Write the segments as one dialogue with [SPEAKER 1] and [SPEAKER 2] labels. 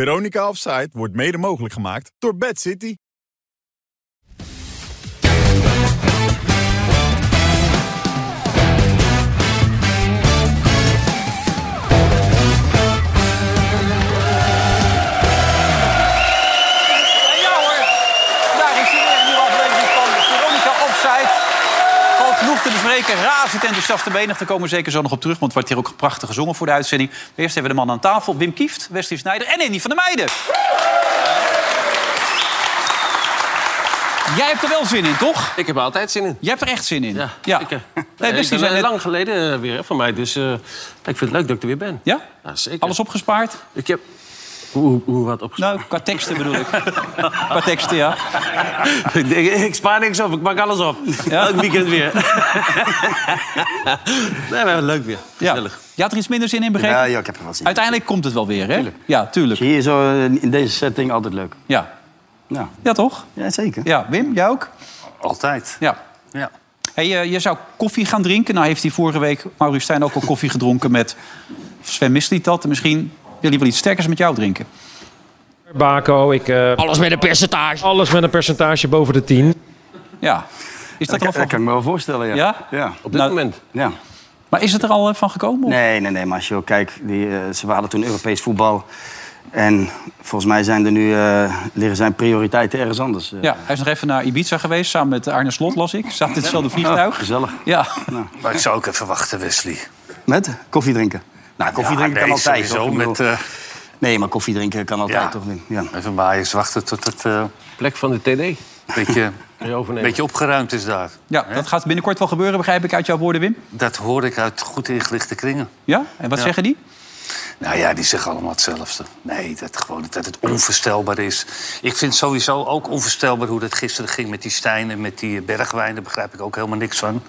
[SPEAKER 1] Veronica Offside wordt mede mogelijk gemaakt door Bad City.
[SPEAKER 2] En ja hoor, daar is hij weer. Een nieuwe aflevering van Veronica Offside. Valt genoeg te bespreken. Razend enthousiaste benig. Daar komen we zeker zo nog op terug. Want het wordt hier ook prachtig gezongen voor de uitzending. Maar eerst hebben we de man aan tafel. Wim Kieft, Wesley Snijder en Andy van der Meijden. Jij hebt er wel zin in, toch?
[SPEAKER 3] Ik heb er altijd zin in.
[SPEAKER 2] Jij hebt er echt zin in.
[SPEAKER 3] Ja, zeker.
[SPEAKER 2] Nee,
[SPEAKER 3] ik
[SPEAKER 2] Wesley
[SPEAKER 3] ben,
[SPEAKER 2] zei
[SPEAKER 3] eh,
[SPEAKER 2] net...
[SPEAKER 3] lang geleden eh, weer hè, van mij, dus eh, ik vind het leuk dat ik er weer ben.
[SPEAKER 2] Ja?
[SPEAKER 3] zeker.
[SPEAKER 2] Alles opgespaard?
[SPEAKER 3] Ik heb... Hoe, hoe wat opgespaard?
[SPEAKER 2] Nou, qua teksten bedoel ik. qua teksten, ja.
[SPEAKER 3] ik, denk, ik spaar niks op, ik maak alles op.
[SPEAKER 2] Ja.
[SPEAKER 3] Elk weekend weer. nee, maar leuk weer.
[SPEAKER 2] ja.
[SPEAKER 3] Gezellig.
[SPEAKER 2] Je had er iets minder zin in, begrepen?
[SPEAKER 4] Ja, ja, ik heb er wel zin in.
[SPEAKER 2] Uiteindelijk komt het wel weer, hè? Ja, tuurlijk.
[SPEAKER 4] Hier zo eh, in deze setting altijd leuk.
[SPEAKER 2] Ja.
[SPEAKER 4] Ja,
[SPEAKER 2] ja, toch?
[SPEAKER 4] ja zeker.
[SPEAKER 2] Ja, Wim, jij ook?
[SPEAKER 4] Altijd.
[SPEAKER 2] Ja.
[SPEAKER 4] Ja.
[SPEAKER 2] Hey, eh, je zou koffie gaan drinken. Nou heeft hij vorige week, Maurice Stijn, ook al koffie gedronken met Sven Misliet dat. En misschien wil hij wel iets sterkers met jou drinken.
[SPEAKER 5] Baco, ik, eh,
[SPEAKER 6] Alles met een percentage.
[SPEAKER 5] alles met een percentage boven de 10.
[SPEAKER 2] Ja. Is dat
[SPEAKER 4] Dat,
[SPEAKER 2] er al
[SPEAKER 4] kan-
[SPEAKER 2] van
[SPEAKER 4] dat kan ik me wel voorstellen, ja.
[SPEAKER 2] Ja?
[SPEAKER 4] Ja.
[SPEAKER 3] Op dit
[SPEAKER 2] Nou,
[SPEAKER 3] moment.
[SPEAKER 4] Ja.
[SPEAKER 2] Maar is het er al eh, van gekomen? of-
[SPEAKER 4] Nee, nee, nee, maar als je ook kijkt, die, eh, ze waren toen Europees voetbal. En volgens mij zijn er nu, eh, liggen zijn prioriteiten ergens anders. eh.
[SPEAKER 2] Ja, hij is nog even naar Ibiza geweest, samen met Arne Slot, las ik. Zat in hetzelfde
[SPEAKER 4] Oh,
[SPEAKER 2] vliegtuig.
[SPEAKER 4] gezellig.
[SPEAKER 2] Ja,
[SPEAKER 7] Maar ik zou ook even wachten, Wesley.
[SPEAKER 4] Met koffie drinken. Nou, koffie
[SPEAKER 7] Ja,
[SPEAKER 4] drinken
[SPEAKER 7] nee,
[SPEAKER 4] kan altijd.
[SPEAKER 7] sowieso
[SPEAKER 4] toch? Ik bedoel-
[SPEAKER 7] met, eh,
[SPEAKER 4] Nee, maar koffie drinken kan altijd,
[SPEAKER 7] ja.
[SPEAKER 4] toch? Wim? Ja.
[SPEAKER 7] Even bij eens wachten tot het eh,
[SPEAKER 3] Plek van de TD.
[SPEAKER 7] een beetje,
[SPEAKER 3] Kun je
[SPEAKER 7] een
[SPEAKER 3] overnemen.
[SPEAKER 7] beetje opgeruimd is daar.
[SPEAKER 2] ja dat gaat binnenkort wel gebeuren, begrijp ik uit jouw woorden, Wim.
[SPEAKER 7] Dat hoor ik uit goed ingelichte kringen.
[SPEAKER 2] Ja? En wat zeggen die?
[SPEAKER 7] Nou ja, die zeggen allemaal hetzelfde. Nee, dat, gewoon, dat het onvoorstelbaar is. Ik vind sowieso ook onvoorstelbaar hoe dat gisteren ging met die Stijn en met die eh, Bergwijn. Daar begrijp ik ook helemaal niks van.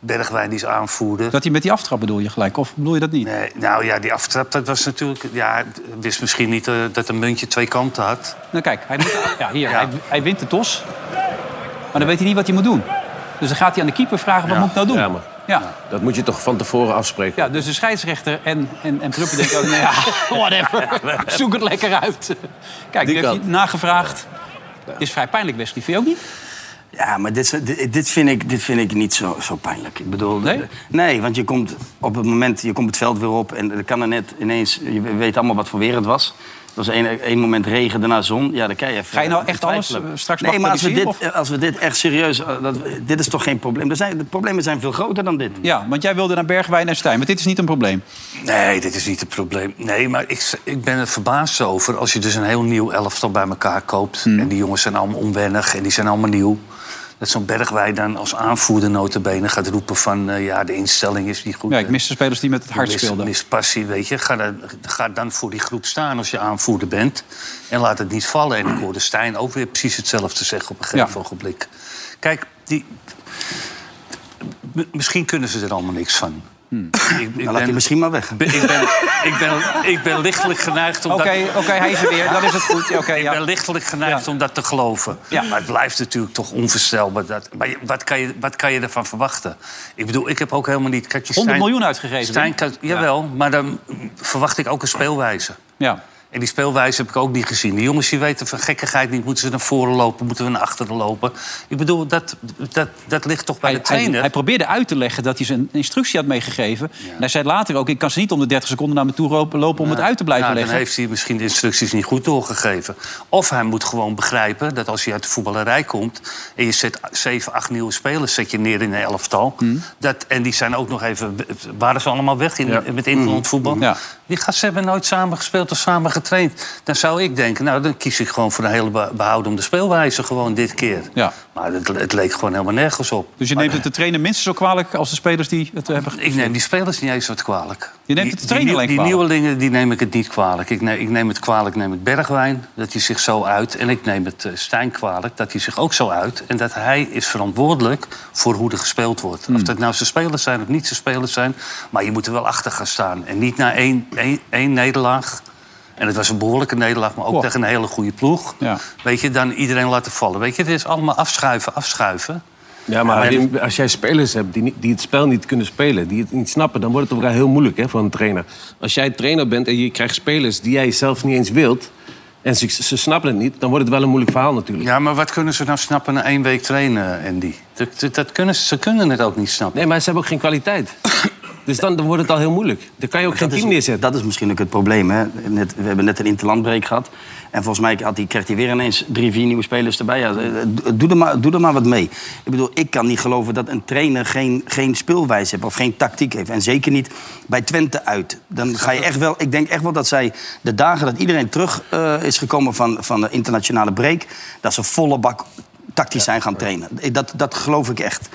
[SPEAKER 7] Bergwijn die is aanvoerder.
[SPEAKER 2] Dat hij met die aftrap bedoel je gelijk, of bedoel je dat niet?
[SPEAKER 7] Nee, nou ja, die aftrap, dat was natuurlijk... Ja, wist misschien niet eh, dat een muntje twee kanten had.
[SPEAKER 2] Nou kijk, hij, moet- ja, hier, Hij, hij wint de tos. Maar dan weet hij niet wat hij moet doen. Dus dan gaat hij aan de keeper vragen, wat moet ik nou doen?
[SPEAKER 3] Ja, maar-
[SPEAKER 2] ja.
[SPEAKER 3] Dat moet je toch van tevoren afspreken?
[SPEAKER 2] Ja, dus de scheidsrechter en, en, en Pruppen denken... ook, nou ja, whatever, zoek het lekker uit. Kijk, die, heeft
[SPEAKER 3] kant.
[SPEAKER 2] hij nagevraagd. Is vrij pijnlijk, Wesley. Vind je ook niet?
[SPEAKER 4] Ja, maar dit, is- dit, dit vind, ik, dit vind ik niet zo, zo pijnlijk. Ik bedoel,
[SPEAKER 2] Nee?
[SPEAKER 4] eh, nee, want je komt op het moment, je komt het veld weer op en er kan er net ineens, je weet allemaal wat voor weer het was. Er was één, één moment regen, daarna zon. Ja, dan kan je even.
[SPEAKER 2] Ga je nou
[SPEAKER 4] eh,
[SPEAKER 2] echt alles,
[SPEAKER 4] twijfelen.
[SPEAKER 2] eh, straks
[SPEAKER 4] Nee, maar als we, dit,
[SPEAKER 2] bagatelliseren,
[SPEAKER 4] eh, als we dit echt serieus. eh, Dat, we- dit is toch geen probleem? Er zijn, de problemen zijn veel groter dan dit. Nou,
[SPEAKER 2] Ja, want jij wilde naar Bergwijn en Stijn. Maar dit is niet een probleem.
[SPEAKER 7] Nee, dit is niet het probleem. Nee, maar ik, ik ben er verbaasd over als je dus een heel nieuw elftal bij elkaar koopt.
[SPEAKER 2] Mm.
[SPEAKER 7] En die jongens zijn allemaal onwennig en die zijn allemaal nieuw. Dat zo'n Bergwijn dan als aanvoerder notabene gaat roepen van... eh, ja, de instelling is niet goed. Eh,
[SPEAKER 2] Ja, ik mis de spelers die met het hart
[SPEAKER 7] mis,
[SPEAKER 2] speelden.
[SPEAKER 7] mis passie, weet je. Ga dan, ga dan voor die groep staan als je aanvoerder bent. En laat het niet vallen. En ik hoorde Stijn ook weer precies hetzelfde zeggen op een gegeven
[SPEAKER 2] Ja.
[SPEAKER 7] ogenblik. Kijk, die... M- Misschien kunnen ze er allemaal niks van.
[SPEAKER 2] Hmm.
[SPEAKER 7] Ik, ik
[SPEAKER 4] Dan Nou, laat
[SPEAKER 7] ben-
[SPEAKER 4] je misschien maar weg.
[SPEAKER 7] ik ben, ik, ben, ik, ben, ik ben lichtelijk geneigd om
[SPEAKER 2] Oké,
[SPEAKER 7] dat...
[SPEAKER 2] oké, hij is er weer. Dan is het goed. Oké,
[SPEAKER 7] Ik ben
[SPEAKER 2] ja.
[SPEAKER 7] lichtelijk geneigd
[SPEAKER 2] Ja.
[SPEAKER 7] om dat te geloven.
[SPEAKER 2] Ja.
[SPEAKER 7] Maar het blijft natuurlijk toch onvoorstelbaar. Dat, maar je- wat kan, je, wat kan je ervan verwachten? Ik bedoel, ik heb ook helemaal niet... Kijk, je
[SPEAKER 2] 100
[SPEAKER 7] Stijn-
[SPEAKER 2] miljoen uitgegeven,
[SPEAKER 7] Stijn
[SPEAKER 2] Wim.
[SPEAKER 7] kan- jawel, maar dan verwacht ik ook een speelwijze.
[SPEAKER 2] ja.
[SPEAKER 7] En die speelwijze heb ik ook niet gezien. Die jongens die weten van gekkigheid niet. Moeten ze naar voren lopen? Moeten we naar achteren lopen? Ik bedoel, dat, dat, dat ligt toch bij
[SPEAKER 2] Hij,
[SPEAKER 7] de
[SPEAKER 2] hij,
[SPEAKER 7] trainer?
[SPEAKER 2] hij probeerde uit te leggen dat hij zijn instructie had meegegeven. En hij zei later ook, ik kan ze niet om de 30 seconden naar me toe ropen- lopen... om het uit te blijven
[SPEAKER 7] Nou,
[SPEAKER 2] leggen.
[SPEAKER 7] Dan heeft hij misschien de instructies niet goed doorgegeven. Of hij moet gewoon begrijpen dat als je uit de voetballerij komt... en je zet zeven, acht nieuwe spelers zet je neer in een elftal...
[SPEAKER 2] Hm.
[SPEAKER 7] Dat, en die zijn ook nog even... waren ze allemaal weg in, met interland voetbal?
[SPEAKER 2] Hm. Ja.
[SPEAKER 7] Die gasten hebben nooit samen gespeeld of samen getraind. Dan zou ik denken, nou, dan kies ik gewoon voor een hele be- behoudende speelwijze... gewoon dit keer.
[SPEAKER 2] Ja.
[SPEAKER 7] Maar het, het leek gewoon helemaal nergens op.
[SPEAKER 2] Dus je neemt het de trainer minstens zo kwalijk als de spelers die het hebben
[SPEAKER 7] Ik neem die spelers niet eens wat kwalijk.
[SPEAKER 2] Je neemt het
[SPEAKER 7] Die-
[SPEAKER 2] de trainer
[SPEAKER 7] die,
[SPEAKER 2] alleen
[SPEAKER 7] die
[SPEAKER 2] kwalijk.
[SPEAKER 7] nieuwelingen die neem ik het niet kwalijk. Ik neem, ik neem het kwalijk, neem ik Bergwijn, dat hij zich zo uit. En ik neem het eh, Stijn kwalijk, dat hij zich ook zo uit. En dat hij is verantwoordelijk voor hoe er gespeeld wordt.
[SPEAKER 2] Hmm.
[SPEAKER 7] Of dat nou zijn spelers zijn of niet zijn spelers zijn. Maar je moet er wel achter gaan staan. En niet na één, één, één nederlaag. En het was een behoorlijke nederlaag, maar ook
[SPEAKER 2] Goh.
[SPEAKER 7] tegen een hele goede ploeg.
[SPEAKER 2] Ja.
[SPEAKER 7] Weet je, dan iedereen laten vallen. Weet je, het is allemaal afschuiven, afschuiven.
[SPEAKER 3] Ja, maar als- als jij spelers hebt die, niet- die het spel niet kunnen spelen, die het niet snappen, dan wordt het op elkaar heel moeilijk hè, voor een trainer. Als jij trainer bent en je krijgt spelers die jij zelf niet eens wilt, en ze, ze snappen het niet, dan wordt het wel een moeilijk verhaal natuurlijk.
[SPEAKER 7] Ja, maar wat kunnen ze nou snappen na één week trainen, Andy? Dat, dat, dat kunnen ze, ze kunnen het ook niet snappen.
[SPEAKER 3] Nee, maar ze hebben ook geen kwaliteit. dus dan, dan wordt het al heel moeilijk. Dan kan je ook geen
[SPEAKER 4] dat
[SPEAKER 3] team
[SPEAKER 4] is,
[SPEAKER 3] neerzetten.
[SPEAKER 4] Dat is misschien ook het probleem. Hè? Net, we hebben net een interlandbreek gehad. En volgens mij had die, kreeg hij weer ineens drie, vier nieuwe spelers erbij. Ja, eh, do- doe, er maar, doe er maar wat mee. Ik bedoel, ik kan niet geloven dat een trainer geen, geen speelwijze heeft... of geen tactiek heeft. En zeker niet bij Twente uit. Dan ga je echt wel... Ik denk echt wel dat zij de dagen dat iedereen terug eh, is gekomen van, van de internationale break... dat ze volle bak tactisch zijn gaan trainen. Dat, dat geloof ik echt.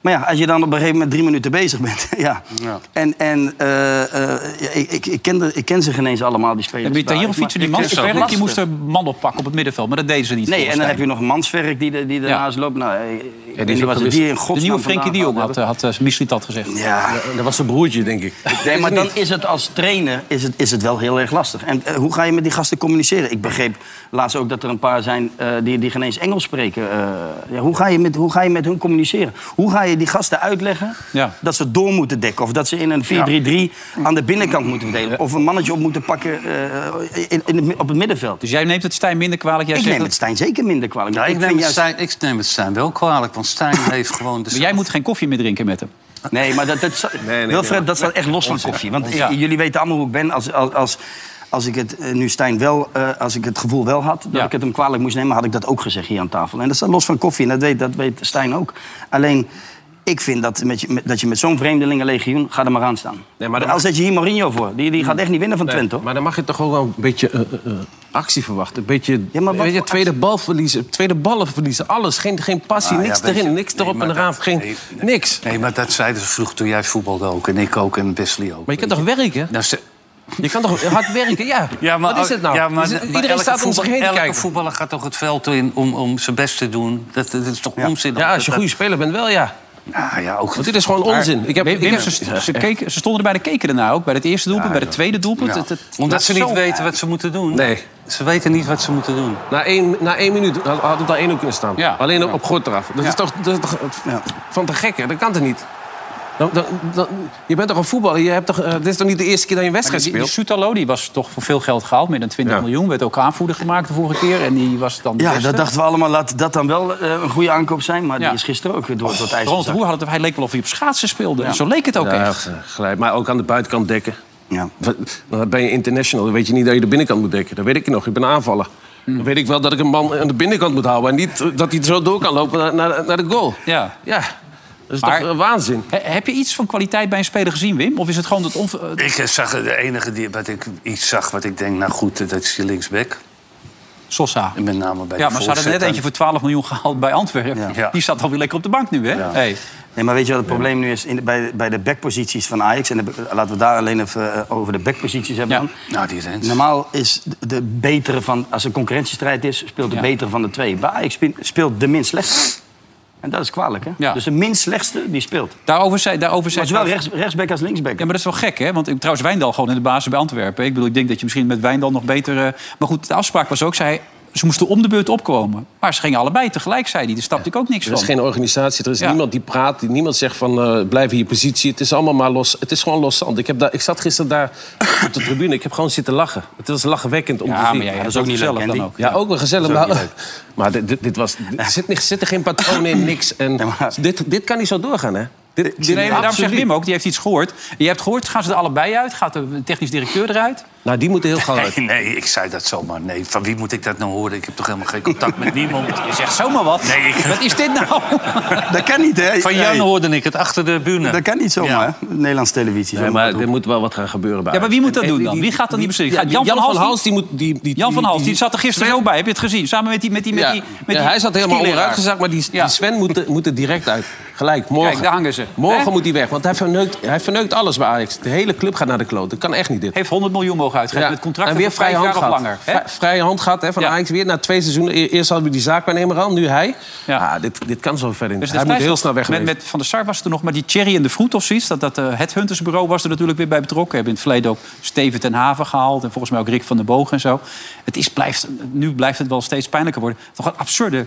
[SPEAKER 4] Maar ja, als je dan op een gegeven moment drie minuten bezig bent. ja.
[SPEAKER 7] Ja.
[SPEAKER 4] En, en eh, eh, ja, ik, ik, ik, ken de, ik ken ze geen eens allemaal, die spelers.
[SPEAKER 2] Heb je
[SPEAKER 4] daar.
[SPEAKER 2] hier
[SPEAKER 4] Maar-
[SPEAKER 2] fietsen die
[SPEAKER 4] Ik
[SPEAKER 2] man?
[SPEAKER 4] ken ze ook
[SPEAKER 2] Verder, die
[SPEAKER 4] lastig.
[SPEAKER 2] moest eh, een man oppakken op het middenveld, maar dat deden ze niet.
[SPEAKER 4] Nee, en
[SPEAKER 2] volgens
[SPEAKER 4] dan heb
[SPEAKER 2] mij.
[SPEAKER 4] je nog Mansverk die, de- die daarnaast loopt. Nou, eh, ik weet niet
[SPEAKER 3] ook
[SPEAKER 4] wat
[SPEAKER 3] gewisseld.
[SPEAKER 4] die in godsnaam
[SPEAKER 2] De nieuwe Frenkie de
[SPEAKER 4] vandaan
[SPEAKER 2] Jong
[SPEAKER 4] haalt.
[SPEAKER 2] had, eh, had eh, Misliet dat gezegd.
[SPEAKER 4] Ja,
[SPEAKER 3] Dat was zijn broertje, denk ik.
[SPEAKER 4] Nee, maar dan is het als trainer is het, is het wel heel erg lastig. En eh, hoe ga je met die gasten communiceren? Ik begreep laatst ook dat er een paar zijn eh, die, die geen eens Engels spreken. Eh, ja, hoe, ga je met, hoe ga je met hun communiceren? Hoe ga je die gasten uitleggen
[SPEAKER 2] Ja.
[SPEAKER 4] dat ze door moeten dekken? Of dat ze in een 4-3-3 aan de binnenkant moeten verdelen? Of een mannetje op moeten pakken eh, in, in het mi- op het middenveld?
[SPEAKER 2] Dus jij neemt het Stijn minder kwalijk. Jij
[SPEAKER 4] ik
[SPEAKER 2] zegt
[SPEAKER 4] neem
[SPEAKER 2] dat-
[SPEAKER 4] het Stijn zeker minder kwalijk.
[SPEAKER 7] Ja,
[SPEAKER 4] Ik
[SPEAKER 7] ik,
[SPEAKER 4] vind
[SPEAKER 7] neem het
[SPEAKER 4] juist-
[SPEAKER 7] Stijn, ik neem het Stijn wel kwalijk, want Stijn heeft gewoon de...
[SPEAKER 2] Maar jij moet geen koffie meer drinken met hem.
[SPEAKER 4] Nee, maar dat, dat, Wilfred, dat staat echt los van koffie. Want
[SPEAKER 7] Ja.
[SPEAKER 4] j- jullie weten allemaal hoe ik ben. Als, als, als, als ik het eh, nu Stijn wel, eh, als ik het gevoel wel had dat
[SPEAKER 2] Ja.
[SPEAKER 4] ik het hem kwalijk moest nemen, had ik dat ook gezegd hier aan tafel. En dat staat los van koffie. En dat weet, dat weet Stijn ook. Alleen. Ik vind dat, met je, met- dat je met zo'n vreemdelingenlegioen... ga er maar aan staan.
[SPEAKER 3] Nee, maar dan-
[SPEAKER 4] Al zet je hier Mourinho voor. Die, die gaat echt niet winnen van
[SPEAKER 3] Nee,
[SPEAKER 4] Twente, hoor.
[SPEAKER 3] Maar dan mag je toch ook wel een beetje eh, eh, eh, actie verwachten. Een beetje
[SPEAKER 4] Ja, maar wat
[SPEAKER 3] weet je,
[SPEAKER 4] voor
[SPEAKER 3] tweede, bal verliezen, tweede ballen verliezen. Alles. Geen, geen passie,
[SPEAKER 7] Ah, ja,
[SPEAKER 3] niks
[SPEAKER 7] weet je,
[SPEAKER 3] erin, niks
[SPEAKER 7] nee,
[SPEAKER 3] erop
[SPEAKER 7] maar
[SPEAKER 3] en eraan.
[SPEAKER 7] dat-
[SPEAKER 3] Geen,
[SPEAKER 7] nee, nee.
[SPEAKER 3] niks.
[SPEAKER 7] Nee, maar dat zeiden ze vroeg toen jij voetbalde ook. En ik ook en Wesley ook.
[SPEAKER 3] Maar je kan toch werken?
[SPEAKER 7] Nou, ze-
[SPEAKER 3] Je kan toch hard werken? Ja. Wat is het nou?
[SPEAKER 7] ja, maar-
[SPEAKER 3] Is het-
[SPEAKER 7] maar
[SPEAKER 3] Iedereen
[SPEAKER 7] elke
[SPEAKER 3] staat om zich
[SPEAKER 7] voetballer-
[SPEAKER 3] heen te
[SPEAKER 7] elke
[SPEAKER 3] kijken.
[SPEAKER 7] voetballer gaat toch het veld in om, om zijn best te doen. Dat, dat is toch onzin?
[SPEAKER 3] Ja, als je een goede speler bent, wel ja.
[SPEAKER 7] Nou ja, ook...
[SPEAKER 3] Want dit is gewoon onzin. Ik heb,
[SPEAKER 2] Wim,
[SPEAKER 3] ik
[SPEAKER 2] Wim,
[SPEAKER 3] heb-
[SPEAKER 2] ze, ze, keken, ze stonden er bijna keken daarna ook. Bij het eerste doelpunt, bij het tweede doelpunt.
[SPEAKER 7] Ja.
[SPEAKER 2] Het- het-
[SPEAKER 7] Nou, Omdat ze niet
[SPEAKER 2] zo-
[SPEAKER 7] weten wat ze moeten doen.
[SPEAKER 3] Nee.
[SPEAKER 7] Ze weten niet wat ze moeten doen.
[SPEAKER 3] Na één, na één minuut had had het al één uur kunnen staan.
[SPEAKER 2] Ja.
[SPEAKER 3] Alleen op gort eraf. Dat is toch, dat is toch van te gekken? Dat kan toch niet? Dan, dan, dan- je bent toch een voetballer? Je hebt toch, eh, dit is toch niet de eerste keer dat je een wedstrijd
[SPEAKER 2] Die, die
[SPEAKER 3] speelt?
[SPEAKER 2] Soetalo die was toch voor veel geld gehaald, meer dan 20
[SPEAKER 3] Ja.
[SPEAKER 2] miljoen. Werd ook aanvoerder gemaakt de vorige keer. En die was dan de
[SPEAKER 4] Ja,
[SPEAKER 2] beste.
[SPEAKER 4] dat dachten we allemaal. Laat dat dan wel eh, een goede aankoop zijn. Maar
[SPEAKER 2] Ja.
[SPEAKER 4] die is gisteren ook weer door tot ijs
[SPEAKER 2] Ronald de
[SPEAKER 4] gezakt.
[SPEAKER 2] Boer had het, hij leek wel of hij op schaatsen speelde. En Zo leek het ook
[SPEAKER 3] Ja,
[SPEAKER 2] echt.
[SPEAKER 3] gelijk. Maar ook aan de buitenkant dekken.
[SPEAKER 4] Ja.
[SPEAKER 3] Wat- Dan ben je international. Dan weet je niet dat je de binnenkant moet dekken. Dat weet ik nog. Ik ben aanvaller. Dan weet ik wel dat ik een man aan de binnenkant moet houden. En niet eh, dat hij zo door kan lopen naar, naar, naar de goal.
[SPEAKER 2] Ja.
[SPEAKER 3] Ja. Dat is
[SPEAKER 2] Maar-
[SPEAKER 3] toch eh, waanzin?
[SPEAKER 2] He- heb je iets van kwaliteit bij een speler gezien, Wim? Of is het gewoon dat... onver- eh,
[SPEAKER 7] Ik eh, zag de enige die, wat ik iets zag wat ik denk, nou goed, eh, dat is die linksback.
[SPEAKER 2] Sosa.
[SPEAKER 7] En Met name bij
[SPEAKER 2] Ja,
[SPEAKER 7] de
[SPEAKER 2] maar ze hadden net
[SPEAKER 7] voorzetten.
[SPEAKER 2] eentje voor 12 miljoen gehaald bij Antwerpen.
[SPEAKER 7] Ja.
[SPEAKER 2] Die staat alweer lekker op de bank nu, hè? Hey.
[SPEAKER 4] Nee, maar weet je wat het probleem nu is? In de- bij, bij de backposities van Ajax... en de- laten we daar alleen even eh, over de backposities hebben
[SPEAKER 2] Ja.
[SPEAKER 4] dan.
[SPEAKER 7] Nou, die Rens.
[SPEAKER 4] Normaal is de- de betere van... Als er concurrentiestrijd is, speelt de
[SPEAKER 2] Ja.
[SPEAKER 4] betere van de twee. Bij Ajax spe- speelt de minst slechtste. En dat is kwalijk, hè?
[SPEAKER 2] Ja.
[SPEAKER 4] Dus de minst slechtste, die speelt. Maar
[SPEAKER 2] Daarover zei... Daarover zei
[SPEAKER 4] het is wel rechts, rechtsback als linksback.
[SPEAKER 2] Ja, maar dat is wel gek, hè? Want ik, trouwens, Wijndal gewoon in de basis bij Antwerpen. Ik bedoel, ik denk dat je misschien met Wijndal nog beter... eh, maar goed, de afspraak was ook, zei ze moesten om de beurt opkomen. Maar ze gingen allebei tegelijk, zei hij. Daar snapte ik ook niks
[SPEAKER 3] Er is
[SPEAKER 2] van.
[SPEAKER 3] geen organisatie, er is
[SPEAKER 2] Ja.
[SPEAKER 3] niemand die praat, die- niemand zegt van eh, blijf in je positie. Het is allemaal maar los. Het is gewoon los zand. Ik, heb daar, ik zat gisteren daar op de tribune, ik heb gewoon zitten lachen. Het was lachwekkend om te
[SPEAKER 2] Ja,
[SPEAKER 3] zien.
[SPEAKER 2] maar jij, dat is ook niet
[SPEAKER 4] leuk,
[SPEAKER 2] zelf dan
[SPEAKER 4] Andy.
[SPEAKER 2] ook.
[SPEAKER 3] Ja, ook wel gezellig. Maar, maar dit, dit, dit was, dit- er zit, niet- zit er geen patroon in, niks. En
[SPEAKER 4] maar-
[SPEAKER 3] dit, dit kan niet zo doorgaan, hè? Dit, dit,
[SPEAKER 2] Nee, maar daarom zegt
[SPEAKER 3] absoluut.
[SPEAKER 2] Wim ook, die heeft iets gehoord. Je hebt gehoord, gaan ze er allebei uit? Gaat de technisch directeur eruit?
[SPEAKER 3] Nou, die moeten heel gauw uit.
[SPEAKER 7] Nee, nee, ik zei dat zomaar. Nee, van wie moet ik dat nou horen? Ik heb toch helemaal geen contact met niemand.
[SPEAKER 2] Je zegt zomaar wat.
[SPEAKER 7] Nee, ik-
[SPEAKER 2] Wat is dit nou?
[SPEAKER 4] Dat kan niet, hè?
[SPEAKER 7] Van Jan hoorde ik het achter de bühne.
[SPEAKER 4] Dat kan niet zomaar,
[SPEAKER 7] Ja.
[SPEAKER 4] hè? Nederlandse televisie.
[SPEAKER 3] Nee,
[SPEAKER 4] zo
[SPEAKER 3] maar
[SPEAKER 4] moet
[SPEAKER 3] er
[SPEAKER 4] het
[SPEAKER 3] moet wel wat gaan gebeuren bij
[SPEAKER 2] Ja, maar wie moet dat doen dan?
[SPEAKER 3] die-
[SPEAKER 2] Wie gaat dat niet beslissen?
[SPEAKER 3] Ja,
[SPEAKER 2] Gaat Jan, van Hals? die-
[SPEAKER 3] die moet... Die, die,
[SPEAKER 2] Jan van Hals, die zat er gisteren ook bij. Heb je het gezien? Samen met die... Met die, met
[SPEAKER 3] Ja.
[SPEAKER 2] die, met
[SPEAKER 3] Ja,
[SPEAKER 2] die
[SPEAKER 3] hij zat helemaal
[SPEAKER 2] skileraar.
[SPEAKER 3] onderuit gezakt, maar die,
[SPEAKER 2] Ja.
[SPEAKER 3] die Sven moet, er- moet er direct uit. Gelijk, morgen.
[SPEAKER 2] Kijk, daar hangen ze.
[SPEAKER 3] Morgen
[SPEAKER 2] Hè?
[SPEAKER 3] moet hij weg, want hij verneukt, hij verneukt alles bij Ajax. De hele club gaat naar de kloot. Dat kan echt niet dit.
[SPEAKER 2] Heeft 100 miljoen mogen uitgeven.
[SPEAKER 3] Ja.
[SPEAKER 2] Met contracten
[SPEAKER 3] en weer
[SPEAKER 2] voor vijf
[SPEAKER 3] vrije
[SPEAKER 2] jaar
[SPEAKER 3] hand
[SPEAKER 2] of
[SPEAKER 3] gehad.
[SPEAKER 2] langer. hè?
[SPEAKER 3] Vrij- vrije hand gehad hè, van
[SPEAKER 2] Ja.
[SPEAKER 3] Ajax weer. Na twee seizoenen. E- Eerst hadden we die zaakwaarnemer al, nu hij.
[SPEAKER 2] Ja.
[SPEAKER 3] Ja. dit, dit kan zo verder niet.
[SPEAKER 2] Dus
[SPEAKER 3] hij moet
[SPEAKER 2] destijds-
[SPEAKER 3] heel snel weg.
[SPEAKER 2] Met,
[SPEAKER 3] geweest.
[SPEAKER 2] met Van der Sar was er nog, maar die Thierry en de Vroet of zoiets... dat, dat eh, het Huntersbureau was er natuurlijk weer bij betrokken. Hebben in het verleden ook Steven ten Haven gehaald... en volgens mij ook Rick van den Boog en zo. Het is, blijft, nu blijft het wel steeds pijnlijker worden. Toch een absurde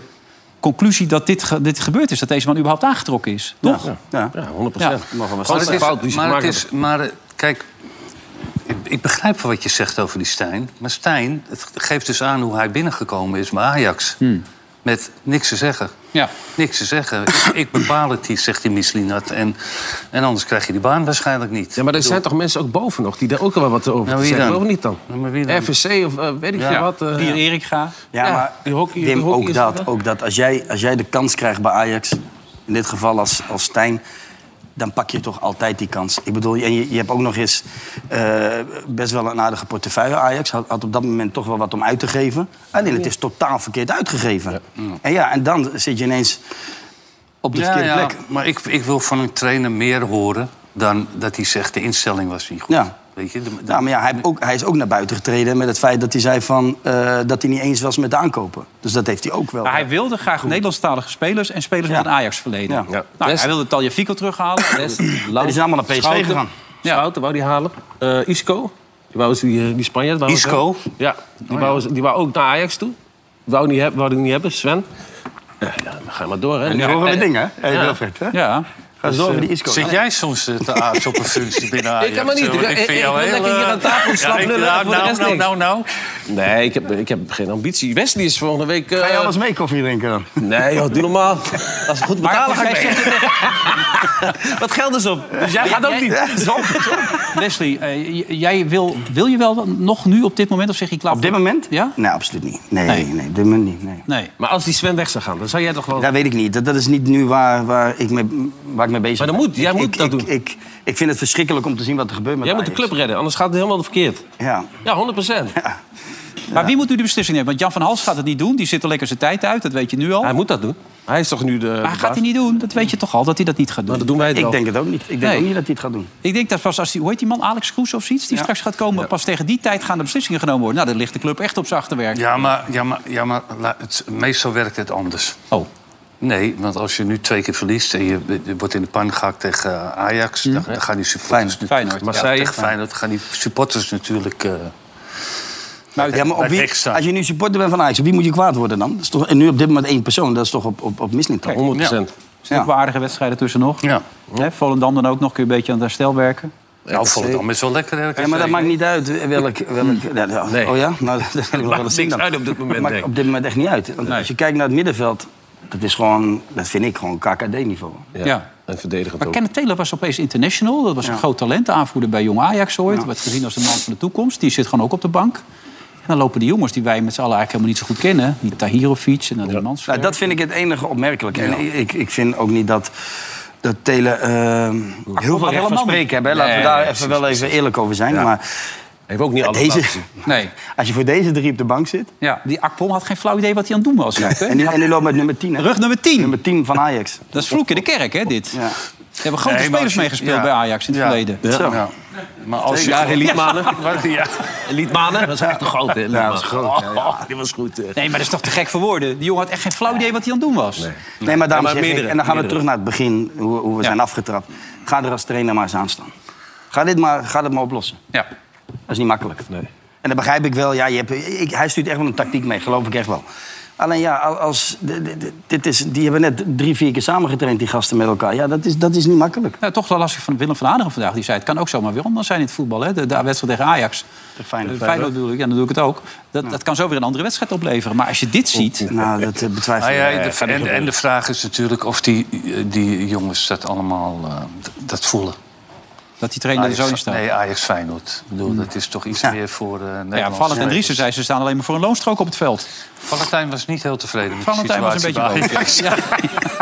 [SPEAKER 2] conclusie dat dit, ge- dit gebeurd is. Dat deze man überhaupt aangetrokken is. Toch? Nou,
[SPEAKER 4] Ja.
[SPEAKER 3] Ja, 100
[SPEAKER 4] Ja, mag wel
[SPEAKER 3] Grootste
[SPEAKER 4] Dat
[SPEAKER 7] Maar het is-
[SPEAKER 3] fout die ze
[SPEAKER 7] maar het
[SPEAKER 3] gemaakt
[SPEAKER 7] is, maar eh, kijk, ik, ik begrijp wel wat je zegt over die Stijn. Maar Stijn, het geeft dus aan hoe hij binnengekomen is bij Ajax.
[SPEAKER 3] Hmm.
[SPEAKER 7] Met niks te zeggen.
[SPEAKER 2] Ja.
[SPEAKER 7] Niks te zeggen. ik, ik bepaal het niet, zegt die Mislinat. En, en anders krijg je die baan waarschijnlijk niet.
[SPEAKER 3] Ja, maar er zijn toch mensen ook boven nog die daar ook wel wat over
[SPEAKER 7] Nou,
[SPEAKER 3] te
[SPEAKER 7] wie
[SPEAKER 3] zeggen
[SPEAKER 7] dan?
[SPEAKER 3] hebben, of niet dan?
[SPEAKER 7] Nou, maar wie dan?
[SPEAKER 3] RVC of eh, weet ik
[SPEAKER 7] Ja.
[SPEAKER 3] veel wat. eh,
[SPEAKER 2] Hier Erik ga.
[SPEAKER 4] Ja,
[SPEAKER 3] Ja,
[SPEAKER 4] maar
[SPEAKER 3] die hockey-
[SPEAKER 4] Wim,
[SPEAKER 3] die hockey
[SPEAKER 4] ook,
[SPEAKER 3] is
[SPEAKER 4] dat,
[SPEAKER 3] dat, hè?
[SPEAKER 4] ook dat. Als jij, als jij de kans krijgt bij Ajax, in dit geval als, als Stijn... dan pak je toch altijd die kans. Ik bedoel, en je, je hebt ook nog eens eh, best wel een aardige portefeuille. Ajax had, had op dat moment toch wel wat om uit te geven. Alleen, het is totaal verkeerd uitgegeven. Mm. En ja, en dan zit je ineens op de
[SPEAKER 7] Ja,
[SPEAKER 4] verkeerde
[SPEAKER 7] ja,
[SPEAKER 4] plek.
[SPEAKER 7] Maar ik, ik wil van een trainer meer horen dan dat hij zegt de instelling was niet goed.
[SPEAKER 4] Ja.
[SPEAKER 7] Weet je? de- de-
[SPEAKER 4] Nou, maar ja, hij, heeft ook, hij is ook naar buiten getreden met het feit dat hij zei van, eh, dat hij niet eens was met de aankopen. Dus dat heeft hij ook wel.
[SPEAKER 2] Maar hij wilde graag Nederlandstalige spelers en spelers
[SPEAKER 4] Ja.
[SPEAKER 2] met een Ajax-verleden.
[SPEAKER 4] Ja.
[SPEAKER 3] Ja.
[SPEAKER 2] Nou,
[SPEAKER 3] Rest-
[SPEAKER 2] hij wilde Talja Fico terughalen. Rest-
[SPEAKER 3] Lang-
[SPEAKER 4] Die zijn allemaal naar PSV
[SPEAKER 3] Schouten.
[SPEAKER 4] gegaan.
[SPEAKER 2] Ja.
[SPEAKER 3] Schouten wou die halen. Eh, Isco. Die, wou, ze- die, eh, die Spanjaard. Wou ze
[SPEAKER 7] Isco?
[SPEAKER 3] ook. Ja, die, wou, ze- die wou ook naar Ajax toe. Wou die niet, heb- wou die niet hebben, Sven. Ja, ja, dan ga je maar door, hè.
[SPEAKER 4] en nu
[SPEAKER 3] Ja,
[SPEAKER 4] horen we
[SPEAKER 3] eh,
[SPEAKER 4] dingen, hè? Hey, Wilfred, hè?
[SPEAKER 2] ja.
[SPEAKER 4] Ga eh, zo over die Isco.
[SPEAKER 7] Zit jij soms eh, te aards op een functie binnen Ajax?
[SPEAKER 3] Ik kan maar niet.
[SPEAKER 7] hoor.
[SPEAKER 3] Ik- ik- ik wil lekker
[SPEAKER 7] eh,
[SPEAKER 3] hier aan tafel slap
[SPEAKER 7] ik-
[SPEAKER 3] lullen en
[SPEAKER 7] nou,
[SPEAKER 3] voor de
[SPEAKER 7] nou,
[SPEAKER 3] rest
[SPEAKER 7] nou,
[SPEAKER 3] niks.
[SPEAKER 7] nou, nou.
[SPEAKER 3] Nee, ik heb, ik heb geen ambitie. Wesley is volgende week... eh,
[SPEAKER 4] Ga jij alles mee koffie drinken dan?
[SPEAKER 3] Nee, joh, doe normaal. Als het goed
[SPEAKER 2] Maar
[SPEAKER 3] betalen ga
[SPEAKER 2] jij
[SPEAKER 3] ik mee.
[SPEAKER 2] zegt het
[SPEAKER 3] Wat geld is op. Dus jij gaat ook niet.
[SPEAKER 2] Leslie, eh, j- jij wil, wil je wel nog nu op dit moment of zeg je klaar?
[SPEAKER 4] Op dit moment?
[SPEAKER 2] Ja?
[SPEAKER 4] Nee, absoluut niet. Nee,
[SPEAKER 2] Nee.
[SPEAKER 4] nee, op dit moment niet. Nee.
[SPEAKER 2] Nee.
[SPEAKER 3] Maar als die Sven weg zou gaan, dan zou jij toch wel...
[SPEAKER 4] Dat weet ik niet. Dat, dat is niet nu waar, waar, ik mee, waar ik mee bezig
[SPEAKER 3] Maar
[SPEAKER 4] ben.
[SPEAKER 3] dat moet. Jij
[SPEAKER 4] Ik-
[SPEAKER 3] moet
[SPEAKER 4] ik,
[SPEAKER 3] dat
[SPEAKER 4] ik,
[SPEAKER 3] doen.
[SPEAKER 4] Ik, ik vind het verschrikkelijk om te zien wat er gebeurt met
[SPEAKER 3] Jij moet de
[SPEAKER 4] Ajax.
[SPEAKER 3] club redden, anders gaat het helemaal verkeerd.
[SPEAKER 4] Ja.
[SPEAKER 3] Ja, 100 procent.
[SPEAKER 2] Maar wie moet nu de beslissing nemen? Want Jan van Hals gaat het niet doen. Die zit er lekker zijn tijd uit, dat weet je nu al.
[SPEAKER 3] Hij moet dat doen. Hij is toch nu de...
[SPEAKER 2] maar gaat hij niet doen? Dat weet je toch al, dat hij dat niet gaat doen.
[SPEAKER 3] Maar dat doen wij het wel.
[SPEAKER 4] Ik denk het ook niet. Ik denk
[SPEAKER 2] Nee.
[SPEAKER 4] ook niet dat hij het gaat doen.
[SPEAKER 2] Ik denk dat pas als die, hoe heet die man, Alex Kroes of zoiets... die straks gaat komen, pas tegen die tijd gaan de beslissingen genomen worden. Nou, dan ligt de club echt op zijn achterwerk.
[SPEAKER 7] Ja, maar, ja, maar, ja, maar la- het, meestal werkt het anders.
[SPEAKER 2] Oh.
[SPEAKER 7] Nee, want als je nu twee keer verliest en je, je wordt in de pan gehakt tegen eh, Ajax... Dan, dan gaan die supporters...
[SPEAKER 4] Feyenoord.
[SPEAKER 7] natuurlijk-
[SPEAKER 2] Feyenoord,
[SPEAKER 7] Ja,
[SPEAKER 3] Marseille.
[SPEAKER 7] tegen Feyenoord gaan die supporters natuurlijk... eh,
[SPEAKER 4] ja, maar op
[SPEAKER 7] bij
[SPEAKER 4] wie,
[SPEAKER 7] Beek staan.
[SPEAKER 4] als je nu supporter bent van Ajax, op wie moet je kwaad worden dan? Dat is toch, en nu op dit moment één persoon, dat is toch op, op, op Mislintat.
[SPEAKER 3] 100 procent.
[SPEAKER 2] Er zijn ook wel aardige wedstrijden tussen nog.
[SPEAKER 7] ja.
[SPEAKER 2] Hè, Volendam dan ook nog, kun je een beetje aan het herstel werken.
[SPEAKER 7] Nou, Volendam is wel lekker. RKC.
[SPEAKER 4] Ja, maar dat maakt niet uit welk... welk ja, ja.
[SPEAKER 3] Nee.
[SPEAKER 4] Oh ja? Nou, dat kan ik nog wel eens zien
[SPEAKER 3] niks
[SPEAKER 4] dan.
[SPEAKER 3] uit op dit moment,
[SPEAKER 4] Dat
[SPEAKER 3] denk
[SPEAKER 4] maakt
[SPEAKER 3] ik.
[SPEAKER 4] op dit moment echt niet uit. Want als je kijkt naar het middenveld, dat is gewoon... Dat vind ik gewoon KKD-niveau.
[SPEAKER 2] Ja.
[SPEAKER 3] En verdedigend
[SPEAKER 2] Maar
[SPEAKER 3] ook.
[SPEAKER 2] Kenneth Taylor was opeens international. Dat was een groot talent, de aanvoerder bij Jong Ajax ooit. Werd gezien als de man van de toekomst. Die zit gewoon ook op de bank. En dan lopen die jongens die wij met z'n allen eigenlijk helemaal niet zo goed kennen. Die Tahirovic en dan die Mansfield.
[SPEAKER 4] Nou, dat vind ik het enige opmerkelijk. En ik, ik vind ook niet dat... Dat Telen heel veel recht van
[SPEAKER 2] helemaal
[SPEAKER 4] spreken hebben. hè. Laten we
[SPEAKER 3] Nee,
[SPEAKER 4] daar
[SPEAKER 3] nee,
[SPEAKER 4] even wel even eerlijk over zijn. Maar
[SPEAKER 3] Heeft ook niet alles
[SPEAKER 4] deze,
[SPEAKER 3] laten zien.
[SPEAKER 2] Nee.
[SPEAKER 4] als je voor deze drie op de bank zit...
[SPEAKER 2] Ja, die Akpom had geen flauw idee wat hij aan het doen was.
[SPEAKER 4] En die, en die loopt met nummer 10. hè.
[SPEAKER 2] Rug nummer 10.
[SPEAKER 4] Nummer 10 van Ajax.
[SPEAKER 2] Dat is vloek in de kerk, hè, dit.
[SPEAKER 4] Ja.
[SPEAKER 2] Er hebben grote
[SPEAKER 7] Nee, maar
[SPEAKER 2] spelers
[SPEAKER 7] als je-
[SPEAKER 2] meegespeeld
[SPEAKER 7] ja.
[SPEAKER 2] bij Ajax in het
[SPEAKER 7] Ja.
[SPEAKER 2] verleden.
[SPEAKER 4] Zo.
[SPEAKER 7] Ja. Maar als je...
[SPEAKER 3] Ja, Liedmanen.
[SPEAKER 7] Wat- ja.
[SPEAKER 3] Liedmanen, dat is echt een grote. hè, Liedmanen.
[SPEAKER 4] Ja, dat is groot, ja, ja.
[SPEAKER 3] Oh, die was goed. eh.
[SPEAKER 2] Nee, maar dat is toch te gek voor woorden. Die jongen had echt geen flauw idee wat hij aan het doen was.
[SPEAKER 4] Nee, maar daarom
[SPEAKER 3] Ja, maar
[SPEAKER 4] zeg ik-
[SPEAKER 3] meerdere,
[SPEAKER 4] en dan gaan we
[SPEAKER 3] meerdere.
[SPEAKER 4] terug naar het begin, hoe, hoe we zijn afgetrapt. Ga er als trainer maar eens aan staan. Ga dit maar, ga dit maar oplossen.
[SPEAKER 2] Ja.
[SPEAKER 4] Dat is niet makkelijk. En dat begrijp ik wel. Ja, je hebt, ik, hij stuurt echt wel een tactiek mee, geloof ik echt wel. Alleen ja, al- als, d- d- d- dit is, die hebben net drie, vier keer samengetraind, die gasten met elkaar. Ja, dat is, dat is niet makkelijk.
[SPEAKER 2] Nou, toch wel lastig van Willem van Hanegem vandaag. Die zei, het kan ook zomaar weer anders zijn in het voetbal. Hè? De, de wedstrijd tegen Ajax. Eh,
[SPEAKER 4] Feyenoord.
[SPEAKER 2] Feyenoord bedoel ik, ja, dan doe ik het ook. Dat, dat kan zo weer een andere wedstrijd opleveren. Maar als je dit ziet...
[SPEAKER 4] Nou, dat eh, betwijfel
[SPEAKER 7] Ah,
[SPEAKER 4] ik.
[SPEAKER 7] ja, de- en, en de vraag is natuurlijk of die, eh, die jongens dat allemaal eh, d- dat voelen.
[SPEAKER 2] dat die trainer er zo in staat.
[SPEAKER 7] Ah, nee, Ajax Feyenoord. Ik bedoel, dat is toch iets meer voor eh Nederlandse
[SPEAKER 2] ja, Valent en
[SPEAKER 7] spelers.
[SPEAKER 2] Driessen zei, ze staan alleen maar voor een loonstrook op het veld.
[SPEAKER 7] Valentijn was niet heel tevreden met
[SPEAKER 2] Valentijn
[SPEAKER 7] de
[SPEAKER 2] was een
[SPEAKER 7] situatie
[SPEAKER 2] beetje
[SPEAKER 7] bij
[SPEAKER 2] boos.
[SPEAKER 7] Ajax.
[SPEAKER 2] Ja.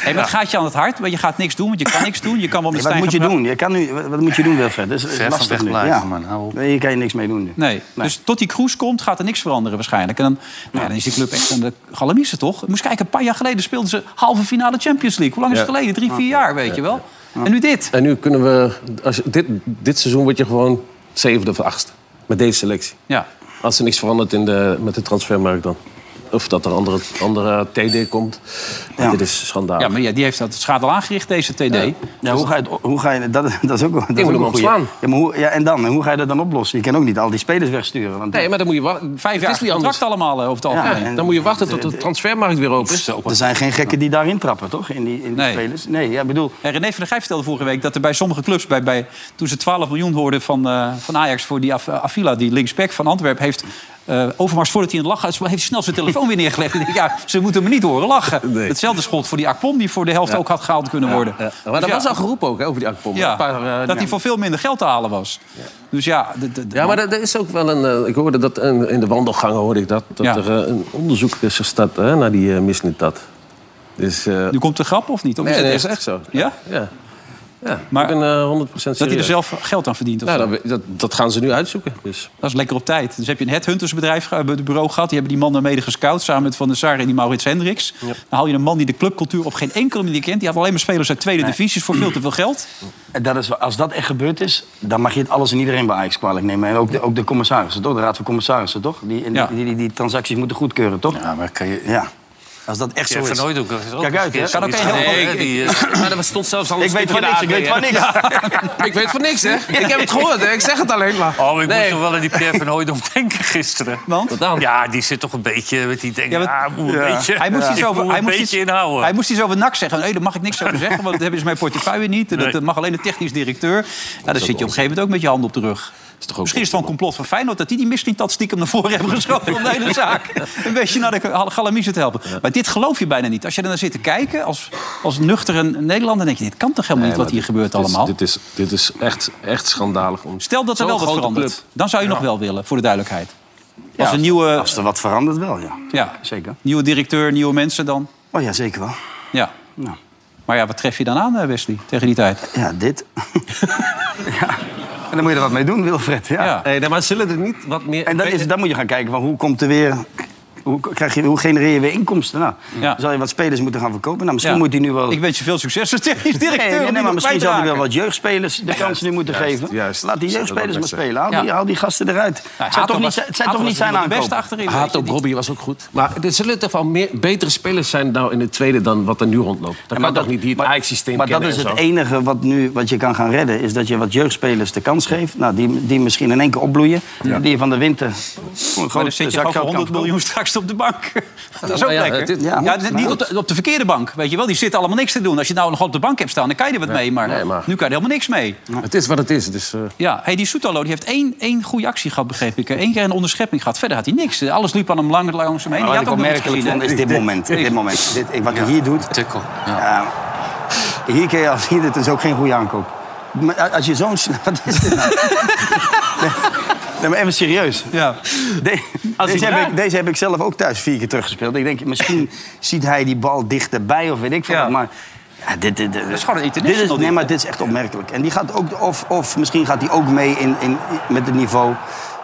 [SPEAKER 2] Hey, maar het gaat je aan het hart, maar je gaat niks doen, want je kan niks doen. Je kan wel met
[SPEAKER 4] Wat
[SPEAKER 2] Stijn
[SPEAKER 4] moet je
[SPEAKER 2] gaan
[SPEAKER 4] doen? Je kan nu, wat wat moet je doen, Wilfred? Dat is- is
[SPEAKER 7] Ver van
[SPEAKER 4] lastig
[SPEAKER 7] weg
[SPEAKER 4] nu.
[SPEAKER 7] blijven,
[SPEAKER 4] Ja.
[SPEAKER 7] man. Hou op.
[SPEAKER 4] Nee, Hier kan je niks mee doen nu.
[SPEAKER 2] Nee. Dus tot die cruise komt, gaat er niks veranderen waarschijnlijk. En dan, nou ja, dan is die club echt aan de galamiezen, toch? Moest kijken, een paar jaar geleden speelden ze halve finale Champions League. Hoe lang is het
[SPEAKER 3] Ja.
[SPEAKER 2] geleden? Drie, vier jaar, weet je wel. En nu dit.
[SPEAKER 3] En nu kunnen we... Als je- dit, dit seizoen word je gewoon zevende of achtste. Met deze selectie.
[SPEAKER 2] Ja.
[SPEAKER 3] Als er niks verandert in de, met de transfermarkt dan. Of dat er andere, andere TD komt.
[SPEAKER 4] Ja.
[SPEAKER 3] Dit is schandalig.
[SPEAKER 2] Ja, maar ja, die heeft dat schade al aangericht, deze TD.
[SPEAKER 4] Ja, hoe ga je, het- hoe ga je dat, dat is ook, dat is
[SPEAKER 3] moet
[SPEAKER 4] ook
[SPEAKER 3] hem
[SPEAKER 4] een goeie.
[SPEAKER 3] ontslaan.
[SPEAKER 4] Ja, maar hoe, ja, en dan? En Hoe ga je dat dan oplossen? Je kan ook niet al die spelers wegsturen. Want
[SPEAKER 3] Nee, maar dan moet je wa-
[SPEAKER 2] Vijf
[SPEAKER 3] het
[SPEAKER 2] jaar
[SPEAKER 3] is niet
[SPEAKER 2] contract
[SPEAKER 3] anders.
[SPEAKER 2] allemaal eh, over het
[SPEAKER 4] Ja,
[SPEAKER 2] algemeen.
[SPEAKER 4] en-
[SPEAKER 3] Dan moet je wachten tot de transfermarkt weer open is.
[SPEAKER 4] er zijn geen gekken die daarin trappen, toch? In die, in die
[SPEAKER 2] Nee.
[SPEAKER 4] spelers. Nee, ja, ik bedoel...
[SPEAKER 2] En Eh, René van der Gijp vertelde vorige week dat er bij sommige clubs... Bij, bij, toen ze 12 miljoen hoorden van, eh, van Ajax voor die Af- eh, Avila, die linksback van Antwerpen... heeft eh, Overmars, voordat hij in het lachen uitsprak, heeft hij snel zijn telefoon weer neergelegd. En ik denk, ja, ze moeten me niet horen lachen.
[SPEAKER 3] Nee.
[SPEAKER 2] Hetzelfde schot voor die Akpom, die voor de helft ook had gehaald kunnen worden.
[SPEAKER 3] Ja,
[SPEAKER 2] Dus
[SPEAKER 3] Maar dat
[SPEAKER 2] ja,
[SPEAKER 3] was al geroepen ook, hè, over die Akpom.
[SPEAKER 2] ja,
[SPEAKER 3] Een paar, eh,
[SPEAKER 2] dat hij voor veel minder geld te halen was. Dus ja, de- de- de-
[SPEAKER 3] Ja, maar er er is ook wel een. eh, ik hoorde dat een- in de wandelgangen hoorde ik dat, dat
[SPEAKER 2] Ja.
[SPEAKER 3] er eh, een onderzoek is gestart hè, naar die eh misnitat. Dus. eh
[SPEAKER 2] nu komt de grap of niet? Of
[SPEAKER 3] nee,
[SPEAKER 2] is het
[SPEAKER 3] nee, is echt zo.
[SPEAKER 2] Ja?
[SPEAKER 3] Ja. ja.
[SPEAKER 2] Maar-
[SPEAKER 3] Maar, ik ben eh, 100% serieus.
[SPEAKER 2] Dat hij er zelf geld aan verdient? Of
[SPEAKER 3] Nou,
[SPEAKER 2] zo?
[SPEAKER 3] dat, dat, dat gaan ze nu uitzoeken. Dus.
[SPEAKER 2] Dat is lekker op tijd. Dus heb je een headhuntersbedrijf, eh, bu- bureau gehad. Die hebben die mannen mede gescout. Samen met Van der Sar en die Maurits Hendricks. Dan haal je een man die de clubcultuur op geen enkele manier kent. Die had alleen maar spelers uit tweede divisies voor veel te veel geld.
[SPEAKER 4] Dat is, wel- als dat echt gebeurd is, dan mag je het alles en iedereen bij Ajax kwalijk nemen. En ook de, ook de commissarissen, toch? De raad van commissarissen, toch? Die, en
[SPEAKER 2] Ja.
[SPEAKER 4] die, die, die, die transacties moeten goedkeuren, toch? Ja.
[SPEAKER 7] Ja, maar kan je...
[SPEAKER 4] Als dat echt zo
[SPEAKER 7] Van
[SPEAKER 4] is.
[SPEAKER 7] Nooit ook. dat is ook
[SPEAKER 4] Kijk
[SPEAKER 7] eens
[SPEAKER 4] uit, hè?
[SPEAKER 7] een keer
[SPEAKER 4] Kan ook
[SPEAKER 7] zoiets
[SPEAKER 4] een heel-
[SPEAKER 7] gedaan, hè, die, eh,
[SPEAKER 3] Maar dat stond zelfs al een
[SPEAKER 4] Ik weet van niks, ik weet van niks.
[SPEAKER 3] ik weet van niks, hè? Ik heb het gehoord, hè? Ik zeg het alleen maar.
[SPEAKER 7] Oh, ik moest
[SPEAKER 3] Nee.
[SPEAKER 7] er wel aan die Pierre van Hooydonk denken gisteren.
[SPEAKER 2] Want?
[SPEAKER 3] Wat dan?
[SPEAKER 7] Ja, die zit toch een beetje met die denken,
[SPEAKER 2] Ja, wat-
[SPEAKER 7] ah, ik moet een beetje,
[SPEAKER 2] Hij moest
[SPEAKER 7] ik
[SPEAKER 2] iets over,
[SPEAKER 7] moet
[SPEAKER 2] hij
[SPEAKER 7] een
[SPEAKER 2] moest
[SPEAKER 7] beetje
[SPEAKER 2] iets,
[SPEAKER 7] inhouden.
[SPEAKER 2] hij moest iets over NAC zeggen. Nee, daar mag ik niks over zeggen, want dat hebben ze mijn portefeuille niet. En dat
[SPEAKER 7] Nee.
[SPEAKER 2] eh, mag alleen de technisch directeur. Nou, dan zit je op een gegeven moment ook met je hand op de rug. Misschien is het wel een complot van Feyenoord dat die die misschien dat stiekem naar voren hebben geschoven om de hele zaak een beetje naar de galamiezen te helpen. Maar dit geloof je bijna niet. Als je er naar zit te kijken als, als nuchtere Nederlander, denk je, dit kan toch helemaal niet wat hier gebeurt allemaal.
[SPEAKER 3] Dit is, dit is echt, echt schandalig. Om...
[SPEAKER 2] Stel dat er
[SPEAKER 3] Zo'n
[SPEAKER 2] wel wat
[SPEAKER 3] grote
[SPEAKER 2] verandert.
[SPEAKER 3] club.
[SPEAKER 2] Dan zou je nog wel willen, voor de duidelijkheid. Als
[SPEAKER 4] als-
[SPEAKER 2] een nieuwe,
[SPEAKER 4] Als er wat verandert, wel, ja.
[SPEAKER 2] ja,
[SPEAKER 4] Zeker.
[SPEAKER 2] nieuwe directeur, nieuwe mensen dan.
[SPEAKER 4] Oh ja, zeker wel.
[SPEAKER 2] Ja.
[SPEAKER 4] Nou.
[SPEAKER 2] Maar ja, wat tref je dan aan, eh, Wesley, tegen die tijd?
[SPEAKER 4] Ja, dit. ja. En dan moet je er wat mee doen, Wilfred. Ja.
[SPEAKER 2] Ja.
[SPEAKER 3] Hey, maar zullen er niet wat meer.
[SPEAKER 4] En dan, is, dan moet je gaan kijken van hoe komt er weer. Hoe, krijg je, hoe genereer je weer inkomsten? Nou,
[SPEAKER 2] Ja.
[SPEAKER 4] dan zal je wat spelers moeten gaan verkopen? Nou, misschien
[SPEAKER 2] Ja.
[SPEAKER 4] moet hij nu wel.
[SPEAKER 2] Ik wens je veel succes als technisch directeur.
[SPEAKER 4] Nee, nee, nee,
[SPEAKER 2] om die
[SPEAKER 4] maar
[SPEAKER 2] nog
[SPEAKER 4] misschien
[SPEAKER 2] kwijt te
[SPEAKER 4] zal hij wel
[SPEAKER 2] raken.
[SPEAKER 4] wat jeugdspelers de kans nu moeten geven.
[SPEAKER 3] juist.
[SPEAKER 4] Laat die
[SPEAKER 3] Zou dat
[SPEAKER 4] jeugdspelers
[SPEAKER 3] ook
[SPEAKER 4] maar
[SPEAKER 3] best zijn.
[SPEAKER 4] spelen. Haal, die,
[SPEAKER 2] Ja.
[SPEAKER 4] haal die gasten eruit.
[SPEAKER 2] Ja,
[SPEAKER 4] het zijn
[SPEAKER 2] Hato
[SPEAKER 4] toch niet,
[SPEAKER 2] was-
[SPEAKER 4] zijn- het zijn
[SPEAKER 2] Hato
[SPEAKER 4] toch niet
[SPEAKER 2] was
[SPEAKER 4] zijn
[SPEAKER 2] nog de beste
[SPEAKER 4] aankopen?
[SPEAKER 2] achterin. weet
[SPEAKER 3] Haat
[SPEAKER 2] je,
[SPEAKER 3] op
[SPEAKER 2] die-
[SPEAKER 3] Robbie was ook goed. Maar er zullen toch wel meer, betere spelers zijn nou in de tweede dan wat er nu rondloopt. Dat
[SPEAKER 4] Ja,
[SPEAKER 3] kan toch niet die het
[SPEAKER 4] maar-
[SPEAKER 3] Ajax-systeem
[SPEAKER 4] Maar dat
[SPEAKER 3] kennen
[SPEAKER 4] is
[SPEAKER 3] en
[SPEAKER 4] het
[SPEAKER 3] zo.
[SPEAKER 4] enige wat, nu, wat je kan gaan redden. Is dat je wat jeugdspelers de kans geeft. Nou, die, die misschien in één keer opbloeien. Die je van de winter voor een
[SPEAKER 2] Maar dan
[SPEAKER 4] groot
[SPEAKER 2] zit je
[SPEAKER 4] zak
[SPEAKER 2] gewoon voor
[SPEAKER 4] geld kan
[SPEAKER 2] 100 miljoen straks op de bank. dat is ook
[SPEAKER 3] ja,
[SPEAKER 2] lekker.
[SPEAKER 3] het is-
[SPEAKER 2] Ja,
[SPEAKER 4] ja, maar-
[SPEAKER 2] niet op de, op de verkeerde bank, weet je wel. Die zitten allemaal niks te doen. Als je nou nog op de bank hebt staan, dan kan je er wat mee. Maar,
[SPEAKER 3] nee, maar-
[SPEAKER 2] nu kan je er helemaal niks mee.
[SPEAKER 3] Het is wat het is. Dus, eh,
[SPEAKER 2] Ja, hey, die Soetalo die heeft één, één goede actie gehad, begreep ik. Eén keer een onderschepping gehad. Verder had hij niks. Alles liep aan hem lang, langs hem heen.
[SPEAKER 4] Maar
[SPEAKER 2] Die had
[SPEAKER 4] wat ik
[SPEAKER 2] ook nog iets
[SPEAKER 4] opmerkelijk
[SPEAKER 2] gezien,
[SPEAKER 4] vond
[SPEAKER 2] hè?
[SPEAKER 4] is dit moment. Dit moment. Dit, wat hij hier doet.
[SPEAKER 7] Tikkel, ja.
[SPEAKER 4] ja, Eh, hier kun je al zien, dit is ook geen goede aankoop. Maar a- als je zo'n... sn- Wat is dit nou? Nee, maar even serieus.
[SPEAKER 2] Ja.
[SPEAKER 4] De- deze, heb ik, deze heb ik zelf ook thuis vier keer teruggespeeld. Ik denk, misschien ziet hij die bal dichterbij of weet ik veel.
[SPEAKER 2] Ja.
[SPEAKER 4] wat, Maar ja, dit, dit, dit,
[SPEAKER 2] is gewoon een
[SPEAKER 4] dit
[SPEAKER 2] international
[SPEAKER 4] Nee,
[SPEAKER 2] ding.
[SPEAKER 4] maar dit is echt opmerkelijk. En die gaat ook, of, of misschien gaat hij ook mee in, in, met het niveau.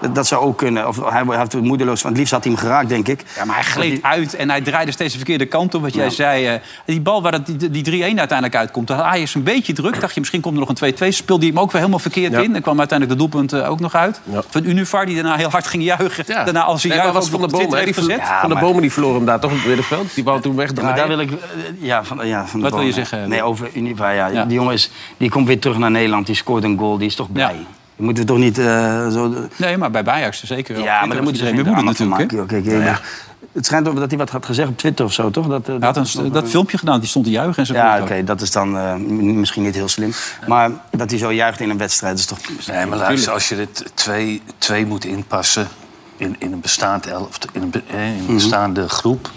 [SPEAKER 4] Dat, dat zou ook kunnen. Of hij heeft het moedeloos van. Het liefst had hij hem geraakt, denk ik.
[SPEAKER 2] Ja, maar hij gleed uit en hij draaide steeds de verkeerde kant op. Wat jij zei, eh, die bal waar dat, die, die 3-1 uiteindelijk uitkomt. Daar had Ajax een beetje druk. Dacht je, misschien komt er nog een 2-2. Speelde hij hem ook weer helemaal verkeerd in. Dan kwam uiteindelijk de doelpunt eh, ook nog uit. Van Univar, die daarna heel hard ging juichen.
[SPEAKER 3] ja.
[SPEAKER 2] Daarna als hij
[SPEAKER 3] Nee, maar
[SPEAKER 2] juichen
[SPEAKER 3] was
[SPEAKER 2] ook
[SPEAKER 3] van
[SPEAKER 2] nog
[SPEAKER 3] de
[SPEAKER 2] op
[SPEAKER 3] bomen.
[SPEAKER 2] Twitter
[SPEAKER 3] hè, Die
[SPEAKER 2] heeft
[SPEAKER 3] verlo-
[SPEAKER 2] gezet.
[SPEAKER 4] Ja,
[SPEAKER 3] van de
[SPEAKER 4] maar-
[SPEAKER 3] bomen die verloren hem daar toch op het middenveld. Die wou toen
[SPEAKER 4] Ja, maar
[SPEAKER 3] wegdraaien.
[SPEAKER 4] daar wil ik... eh, Ja, van, ja, van de
[SPEAKER 2] Wat wil je
[SPEAKER 4] Bomen.
[SPEAKER 2] zeggen?
[SPEAKER 4] Nee, over Univa, ja.
[SPEAKER 2] Ja.
[SPEAKER 4] Die jongen is, die komt weer terug naar Nederland. Die scoort een goal. Die is toch blij.
[SPEAKER 2] Ja.
[SPEAKER 4] Die moeten we toch niet eh, zo...
[SPEAKER 2] Nee, maar bij Ajax zeker.
[SPEAKER 4] Ja, maar dan moet je
[SPEAKER 2] er
[SPEAKER 4] geen
[SPEAKER 2] bemoeden
[SPEAKER 4] drama van
[SPEAKER 2] natuurlijk. hè.
[SPEAKER 4] maken. joh. Kijk, eh, Het schijnt ook dat hij wat had gezegd op Twitter of zo, toch? Dat, eh,
[SPEAKER 2] Hij had een, dat, filmpje gedaan, die stond te juichen en zo.
[SPEAKER 4] Ja, oké, dat is dan eh, m- misschien niet heel slim. Maar dat hij zo juicht in een wedstrijd is toch...
[SPEAKER 7] Nee, maar luister, als je er t- twee, twee moet inpassen in, in een bestaand elf, in een, be- hè, in een bestaande groep...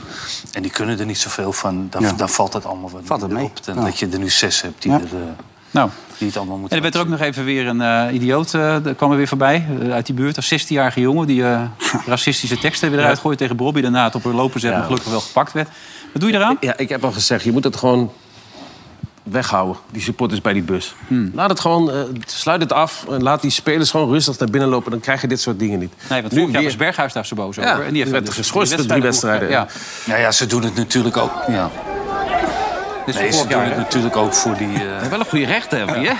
[SPEAKER 7] en die kunnen er niet zoveel van, dan,
[SPEAKER 4] Ja.
[SPEAKER 7] dan valt het allemaal wat
[SPEAKER 4] Valt het
[SPEAKER 7] minder
[SPEAKER 4] mee.
[SPEAKER 7] op. Dan
[SPEAKER 4] Ja.
[SPEAKER 7] dat je er nu zes hebt die,
[SPEAKER 4] Ja.
[SPEAKER 7] er, eh,
[SPEAKER 2] Nou,
[SPEAKER 7] die het allemaal
[SPEAKER 2] En
[SPEAKER 7] moeten
[SPEAKER 2] er werd er ook
[SPEAKER 7] uitzien.
[SPEAKER 2] nog even weer een eh, idioot, eh, daar kwam er weer voorbij, eh, uit die buurt. Een 16-jarige jongen die eh, racistische teksten weer eruit gooit tegen Bobby. Daarna het op een lopen zet, maar gelukkig wel gepakt werd. Wat doe je eraan?
[SPEAKER 3] Ja, ik heb al gezegd, je moet het gewoon weghouden, die supporters bij die bus. Laat het gewoon, eh, sluit het af en laat die spelers gewoon rustig naar binnen lopen. Dan krijg je dit soort dingen niet.
[SPEAKER 2] Nee, want
[SPEAKER 3] Nu
[SPEAKER 2] vorig jaar
[SPEAKER 3] weer-
[SPEAKER 2] was Berghuis daar zo boos
[SPEAKER 3] Ja,
[SPEAKER 2] over. En die heeft
[SPEAKER 3] werd
[SPEAKER 2] dus
[SPEAKER 3] geschorst,
[SPEAKER 2] die
[SPEAKER 3] de drie wedstrijden.
[SPEAKER 2] Ja,
[SPEAKER 7] Nou ja, ze doen het natuurlijk ook... Ja.
[SPEAKER 2] dit is
[SPEAKER 7] Nee, ze
[SPEAKER 2] dus vorig
[SPEAKER 7] doen
[SPEAKER 2] jaar.
[SPEAKER 7] het
[SPEAKER 2] hè?
[SPEAKER 7] natuurlijk ook voor die... eh,
[SPEAKER 3] Wel een goede rechter hebben, hè?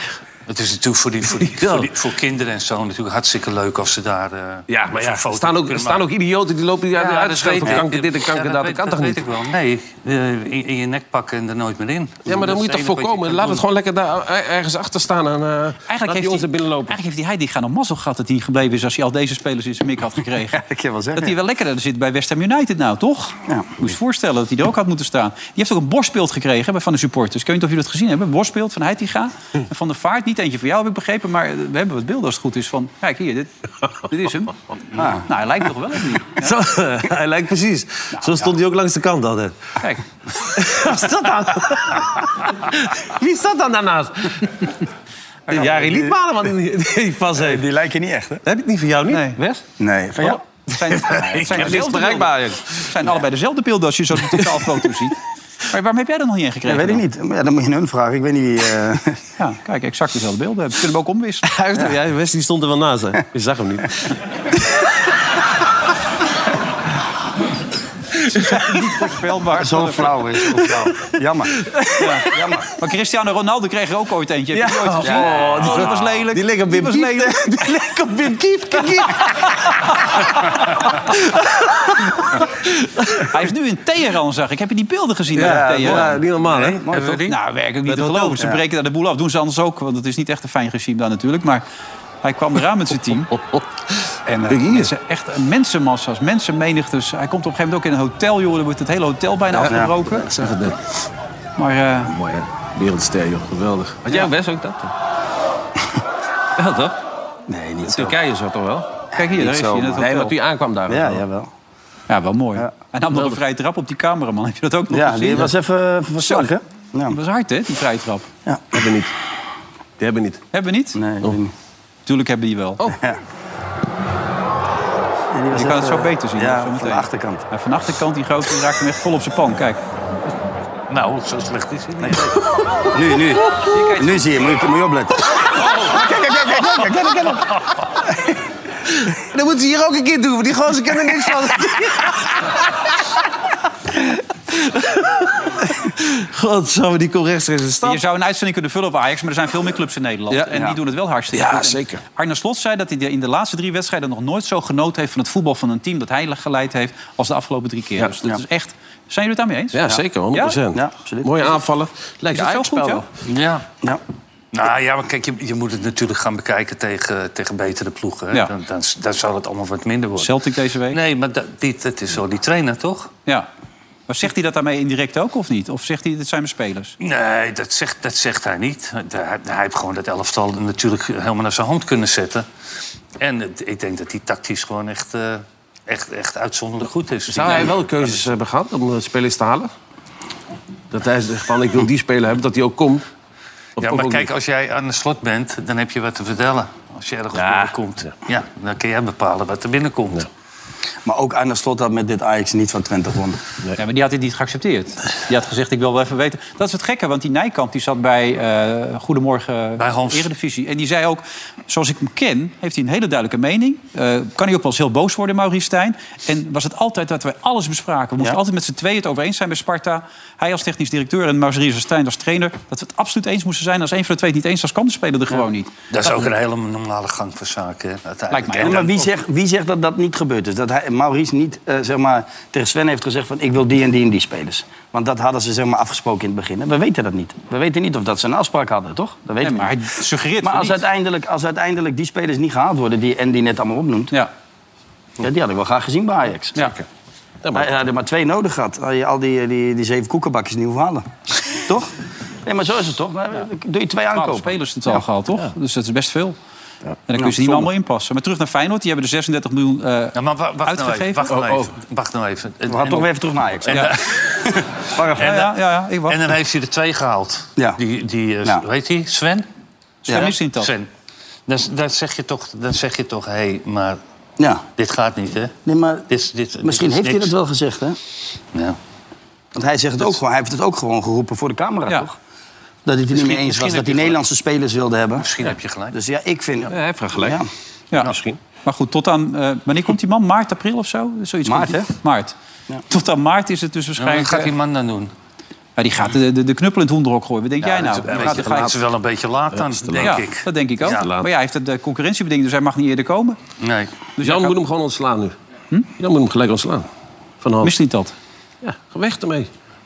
[SPEAKER 7] Het Het is natuurlijk voor, die, voor, die,
[SPEAKER 3] Ja.
[SPEAKER 7] voor, die- voor kinderen en zo natuurlijk hartstikke leuk als ze daar. eh,
[SPEAKER 3] Ja, maar ja,
[SPEAKER 7] zo'n
[SPEAKER 3] er
[SPEAKER 7] foto
[SPEAKER 3] staan ook, er
[SPEAKER 7] kunnen
[SPEAKER 3] staan
[SPEAKER 7] maken.
[SPEAKER 3] ook idioten die lopen hier uit
[SPEAKER 7] Ja,
[SPEAKER 3] uit te
[SPEAKER 7] dat
[SPEAKER 3] schelden.
[SPEAKER 7] weet ik.
[SPEAKER 3] Kanker dit en
[SPEAKER 7] Ja,
[SPEAKER 3] kanker
[SPEAKER 7] dat
[SPEAKER 3] dat. Dat
[SPEAKER 7] weet-
[SPEAKER 3] kan toch
[SPEAKER 7] dat
[SPEAKER 3] niet?
[SPEAKER 7] weet ik wel. Nee, eh, in, in je nek pakken en er nooit meer in.
[SPEAKER 3] Ja, maar dan moet je toch voorkomen. Laat het gewoon lekker daar eh, ergens achter staan en eh laat
[SPEAKER 2] Eigenlijk
[SPEAKER 3] die
[SPEAKER 2] heeft,
[SPEAKER 3] ons
[SPEAKER 2] hij,
[SPEAKER 3] er binnen lopen.
[SPEAKER 2] eigenlijk heeft hij Heidi gaan om mazzel gehad dat hij gebleven is... als hij al deze spelers in zijn mik had gekregen.
[SPEAKER 4] ik kan wel zeggen.
[SPEAKER 2] dat hij wel lekkerder zit bij West Ham United nou, toch?
[SPEAKER 4] Ja.
[SPEAKER 2] Moet je eens voorstellen dat hij er ook had moeten staan. Die heeft ook een borstbeeld gekregen hè, van de supporters. Ik weet niet of jullie dat gezien hebben. Een borstbeeld van Heitinga
[SPEAKER 4] Hm.
[SPEAKER 2] en van de Vaart. Niet eentje voor jou, heb ik begrepen. Maar eh, we hebben wat beelden als het goed is van... Kijk, hier, dit, dit is
[SPEAKER 4] Ah.
[SPEAKER 2] hem. Nou, hij lijkt toch wel op die. Ja,
[SPEAKER 6] Zo, hij lijkt precies. Zo stond hij ook langs de kant altijd.
[SPEAKER 2] kijk,
[SPEAKER 6] Wie is dat dan? Wie staat dan daarnaast? Jari Liedmanen, man, die, die vast heeft.
[SPEAKER 4] Die lijken niet echt, hè?
[SPEAKER 6] Heb ik niet van jou niet?
[SPEAKER 2] nee.
[SPEAKER 6] Wes?
[SPEAKER 4] Nee, Oh, van jou?
[SPEAKER 2] Het zijn, het zijn, dezelfde beelden. Het zijn allebei dezelfde beelden als je zo'n totaalfoto ziet. Maar waarom heb jij er nog niet in
[SPEAKER 4] Ja,
[SPEAKER 2] gekregen?
[SPEAKER 4] weet ik
[SPEAKER 2] dan?
[SPEAKER 4] niet. Maar ja, dan moet je hun vragen. Ik weet niet wie... eh,
[SPEAKER 2] Ja, kijk, exact dezelfde beelden hebben. Kunnen we hem ook omwisselen.
[SPEAKER 6] Hij heeft- Ja, Wes die stond er wel naast. Hè. Je zag hem niet.
[SPEAKER 2] Voorspelbaar.
[SPEAKER 4] Zo flauw is zo flauw. Jammer.
[SPEAKER 2] Ja, jammer. Maar Cristiano Ronaldo kreeg er ook ooit eentje. Heb je die ooit gezien? Oh, dat was lelijk.
[SPEAKER 6] Die leek op
[SPEAKER 2] Die
[SPEAKER 6] Wim
[SPEAKER 2] was
[SPEAKER 6] Kieft.
[SPEAKER 2] lelijk.
[SPEAKER 6] hè? Die leek op Wim Kieft. Kijk hier.
[SPEAKER 2] Hij is nu in Teheran, zag ik. Heb je die beelden gezien? daar in Teheran?
[SPEAKER 6] Ja, niet normaal, hè?
[SPEAKER 4] Mooi, toch?
[SPEAKER 2] Nou, werkelijk niet te
[SPEAKER 6] hotel.
[SPEAKER 2] geloven. Ze breken daar de boel af. Doen ze anders ook, want het is niet echt een fijn regime daar natuurlijk. Maar hij kwam eraan met zijn team. En eh, mensen, echt eh, mensenmassa's, mensenmenigtes. Hij komt op een gegeven moment ook in een hotel, joh. Dan wordt het hele hotel bijna afgebroken.
[SPEAKER 3] Ik zag het net.
[SPEAKER 2] Maar eh,
[SPEAKER 3] Mooi, hè? Wereldster, joh. Geweldig. Had jij best ook dat? Wel toch?
[SPEAKER 4] Nee, niet zo.
[SPEAKER 3] Turkije zo toch wel?
[SPEAKER 2] kijk hier, daar is hij in het
[SPEAKER 3] Nee,
[SPEAKER 2] hotel.
[SPEAKER 3] maar toen je aankwam daar.
[SPEAKER 4] Ja, jawel.
[SPEAKER 2] Ja, wel mooi.
[SPEAKER 4] Ja.
[SPEAKER 2] Hij nam nog een vrije trap op die cameraman. Heb je dat ook nog
[SPEAKER 4] Ja,
[SPEAKER 2] gezien?
[SPEAKER 4] die was even eh, van slag, hè? Ja.
[SPEAKER 2] Die was hard, hè, die vrije trap.
[SPEAKER 3] Hebben we niet. Die hebben we niet.
[SPEAKER 2] Hebben we niet?
[SPEAKER 4] Nee, ik weet niet.
[SPEAKER 2] Tuurlijk hebben die wel.
[SPEAKER 4] En die was
[SPEAKER 2] je kan het
[SPEAKER 4] even-
[SPEAKER 2] zo beter zien.
[SPEAKER 4] Ja,
[SPEAKER 2] zo
[SPEAKER 4] van
[SPEAKER 2] meteen.
[SPEAKER 4] de achterkant.
[SPEAKER 2] Ja, van de achterkant, die grote, die raakt hem echt vol op zijn pan. Kijk.
[SPEAKER 7] Nou, zo slecht is het niet.
[SPEAKER 4] Nu, nu. Nu zie je, moet je, moet je opletten.
[SPEAKER 6] Dat moeten ze hier ook een keer doen, want die gozer kennen niks van. Godsamme, die komt rechtstreeks de stad.
[SPEAKER 2] Je zou een uitzending kunnen vullen op Ajax, maar er zijn veel meer clubs in Nederland.
[SPEAKER 3] Ja.
[SPEAKER 2] en
[SPEAKER 4] Ja.
[SPEAKER 2] die doen het wel hartstikke
[SPEAKER 3] Ja,
[SPEAKER 2] goed. En
[SPEAKER 3] zeker.
[SPEAKER 2] Arne Slot zei dat hij de- in de laatste drie wedstrijden nog nooit zo genoten heeft van het voetbal van een team dat hij geleid heeft als de afgelopen drie keer. Dus dat
[SPEAKER 4] Ja.
[SPEAKER 2] is echt. Zijn jullie het daarmee eens?
[SPEAKER 3] Ja, zeker, 100%.
[SPEAKER 4] Ja, absoluut.
[SPEAKER 3] Mooie aanvallen. Lijkt
[SPEAKER 2] Is
[SPEAKER 3] het
[SPEAKER 2] dat zo goed, ja?
[SPEAKER 7] Ja.
[SPEAKER 4] Ja.
[SPEAKER 7] Nou ja, maar kijk, je, je moet het natuurlijk gaan bekijken tegen, tegen betere ploegen. hè.
[SPEAKER 2] Ja.
[SPEAKER 7] Dan, dan, dan zal het allemaal wat minder worden.
[SPEAKER 2] Celtic deze week.
[SPEAKER 7] Nee, maar dat, dit, dat is zo die trainer, toch?
[SPEAKER 2] Ja. Maar zegt hij dat daarmee indirect ook of niet? Of zegt hij, dit zijn mijn spelers?
[SPEAKER 7] Nee, dat zegt, dat zegt hij niet. Hij, hij heeft gewoon dat elftal natuurlijk helemaal naar zijn hand kunnen zetten. En het- ik denk dat hij tactisch gewoon echt, eh, echt, echt uitzonderlijk goed is.
[SPEAKER 3] Zou hij wel keuzes hebben gehad om eh, spelers te halen? Dat hij zegt van, ik wil die speler hebben, dat hij ook komt. Of
[SPEAKER 7] Ja,
[SPEAKER 3] ook
[SPEAKER 7] maar
[SPEAKER 3] niet?
[SPEAKER 7] kijk, als jij aan de slot bent, dan heb je wat te vertellen. Als je ergens binnenkomt, ja, dan kun jij bepalen wat er binnenkomt.
[SPEAKER 4] Maar ook aan de slot had met dit Ajax niet van Twente gewonnen.
[SPEAKER 2] Ja, maar die had dit niet geaccepteerd. Die had gezegd, ik wil wel even weten. Dat is het gekke, want die Nijkamp die zat bij eh, Goedemorgen
[SPEAKER 7] Bij Hans.
[SPEAKER 2] Eredivisie. En die zei ook, zoals ik hem ken, heeft hij een hele duidelijke mening. Eh, kan hij ook wel eens heel boos worden, Maurice Stijn. En was het altijd dat wij alles bespraken. We moesten altijd met z'n tweeën het over eens zijn bij Sparta. Hij als technisch directeur en Maurice Stijn als trainer. Dat we het absoluut eens moesten zijn. Als een van de twee het niet eens was, kan de speler er gewoon niet.
[SPEAKER 7] Dat is ook een hele normale gang van zaken. hè, uiteindelijk.
[SPEAKER 2] Lijkt mij
[SPEAKER 7] En
[SPEAKER 2] ook.
[SPEAKER 7] dan-
[SPEAKER 4] maar wie zegt, wie zegt dat dat niet gebeurd is? Dat hij, Maurice niet eh, zeg maar, tegen Sven heeft gezegd van ik wil die en die en die spelers. Want dat hadden ze zeg maar, afgesproken in het begin. En we weten dat niet. We weten niet of dat ze een afspraak hadden, toch? Dat weten
[SPEAKER 2] Nee,
[SPEAKER 4] we
[SPEAKER 2] maar hij
[SPEAKER 4] niet.
[SPEAKER 2] suggereert
[SPEAKER 4] Maar
[SPEAKER 2] van
[SPEAKER 4] als
[SPEAKER 2] niet.
[SPEAKER 4] uiteindelijk, als uiteindelijk die spelers niet gehaald worden die Andy net allemaal opnoemt...
[SPEAKER 2] Ja,
[SPEAKER 4] Ja, die had ik wel graag gezien bij Ajax.
[SPEAKER 2] ja.
[SPEAKER 4] Hij hij had er maar twee nodig gehad. Had je al die, die, die zeven koekenbakjes niet hoeven halen. toch? Nee, maar zo is het toch? Nou, Doe je twee
[SPEAKER 2] Twaalf
[SPEAKER 4] aankopen.
[SPEAKER 2] spelers totaal gehaald, toch? Dus dat is best veel. En dan kun je ze niet
[SPEAKER 4] zonde.
[SPEAKER 2] meer allemaal inpassen. Maar terug naar Feyenoord, die hebben er 36 miljoen eh,
[SPEAKER 7] Ja, maar wa- wacht nou even.
[SPEAKER 2] uitgegeven.
[SPEAKER 7] Wacht nou
[SPEAKER 3] Oh, oh.
[SPEAKER 7] even. Wacht nou even.
[SPEAKER 4] We gaan toch weer even terug naar Ajax.
[SPEAKER 7] En,
[SPEAKER 2] Ja.
[SPEAKER 7] dan-
[SPEAKER 2] Ja, ja, ja, ja, ik wacht.
[SPEAKER 7] en dan heeft hij er twee gehaald.
[SPEAKER 4] Ja.
[SPEAKER 7] Die, die eh,
[SPEAKER 4] Ja.
[SPEAKER 7] hoe heet hij? Sven?
[SPEAKER 2] Sven is in dat.
[SPEAKER 7] Sven. Dan, dan zeg je toch, dan zeg je toch, hé, maar
[SPEAKER 4] Ja.
[SPEAKER 7] dit gaat niet, hè?
[SPEAKER 4] Nee, maar
[SPEAKER 7] Dit,
[SPEAKER 4] misschien
[SPEAKER 7] dit, dit is
[SPEAKER 4] heeft hij
[SPEAKER 7] niks.
[SPEAKER 4] dat wel gezegd, hè?
[SPEAKER 7] Ja.
[SPEAKER 4] Want hij, zegt het ook gewoon, hij heeft het ook gewoon geroepen voor de camera,
[SPEAKER 2] Ja.
[SPEAKER 4] toch? Dat hij het er niet mee eens
[SPEAKER 7] misschien
[SPEAKER 4] was, dat
[SPEAKER 7] heb je
[SPEAKER 4] hij Nederlandse spelers wilde hebben.
[SPEAKER 7] Misschien heb je gelijk.
[SPEAKER 4] Dus ja, ik vind...
[SPEAKER 3] Ja, hij heeft wel gelijk.
[SPEAKER 4] Ja.
[SPEAKER 2] Ja.
[SPEAKER 3] misschien.
[SPEAKER 2] Maar goed, tot aan... eh, wanneer komt die man? Maart, april of zo? Zoiets
[SPEAKER 4] Maart,
[SPEAKER 2] komt die- Maart. Tot aan maart is het dus
[SPEAKER 7] Nou, wat
[SPEAKER 2] waarschijnlijk...
[SPEAKER 7] gaat
[SPEAKER 2] eh,
[SPEAKER 7] die man dan doen?
[SPEAKER 2] Ja, die gaat de, de, de knuppel in het hoenderhok gooien. Wat denk jij nou?
[SPEAKER 7] dat
[SPEAKER 2] Gaat-
[SPEAKER 7] is,
[SPEAKER 2] gaat-
[SPEAKER 7] is wel een beetje laat dan, denk
[SPEAKER 2] ja,
[SPEAKER 7] ik.
[SPEAKER 2] dat denk ik ook.
[SPEAKER 7] Ja.
[SPEAKER 2] maar ja, hij heeft de concurrentiebeding, dus hij mag niet eerder komen.
[SPEAKER 7] Nee.
[SPEAKER 2] Dus
[SPEAKER 3] Jan moet hem gewoon ontslaan nu. Jan moet hem gelijk ontslaan. Van Ham.
[SPEAKER 2] Misschien dat.
[SPEAKER 3] Ja, ga weg ermee.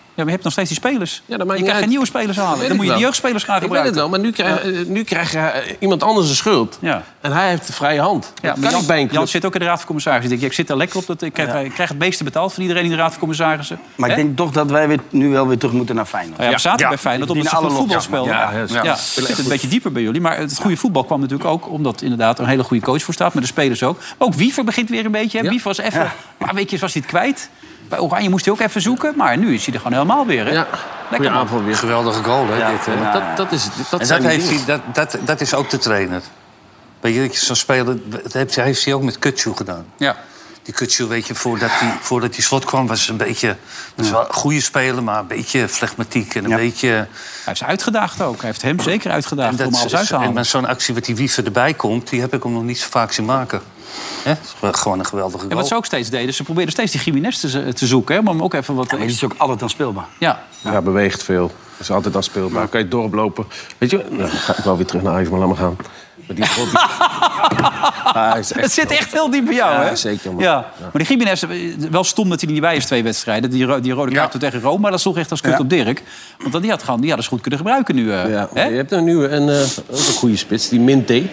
[SPEAKER 2] Ja, maar je hebt nog steeds die spelers.
[SPEAKER 3] Ja, dat maakt
[SPEAKER 2] je
[SPEAKER 3] niet
[SPEAKER 2] kan
[SPEAKER 3] uit.
[SPEAKER 2] geen nieuwe spelers
[SPEAKER 3] Dat
[SPEAKER 2] halen.
[SPEAKER 3] weet
[SPEAKER 2] Dan
[SPEAKER 3] ik
[SPEAKER 2] moet je die
[SPEAKER 3] wel.
[SPEAKER 2] jeugdspelers gaan
[SPEAKER 3] Ik weet het
[SPEAKER 2] gebruiken.
[SPEAKER 3] wel, maar nu krijg, eh, nu krijg je eh, iemand anders de schuld.
[SPEAKER 2] Ja.
[SPEAKER 3] En hij heeft de vrije hand.
[SPEAKER 2] Ja,
[SPEAKER 3] dat
[SPEAKER 2] maar
[SPEAKER 3] kan
[SPEAKER 2] Jan,
[SPEAKER 3] niet bij een club.
[SPEAKER 2] Jan zit ook in de Raad van Commissarissen. Ik, denk, ik zit daar lekker op. Dat, ik, krijg, ik krijg het meeste betaald van iedereen in de Raad van Commissarissen.
[SPEAKER 4] Maar ik
[SPEAKER 2] Hè?
[SPEAKER 4] denk toch dat wij weer, nu wel weer terug moeten naar Feyenoord.
[SPEAKER 2] Nou ja, we zaten
[SPEAKER 7] Ja.
[SPEAKER 2] bij Feyenoord
[SPEAKER 4] Die
[SPEAKER 2] omdat ze
[SPEAKER 4] alle
[SPEAKER 2] goed
[SPEAKER 4] nog-
[SPEAKER 2] voetbal speelden.
[SPEAKER 3] ja, ja,
[SPEAKER 2] Ja, het zit een beetje dieper bij jullie. Maar het goede voetbal kwam natuurlijk ook omdat inderdaad er een hele goede coach voor staat. Met de spelers ook. Maar ook Wiever begint weer een beetje. Hè? Wiever was even... Maar weet je, was hij het kwijt. Bij Oranje moest hij ook even zoeken. Maar nu is hij er gewoon helemaal weer. Hè?
[SPEAKER 3] Ja,
[SPEAKER 2] Lekker
[SPEAKER 3] goede
[SPEAKER 2] man.
[SPEAKER 3] aanval weer.
[SPEAKER 7] Geweldige goal, hè,
[SPEAKER 4] Ja,
[SPEAKER 7] dit. Hè?
[SPEAKER 4] ja.
[SPEAKER 3] Dat, dat is, het. dat
[SPEAKER 7] En
[SPEAKER 3] zijn
[SPEAKER 7] dat,
[SPEAKER 3] die
[SPEAKER 7] heeft
[SPEAKER 3] dingen.
[SPEAKER 7] hij, dat, dat, dat is ook de trainer. Weet je, dat je zo'n speler... Dat heeft, hij- heeft hij ook met Kutsu gedaan.
[SPEAKER 2] Ja.
[SPEAKER 7] Die Kutsu, weet je, voordat hij, voordat hij slot kwam... was een beetje... Was wel een goede speler, maar een beetje flegmatiek en een beetje...
[SPEAKER 2] Hij heeft ze uitgedaagd ook. Hij heeft hem zeker
[SPEAKER 7] En
[SPEAKER 2] uitgedaagd
[SPEAKER 7] dat
[SPEAKER 2] om alles
[SPEAKER 7] is-
[SPEAKER 2] uit te
[SPEAKER 7] en
[SPEAKER 2] halen.
[SPEAKER 7] met zo'n actie wat die wieven erbij komt... die heb ik hem nog niet zo vaak zien maken. Hè? Gewoon een geweldige goal.
[SPEAKER 2] En wat ze ook steeds deden, ze probeerden steeds die Jiménez te, te zoeken. Hè, om hem ook even wat...
[SPEAKER 4] Maar die is ook altijd dan speelbaar.
[SPEAKER 2] Ja,
[SPEAKER 3] Ja, beweegt veel. Is altijd al speelbaar. Kan je doorlopen. Weet je, nou, ga ik wel weer terug naar Ajax, maar laat maar gaan. Maar die die- Ja, hij is echt
[SPEAKER 2] het zit echt heel diep bij jou,
[SPEAKER 3] Ja,
[SPEAKER 2] hè?
[SPEAKER 3] zeker, man.
[SPEAKER 2] Ja. Maar die Gimenez, eh, wel stom dat hij er niet bij is twee wedstrijden. Die, ro- die rode kaart toen tegen Roma, dat sloeg echt als kut op Dirk. Want dan, die had gewoon, die hadden ze goed kunnen gebruiken nu. eh,
[SPEAKER 3] Ja,
[SPEAKER 2] hè?
[SPEAKER 3] maar je hebt nou nu een, eh, ook een goede spits, die Minté.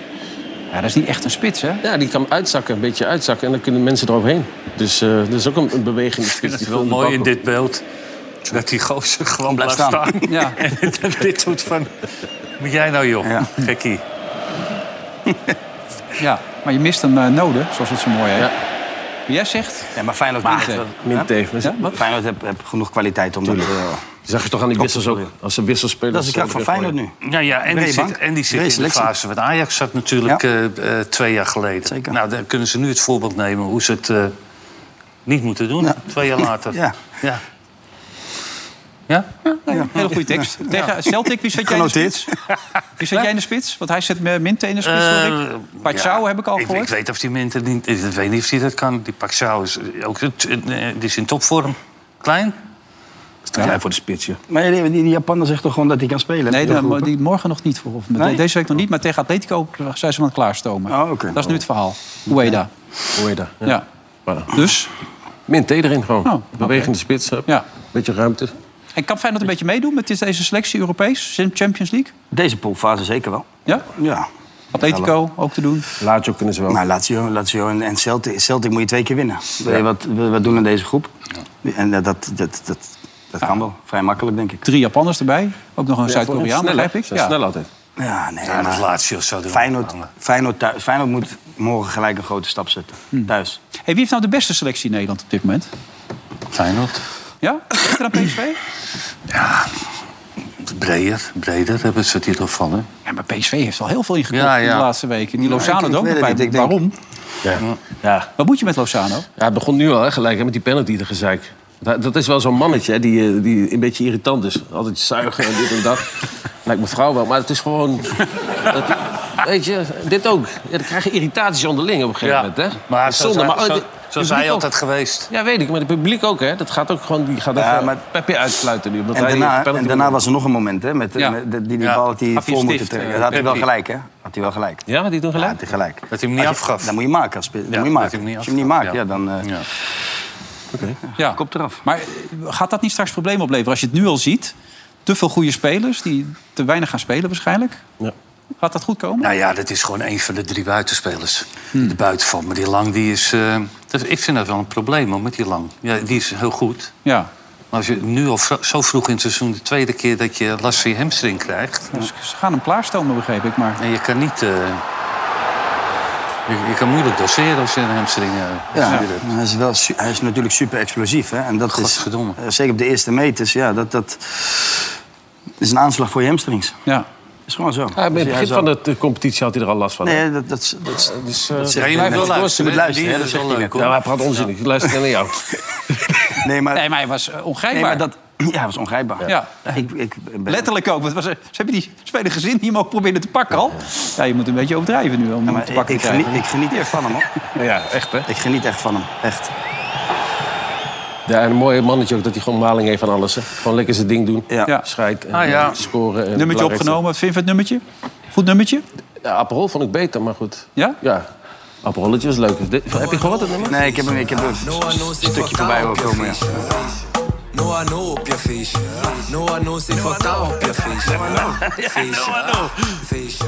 [SPEAKER 2] ja, dat is niet echt een spits, hè?
[SPEAKER 3] Ja, die kan uitzakken, een beetje uitzakken. En dan kunnen mensen eroverheen. Dus eh dat is ook een, een beweging.
[SPEAKER 7] Ik vind het wel mooi in dit beeld. Dat die gozer gewoon
[SPEAKER 4] Blijft
[SPEAKER 7] blijft staan.
[SPEAKER 2] Ja.
[SPEAKER 7] en dat dit doet van... Moet jij nou, joh,
[SPEAKER 4] Ja.
[SPEAKER 7] gekkie.
[SPEAKER 2] Ja. Maar je mist een eh noden, zoals het zo mooi heet.
[SPEAKER 3] Ja.
[SPEAKER 2] Wie jij zegt?
[SPEAKER 4] Ja, maar Feyenoord,
[SPEAKER 2] Maar-
[SPEAKER 4] niet, eh,
[SPEAKER 3] Minté.
[SPEAKER 2] Ja, wat?
[SPEAKER 4] Feyenoord heeft heeft genoeg kwaliteit om dat... eh,
[SPEAKER 3] Zag je toch aan die wissels ook? Als ze wissels spelen...
[SPEAKER 4] dat is de kracht van Feyenoord nu.
[SPEAKER 7] Ja, ja en, die
[SPEAKER 4] Breedbank.
[SPEAKER 7] zit, en die zit
[SPEAKER 4] Brede
[SPEAKER 7] in de
[SPEAKER 4] selectie.
[SPEAKER 7] fase wat Ajax zat natuurlijk
[SPEAKER 4] Ja.
[SPEAKER 7] eh, eh, twee jaar geleden.
[SPEAKER 4] Zeker.
[SPEAKER 7] Nou, dan kunnen ze nu het voorbeeld nemen hoe ze het eh, niet moeten doen.
[SPEAKER 4] Ja.
[SPEAKER 7] Twee jaar later.
[SPEAKER 4] Ja.
[SPEAKER 7] Ja. Ja?
[SPEAKER 2] Hele goede tekst. Tegen Celtic, wie zet jij in de
[SPEAKER 4] Genoteerd.
[SPEAKER 2] spits? Wie zet jij in de spits? Want hij zet eh, Minte in de spits, hoor ik.
[SPEAKER 7] Eh,
[SPEAKER 2] Pachau
[SPEAKER 7] ja.
[SPEAKER 2] heb ik al
[SPEAKER 7] ik,
[SPEAKER 2] gehoord.
[SPEAKER 7] Ik weet, of die Minter niet, ik weet niet of hij dat kan. Die Paxau is ook eh, die is in topvorm. Klein?
[SPEAKER 3] Ja, voor de spitsje.
[SPEAKER 4] Maar die, die, die Japaner zegt toch gewoon dat hij kan spelen?
[SPEAKER 2] Nee,
[SPEAKER 4] Heb je
[SPEAKER 2] dan-
[SPEAKER 4] dat geroepen?
[SPEAKER 2] die morgen nog niet. Voor, of met-
[SPEAKER 4] Nee?
[SPEAKER 2] Deze week nog niet, maar tegen Atletico eh, zijn ze aan het klaarstomen.
[SPEAKER 4] Oh, oké.
[SPEAKER 2] Dat is nu het verhaal. Ueda.
[SPEAKER 3] Hoe heet dat? Ja.
[SPEAKER 2] Ja.
[SPEAKER 3] Maar-
[SPEAKER 2] Dus,
[SPEAKER 3] Minté erin gewoon.
[SPEAKER 2] Oh, oké.
[SPEAKER 3] Bewegende spits. hup.
[SPEAKER 2] Ja.
[SPEAKER 3] Beetje ruimte.
[SPEAKER 2] en kan Feyenoord een beetje meedoen met dit- deze selectie Europees? Champions League?
[SPEAKER 4] Deze poolfase zeker wel.
[SPEAKER 2] Ja?
[SPEAKER 4] Ja.
[SPEAKER 2] Atletico ook te doen?
[SPEAKER 3] Lazio kunnen ze wel.
[SPEAKER 4] Nou, Lazio, Lazio en, en Celtic, Celtic moet je twee keer winnen. Wil je wat, wil je wat doen aan deze groep? En dat, dat, dat, dat, dat kan wel. Vrij makkelijk, denk ik.
[SPEAKER 2] Drie Japanners erbij. Ook nog een
[SPEAKER 3] Ja,
[SPEAKER 2] Zuid-Koreaan,
[SPEAKER 3] snel,
[SPEAKER 2] begrijp ik.
[SPEAKER 3] hè? Ze zijn
[SPEAKER 2] Ja.
[SPEAKER 3] Snel altijd.
[SPEAKER 4] Ja, nee,
[SPEAKER 7] Ja, dat
[SPEAKER 4] maar-
[SPEAKER 7] laatste of zo. doen.
[SPEAKER 4] Feyenoord, Feyenoord, thuis, Feyenoord moet morgen gelijk een grote stap zetten. Thuis.
[SPEAKER 2] Hey, wie heeft nou de beste selectie in Nederland op dit moment?
[SPEAKER 7] Feyenoord.
[SPEAKER 2] Ja? Is er dan PSV?
[SPEAKER 7] Breder, breder hebben ze het hier toch van, hè?
[SPEAKER 2] Ja, maar PSV heeft al heel veel ingekocht
[SPEAKER 7] Ja,
[SPEAKER 2] in
[SPEAKER 7] ja.
[SPEAKER 2] de laatste weken. Die Lozano
[SPEAKER 4] ik- ik
[SPEAKER 2] er ook
[SPEAKER 4] weet
[SPEAKER 2] nog
[SPEAKER 4] het niet.
[SPEAKER 2] bij.
[SPEAKER 4] Ik denk-
[SPEAKER 2] Waarom?
[SPEAKER 3] Ja. ja.
[SPEAKER 2] Wat moet je met Lozano?
[SPEAKER 3] Ja, het begon nu al hè, gelijk hè, met die penalty, de gezeik. Dat, dat is wel zo'n mannetje hè, die, eh, die een beetje irritant is. Altijd zuigen en dit en dat. Lijkt mijn vrouw wel, maar het is gewoon... dat- weet je, dit ook. Ja, dan krijg je irritaties onderling op een gegeven moment. Hè?
[SPEAKER 7] maar
[SPEAKER 3] Dat is
[SPEAKER 7] zo,
[SPEAKER 3] zonde,
[SPEAKER 7] zijn-
[SPEAKER 3] maar,
[SPEAKER 7] zo,
[SPEAKER 3] oh,
[SPEAKER 7] zo
[SPEAKER 3] dit-
[SPEAKER 7] zijn
[SPEAKER 3] publiek
[SPEAKER 7] zij
[SPEAKER 3] ook.
[SPEAKER 7] altijd geweest.
[SPEAKER 3] Ja, weet ik, maar het publiek ook. Hè? Dat gaat ook gewoon, die gaat
[SPEAKER 4] Ja,
[SPEAKER 3] even
[SPEAKER 4] maar-
[SPEAKER 3] Pepe uitsluiten nu. omdat
[SPEAKER 4] En
[SPEAKER 3] hij
[SPEAKER 4] daarna,
[SPEAKER 3] de penalty
[SPEAKER 4] en daarna
[SPEAKER 3] moet-
[SPEAKER 4] was er nog een moment, hè? Met,
[SPEAKER 2] Ja.
[SPEAKER 4] met- die, die
[SPEAKER 7] Ja.
[SPEAKER 4] bal dat hij
[SPEAKER 2] Had hij
[SPEAKER 4] voor moeten
[SPEAKER 2] stift,
[SPEAKER 4] trekken.
[SPEAKER 2] eh,
[SPEAKER 4] Dat had hij wel
[SPEAKER 7] Peppi.
[SPEAKER 4] gelijk, hè? Had hij wel gelijk.
[SPEAKER 3] Ja, die doen
[SPEAKER 4] Ja,
[SPEAKER 3] gelijk.
[SPEAKER 4] had hij gelijk.
[SPEAKER 7] Dat hij hem niet
[SPEAKER 4] Als je-
[SPEAKER 7] afgaf.
[SPEAKER 4] Dan moet je maken. Als, dan
[SPEAKER 7] Ja,
[SPEAKER 4] moet je
[SPEAKER 7] dat hij
[SPEAKER 4] maken.
[SPEAKER 7] hem niet
[SPEAKER 4] Als je hem niet
[SPEAKER 7] afgaf,
[SPEAKER 4] maakt, ja.
[SPEAKER 7] ja.
[SPEAKER 4] dan... eh,
[SPEAKER 7] Ja.
[SPEAKER 2] Ja.
[SPEAKER 4] Kop eraf.
[SPEAKER 2] Maar eh, gaat dat niet straks problemen opleveren als je het nu al ziet? Te veel goede spelers die te weinig gaan spelen waarschijnlijk.
[SPEAKER 3] Ja.
[SPEAKER 2] Gaat dat goed komen?
[SPEAKER 7] Nou ja, dat is gewoon een van de drie buitenspelers. De buitenval. Maar die Lang, die is... eh, dat, ik vind dat wel een probleem, hoor, met die Lang. Ja, die is heel goed.
[SPEAKER 2] Ja.
[SPEAKER 7] Maar als je nu al vro- zo vroeg in het seizoen... de tweede keer dat je last van je hamstring krijgt...
[SPEAKER 2] Dus ze gaan hem klaarstomen, begreep ik. Maar
[SPEAKER 7] en je kan niet... eh, je, je kan moeilijk doseren als je een hamstring eh,
[SPEAKER 4] Ja,
[SPEAKER 7] blessure hebt.
[SPEAKER 4] hij, is wel, su- hij is natuurlijk super explosief. Hè? En dat is,
[SPEAKER 7] Godverdomme.
[SPEAKER 4] eh, zeker op de eerste meters, ja, dat, dat is een aanslag voor je hamstrings.
[SPEAKER 2] ja.
[SPEAKER 4] is gewoon
[SPEAKER 7] Ah,
[SPEAKER 4] zo.
[SPEAKER 3] Ja, bij
[SPEAKER 4] Dus
[SPEAKER 3] het
[SPEAKER 4] ja,
[SPEAKER 3] begin
[SPEAKER 4] zo-
[SPEAKER 3] van de, de competitie had hij er al last van. hè?
[SPEAKER 4] Nee, dat, dat, is- dat, is-
[SPEAKER 3] Dus, eh,
[SPEAKER 4] zeg
[SPEAKER 7] Ja, je
[SPEAKER 4] ik net.
[SPEAKER 7] moet wel
[SPEAKER 4] Je moet
[SPEAKER 7] luisteren.
[SPEAKER 4] luisteren,
[SPEAKER 7] hè.
[SPEAKER 4] hè,
[SPEAKER 7] Die
[SPEAKER 4] dat
[SPEAKER 7] is
[SPEAKER 4] zegt
[SPEAKER 7] wel
[SPEAKER 4] hij
[SPEAKER 7] leuk,
[SPEAKER 4] net.
[SPEAKER 7] hoor.
[SPEAKER 3] nou, hij praat onzin. Ik luister naar jou.
[SPEAKER 4] Nee, maar,
[SPEAKER 2] Nee, maar hij was eh,
[SPEAKER 4] nee,
[SPEAKER 2] ongrijpbaar.
[SPEAKER 4] maar dat ja, was ongrijpbaar.
[SPEAKER 2] Ja.
[SPEAKER 4] Ik, ik ben-
[SPEAKER 2] Letterlijk ook. Want het was, eh, ze hebben die speler gezien die hem ook probeerden te pakken al. Ja, je moet een beetje overdrijven nu om
[SPEAKER 4] Ja,
[SPEAKER 2] hem
[SPEAKER 4] maar
[SPEAKER 2] te
[SPEAKER 4] ik,
[SPEAKER 2] pakken
[SPEAKER 4] ik,
[SPEAKER 2] te krijgen.
[SPEAKER 4] geniet, ik geniet echt van hem, hoor.
[SPEAKER 3] Ja, echt hè?
[SPEAKER 4] Ik geniet echt van hem, echt.
[SPEAKER 3] Ja, en een mooie mannetje ook, dat hij gewoon maling heeft van alles. Hè. Gewoon lekker zijn ding doen.
[SPEAKER 4] Ja.
[SPEAKER 2] Ja.
[SPEAKER 3] Scheid en
[SPEAKER 7] Ah,
[SPEAKER 3] eh,
[SPEAKER 7] ja.
[SPEAKER 3] scoren. En
[SPEAKER 2] Nummertje
[SPEAKER 3] belangrijkste-
[SPEAKER 2] opgenomen. Wat vind je van het nummertje? Goed nummertje?
[SPEAKER 3] Ja, Aperol vond ik beter, maar goed.
[SPEAKER 2] Ja?
[SPEAKER 3] Ja. Aperolletje was leuk. Dit- heb je gehoord dat nummer?
[SPEAKER 4] Nee, ik heb hem ik heb een stukje voorbij horen komen. Ja.
[SPEAKER 8] No I know op je feestje. No I know zit van taal op je feestje. Feestje, feestje.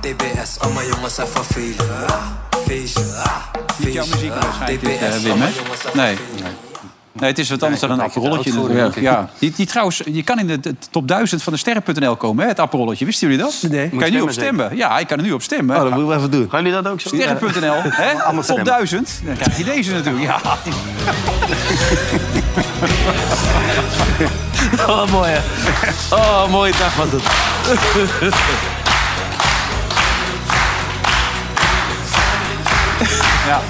[SPEAKER 8] TBS, allemaal jongens zijn vervelen. Feestje, feestje.
[SPEAKER 2] eh,
[SPEAKER 8] TBS,
[SPEAKER 2] Wim, hè?
[SPEAKER 8] allemaal jongens zijn
[SPEAKER 2] Nee.
[SPEAKER 8] vervelen.
[SPEAKER 2] Nee, het is wat anders dan een aperolletje.
[SPEAKER 7] oud voor,
[SPEAKER 2] natuurlijk.
[SPEAKER 3] denk ik.
[SPEAKER 2] Ja. Die, die trouwens, je kan in de de top 1000 van de sterren.nl komen, hè, het aperolletje. Wisten jullie dat? Kan je
[SPEAKER 3] Nee.
[SPEAKER 2] nu
[SPEAKER 4] stemmen
[SPEAKER 2] op stemmen? Ja, ik kan er nu op stemmen.
[SPEAKER 4] Oh, dat moeten we even doen. Gaan jullie dat ook zo?
[SPEAKER 2] Sterren.nl, hè?
[SPEAKER 4] Allemaal
[SPEAKER 2] Top
[SPEAKER 4] stemmen.
[SPEAKER 2] 1000. Dan krijg je deze natuurlijk. Ja,
[SPEAKER 6] Oh, mooi hè. Oh, mooie dag was het.
[SPEAKER 2] ja.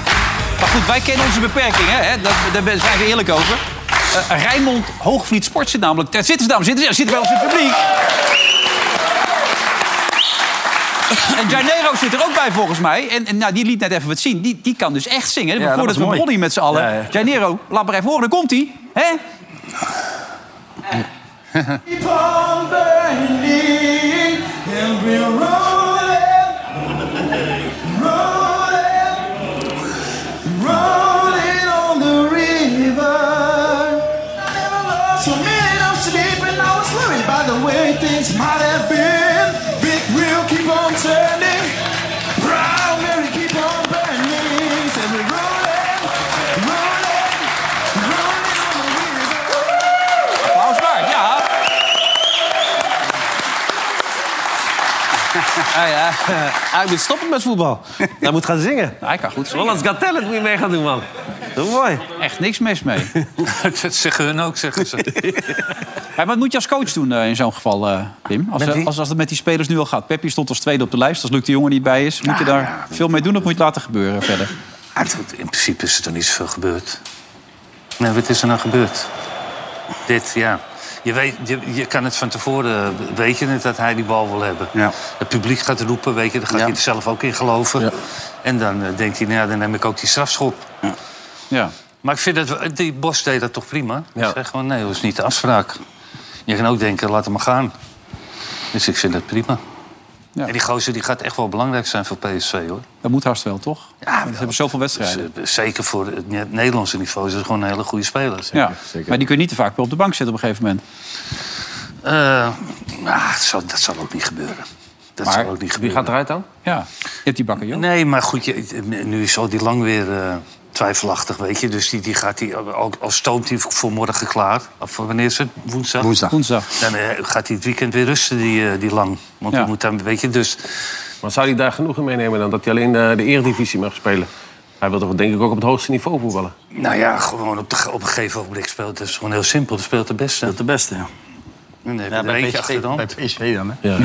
[SPEAKER 2] Maar goed, wij kennen onze beperkingen, hè? Dat, daar ben- zijn we eerlijk over. Eh Rijnmond Hoogvliet Sport zit namelijk... Daar zitten ze, dames en heren. Ja, zitten bij ons in het publiek. En Janeiro zit er ook bij, volgens mij. En, en nou, die liet net even wat zien. Die, die kan dus echt zingen.
[SPEAKER 4] dat
[SPEAKER 2] Voordat
[SPEAKER 4] was
[SPEAKER 2] we
[SPEAKER 4] mooi.
[SPEAKER 2] begonnen met z'n allen.
[SPEAKER 4] Ja, ja.
[SPEAKER 2] Janeiro, laat maar even horen. Dan komt hij. Hè? Applaus waard, ja.
[SPEAKER 6] Ah, ja. Hij moet stoppen met voetbal. Hij moet gaan zingen.
[SPEAKER 2] Nou, hij kan goed zingen.
[SPEAKER 6] Hollands Got Talent moet je mee gaan doen, man. Dat is mooi.
[SPEAKER 2] Echt niks mis mee.
[SPEAKER 7] dat zeggen hun ook, zeggen ze.
[SPEAKER 2] Maar wat moet je als coach doen eh, in zo'n geval, eh Wim? Als, eh, als, als het met die spelers nu al gaat. Peppi stond als tweede op de lijst. Als Luc de Jonge niet bij is, moet je
[SPEAKER 6] Ah,
[SPEAKER 2] daar veel mee doen... of moet je het laten gebeuren verder?
[SPEAKER 7] Ah, het- In principe is er toch niet zoveel gebeurd. Nee, wat is er nou gebeurd? Dit, ja. Je, weet, je, je kan het van tevoren, eh, weet je het, dat hij die bal wil hebben.
[SPEAKER 4] Ja.
[SPEAKER 7] Het publiek gaat roepen, weet je, dan gaat
[SPEAKER 4] Ja.
[SPEAKER 7] hij er zelf ook in geloven.
[SPEAKER 3] Ja.
[SPEAKER 7] En dan eh, denkt hij, nou, ja, dan neem ik ook die strafschop.
[SPEAKER 2] Ja.
[SPEAKER 7] Maar ik vind dat, we- die Bos deed dat toch prima?
[SPEAKER 3] Ja.
[SPEAKER 7] Hij zei gewoon, nee, dat is niet de afspraak. Je kan ook denken, laat hem maar gaan. Dus ik vind dat prima.
[SPEAKER 2] Ja.
[SPEAKER 7] En die gozer die gaat echt wel belangrijk zijn voor PSV, hoor.
[SPEAKER 2] Dat moet haast wel, toch? Ja, we hebben zoveel
[SPEAKER 7] Dus,
[SPEAKER 2] wedstrijden.
[SPEAKER 7] eh, zeker voor het Ne- Nederlandse niveau is het gewoon een hele goede speler.
[SPEAKER 2] Ja, maar die kun je niet te vaak weer op de bank zetten op een gegeven moment.
[SPEAKER 7] Eh, ah, dat, zal, dat zal ook niet gebeuren. Dat
[SPEAKER 2] Maar
[SPEAKER 7] zal ook niet gebeuren.
[SPEAKER 3] eruit dan?
[SPEAKER 2] Ja, je hebt die bakken, joh.
[SPEAKER 7] Nee, maar goed, je, nu is al die lang weer eh, twijfelachtig, weet je. Dus die, die gaat die, al, al stoomt hij voor morgen klaar. Of wanneer is het? Woensdag?
[SPEAKER 4] Woensdag.
[SPEAKER 2] Woensdag.
[SPEAKER 7] Dan eh, gaat hij het weekend weer rusten, die, eh, die lang. Want
[SPEAKER 2] Ja.
[SPEAKER 7] die moet dan, weet je, dus...
[SPEAKER 3] Maar zou hij daar genoegen meenemen dan? Dat hij alleen eh, de eredivisie mag spelen? Hij wil toch denk ik ook op het hoogste niveau voetballen?
[SPEAKER 7] Nou ja, gewoon op, de, ge- op een gegeven ogenblik speelt. Het is gewoon heel simpel, dat speelt de beste.
[SPEAKER 4] Dat is de beste, ja.
[SPEAKER 7] En dan heb je er eentje achter de hand.
[SPEAKER 4] bij PSV dan, hè?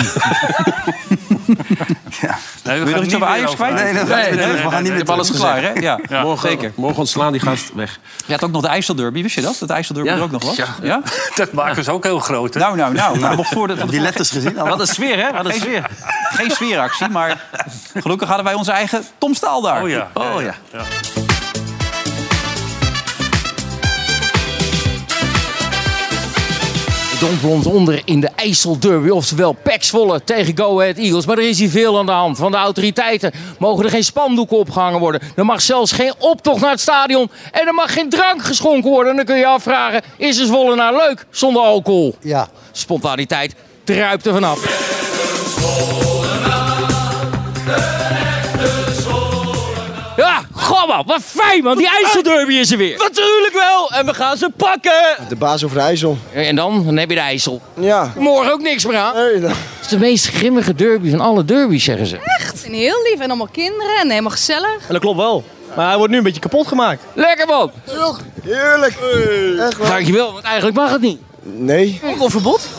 [SPEAKER 7] Nee, we
[SPEAKER 2] Wil je nog iets over Ajax kwijt?
[SPEAKER 4] Nee, dat nee, we gaan niet
[SPEAKER 2] Je
[SPEAKER 4] meer
[SPEAKER 2] hebt alles klaar, hè? Ja,
[SPEAKER 3] morgen,
[SPEAKER 2] zeker.
[SPEAKER 3] Morgen ontslaan die gast weg.
[SPEAKER 2] Je had ook nog de IJsselderby, wist je dat? Dat de IJsselderby
[SPEAKER 3] Ja.
[SPEAKER 2] er ook nog was? Ja.
[SPEAKER 7] Ja. Dat maken ze ook heel groot, hè?
[SPEAKER 2] Nou, nou, nou. nou. nog voor de, van de
[SPEAKER 4] Die letters gezien al.
[SPEAKER 6] Wat een sfeer, hè? Wat een sfeer.
[SPEAKER 2] Geen sfeeractie, maar gelukkig hadden wij onze eigen Tom Staal daar.
[SPEAKER 7] oh ja.
[SPEAKER 6] Oh ja.
[SPEAKER 9] Het dompelt ons onder in de IJsselderby. Oftewel Pax Volle tegen Go Ahead Eagles. Maar er is hier veel aan de hand. Van de autoriteiten mogen er geen spandoeken opgehangen worden. Er mag zelfs geen optocht naar het stadion. En er mag geen drank geschonken worden. En dan kun je je afvragen, is een Zwolle nou leuk zonder alcohol? Ja. Spontaniteit druipt er vanaf. Ja, gamma, wat fijn man. Die IJsselderby is er weer. Natuurlijk wel. En we gaan ze pakken.
[SPEAKER 10] De baas over de IJssel.
[SPEAKER 9] En dan, dan heb je de IJssel.
[SPEAKER 10] Ja.
[SPEAKER 9] Morgen ook niks meer aan.
[SPEAKER 10] Hey, dan.
[SPEAKER 9] Het is de meest grimmige derby van alle derbies, zeggen ze.
[SPEAKER 11] En heel lief en allemaal kinderen en helemaal gezellig.
[SPEAKER 10] En dat klopt wel. Maar hij wordt nu een beetje kapot gemaakt.
[SPEAKER 9] Lekker man!
[SPEAKER 10] Heerlijk. Echt wel.
[SPEAKER 9] Dankjewel, want eigenlijk mag het niet.
[SPEAKER 10] Nee.
[SPEAKER 9] Alcoholverbod?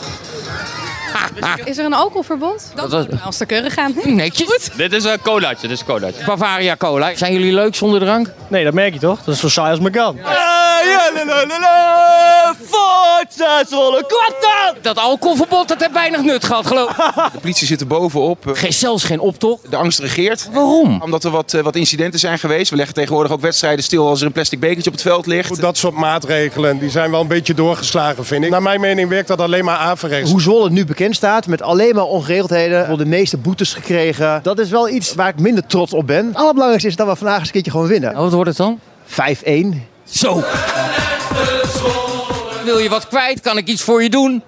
[SPEAKER 11] Is er een alcoholverbod? Dan
[SPEAKER 9] was-
[SPEAKER 11] zullen we als de keuren gaan.
[SPEAKER 9] Netjes.
[SPEAKER 12] Dit is een colaatje, dit is een colaatje.
[SPEAKER 9] Bavaria Cola. Zijn jullie leuk zonder drank?
[SPEAKER 10] Nee, dat merk je toch? Dat is zo saai als me kan.
[SPEAKER 9] Hey,
[SPEAKER 12] ja, la, la, la, la. Forza Zwolle, kwartaal!
[SPEAKER 9] Dat alcoholverbod, dat heeft weinig nut gehad, geloof
[SPEAKER 13] De politie zit er bovenop.
[SPEAKER 14] eh.
[SPEAKER 13] Geen,
[SPEAKER 9] zelfs geen optocht.
[SPEAKER 13] De angst regeert.
[SPEAKER 9] Waarom?
[SPEAKER 13] Omdat er wat, eh, wat incidenten zijn geweest. We leggen tegenwoordig ook wedstrijden stil als er een plastic bekertje op het veld ligt.
[SPEAKER 15] Dat soort maatregelen die zijn wel een beetje doorgeslagen, vind ik. Naar mijn mening werkt dat alleen maar averechts.
[SPEAKER 16] Hoe Zwolle nu bekend staat, met alleen maar ongeregeldheden, voor de meeste boetes gekregen. Dat is wel iets waar ik minder trots op ben. Het allerbelangrijkste is dat we vandaag eens een keertje gewoon winnen.
[SPEAKER 9] Nou, wat wordt het dan?
[SPEAKER 16] 5-1.
[SPEAKER 9] Zo. Wil je wat kwijt? Kan ik iets voor je doen?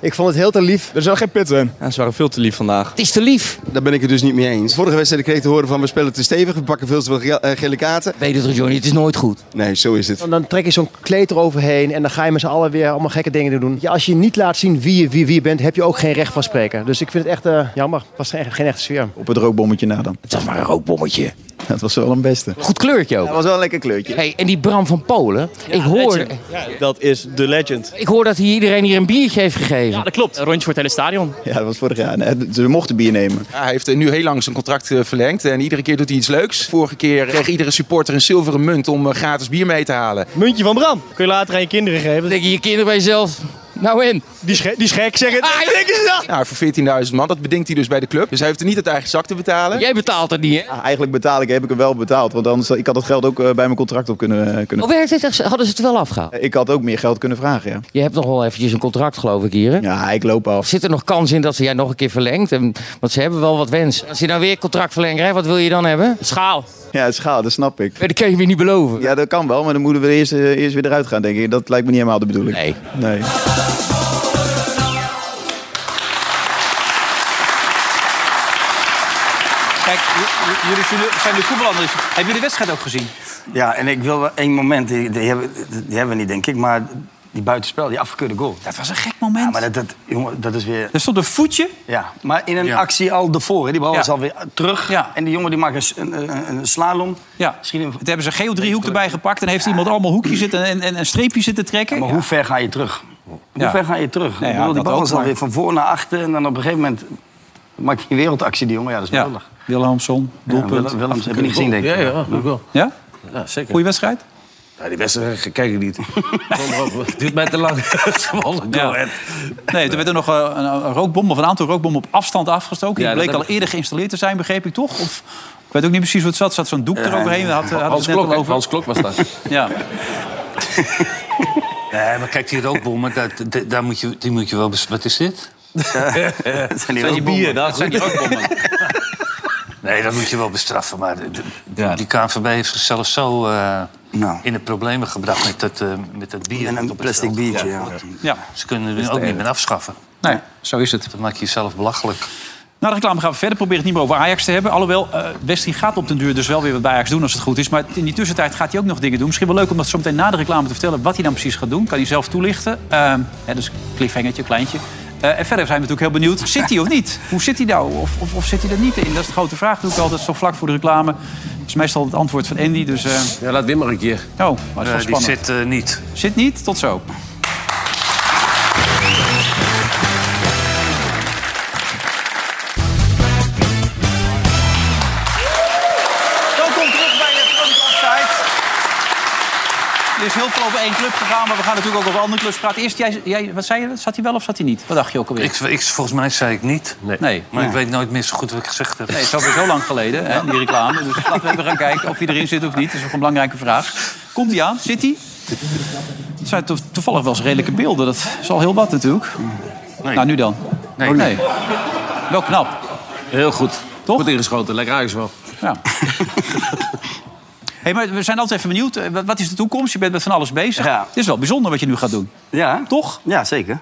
[SPEAKER 16] Ik vond het heel te lief.
[SPEAKER 14] Er zat geen pit in. Ja, ze waren veel te lief vandaag. Het
[SPEAKER 9] is te lief.
[SPEAKER 14] Daar ben ik het dus niet mee eens. Vorige wedstrijd kreeg ik te horen van we spelen te stevig, we pakken veel te veel ge- eh, gele kaarten.
[SPEAKER 9] Weet het Johnny, het is nooit goed.
[SPEAKER 14] Nee, zo is het.
[SPEAKER 16] Dan, dan trek je zo'n kleed eroverheen en dan ga je met z'n allen weer allemaal gekke dingen doen. Ja, als je niet laat zien wie je wie, wie je bent, heb je ook geen recht van spreken. Dus ik vind het echt eh, jammer. Het was geen, geen echte sfeer.
[SPEAKER 14] Op het rookbommetje na dan.
[SPEAKER 9] Dat was maar een rookbommetje.
[SPEAKER 14] Dat was wel een beste.
[SPEAKER 9] Goed kleurtje ook.
[SPEAKER 14] Dat was wel een lekker kleurtje.
[SPEAKER 9] Hey, en die Bram van Polen, ik hoor...
[SPEAKER 14] Dat is de legend.
[SPEAKER 9] Ik hoor dat hier iedereen hier een biertje heeft gegeven. Ja,
[SPEAKER 12] dat klopt. Een rondje voor het hele stadion.
[SPEAKER 14] Ja, dat was vorig jaar. Nee, Ze mochten bier nemen.
[SPEAKER 13] Ja, hij heeft eh, nu heel lang zijn contract eh, verlengd en iedere keer doet hij iets leuks. Vorige keer kreeg iedere supporter een zilveren munt om eh, gratis bier mee te halen.
[SPEAKER 10] Muntje van Bram. Kun je later aan je kinderen geven.
[SPEAKER 9] Denk je je kinderen bij jezelf? Nou in.
[SPEAKER 10] Die is, die is gek, zeg het. Ah, denken ze dat?
[SPEAKER 13] Ja, Nou, voor 14.000 man, dat bedingt hij dus bij de club. Dus hij heeft er niet uit eigen zak te betalen.
[SPEAKER 9] Jij betaalt het niet, hè?
[SPEAKER 14] Ah, eigenlijk betaal ik, heb ik hem wel betaald. Want anders ik had dat geld ook eh, bij mijn contract op kunnen... eh, kunnen... Eh,
[SPEAKER 9] Oh, werkt het echt? Hadden ze het wel afgehaald?
[SPEAKER 14] Ik had ook meer geld kunnen vragen, ja.
[SPEAKER 9] Je hebt nog wel eventjes een contract, geloof ik, hier. Hè?
[SPEAKER 14] Ja, ik loop af.
[SPEAKER 9] Zit er nog kans in dat ze jij nog een keer verlengt? En, want ze hebben wel wat wensen. Als je nou weer contract verlengt, hè, wat wil je dan hebben? Schaal.
[SPEAKER 14] Ja, schaal, dat snap ik.
[SPEAKER 9] dat kan je weer niet beloven.
[SPEAKER 14] Ja, dat kan wel, maar dan moeten we eerst, eh, eerst weer eruit gaan, denk ik. Dat lijkt me niet helemaal de bedoeling.
[SPEAKER 9] Nee.
[SPEAKER 14] Nee.
[SPEAKER 2] Kijk, j- j- jullie zullen- zijn nu voetbalanalysten. Hebben jullie de wedstrijd ook gezien?
[SPEAKER 4] Ja, en ik wil wel één moment, die, die hebben, die hebben we niet, denk ik, maar die buitenspel, die afgekeurde goal.
[SPEAKER 2] Dat was een gek moment.
[SPEAKER 4] Ja, maar dat, dat, jongen, dat is weer...
[SPEAKER 2] Er stond een voetje.
[SPEAKER 4] Ja, maar in een actie al ervoor. hè. Die bal
[SPEAKER 2] Ja.
[SPEAKER 4] is alweer terug. En die jongen die maakt een s- een, een, een slalom.
[SPEAKER 2] Ja. Het hebben ze een geodriehoek erbij gepakt. En heeft iemand allemaal hoekjes zitten en, en, en streepjes zitten trekken.
[SPEAKER 4] Maar hoe ver ga je terug? Hoe
[SPEAKER 2] Ja.
[SPEAKER 4] ver ga je terug?
[SPEAKER 2] Nee,
[SPEAKER 4] ik
[SPEAKER 2] ja,
[SPEAKER 4] bedoel, die
[SPEAKER 2] dat
[SPEAKER 4] bal
[SPEAKER 2] ook,
[SPEAKER 4] is
[SPEAKER 2] maar-
[SPEAKER 4] alweer van voor naar achter. En dan op een gegeven moment maakt hij een wereldactie, die jongen. Ja, dat is geweldig.
[SPEAKER 2] Wilhelmson, doelpunt.
[SPEAKER 4] Willem- Willems heb ik niet gezien, denk ik.
[SPEAKER 2] Ja, ja.
[SPEAKER 4] Ja.
[SPEAKER 6] wel.
[SPEAKER 2] Ja?
[SPEAKER 6] Ja, zeker.
[SPEAKER 2] Goeie wedstrijd?
[SPEAKER 6] Ja, die beste kijk ik niet. Kom erop, Het duurt mij te lang. Zwolle, go ahead.
[SPEAKER 2] Nee, er werd er nog eh, een, een rookbom of een aantal rookbommen op afstand afgestoken.
[SPEAKER 6] Ja,
[SPEAKER 2] Die
[SPEAKER 6] dat
[SPEAKER 2] bleek al
[SPEAKER 6] heb ik-
[SPEAKER 2] eerder geïnstalleerd te zijn, begreep ik toch? Of, ik weet ook niet precies wat het zat. Zat zo'n doek eroverheen. Had, eh, had
[SPEAKER 6] Hans
[SPEAKER 2] het net
[SPEAKER 6] Klok,
[SPEAKER 2] al
[SPEAKER 6] hè?
[SPEAKER 2] over.
[SPEAKER 6] Hans Klok was dat.
[SPEAKER 2] Ja.
[SPEAKER 7] Nee, maar kijk, die rookbommen, daar, daar- daar moet je, die moet je wel... bes- Wat is dit?
[SPEAKER 4] Dat zijn die rookbommen.
[SPEAKER 7] Dat zijn die Nee, dat moet je wel bestraffen. Maar de- de- die KNVB heeft zichzelf zo eh, in de problemen gebracht met dat, eh, met dat bier.
[SPEAKER 4] En een plastic biertje, ja.
[SPEAKER 2] Ja.
[SPEAKER 7] Ze kunnen er
[SPEAKER 2] Dat is
[SPEAKER 7] ook
[SPEAKER 2] de
[SPEAKER 7] niet
[SPEAKER 2] ene.
[SPEAKER 7] meer afschaffen.
[SPEAKER 2] Nee, zo is het.
[SPEAKER 7] Dat maak je jezelf belachelijk.
[SPEAKER 2] Na de reclame gaan we verder. Proberen het niet meer over Ajax te hebben. Alhoewel, eh Westin gaat op den duur dus wel weer wat bij Ajax doen als het goed is. Maar in die tussentijd gaat hij ook nog dingen doen. Misschien wel leuk om dat zometeen na de reclame te vertellen wat hij dan precies gaat doen. Kan hij zelf toelichten. Ehm hè, dus cliffhangertje, kleintje. Eh, en verder zijn we natuurlijk heel benieuwd. Zit hij of niet? Hoe zit hij nou? Of, of, of zit hij er niet in? Dat is de grote vraag. Dat doe ik altijd zo vlak voor de reclame. Dat is meestal het antwoord van Andy. Dus, eh,
[SPEAKER 6] Ja, laat Wim maar een keer.
[SPEAKER 2] Oh, maar dat is wel
[SPEAKER 7] Eh, die
[SPEAKER 2] spannend.
[SPEAKER 7] zit eh, niet.
[SPEAKER 2] Zit niet? Tot zo. Welkom terug bij de Chronic Offside. Er is heel veel over één club gegaan, maar we gaan natuurlijk ook over andere clubs praten. Eerst, jij, jij, wat zei je? Zat hij wel of zat hij niet? Wat dacht je ook alweer?
[SPEAKER 7] Ik, ik, volgens mij zei ik niet.
[SPEAKER 6] Nee.
[SPEAKER 7] Maar
[SPEAKER 2] Nee.
[SPEAKER 7] ik weet nooit meer zo goed wat ik gezegd heb.
[SPEAKER 2] Nee, het is alweer zo lang geleden, hè, die reclame. Dus laten we even gaan kijken of hij erin zit of niet. Dat is nog een belangrijke vraag. Komt hij aan? Zit hij? Het zijn to- toevallig wel eens redelijke beelden. Dat is al heel wat natuurlijk. Nou, nu dan.
[SPEAKER 7] Nee.
[SPEAKER 2] Wel knap.
[SPEAKER 6] Heel goed.
[SPEAKER 2] Toch?
[SPEAKER 6] Goed ingeschoten. Lekker Ajax wel.
[SPEAKER 2] Ja. hey, maar we zijn altijd even benieuwd. Eh, wat- Wat is de toekomst? Je bent met van alles bezig. Het is wel bijzonder wat je nu gaat doen.
[SPEAKER 4] Ja.
[SPEAKER 2] Toch?
[SPEAKER 4] Ja, zeker.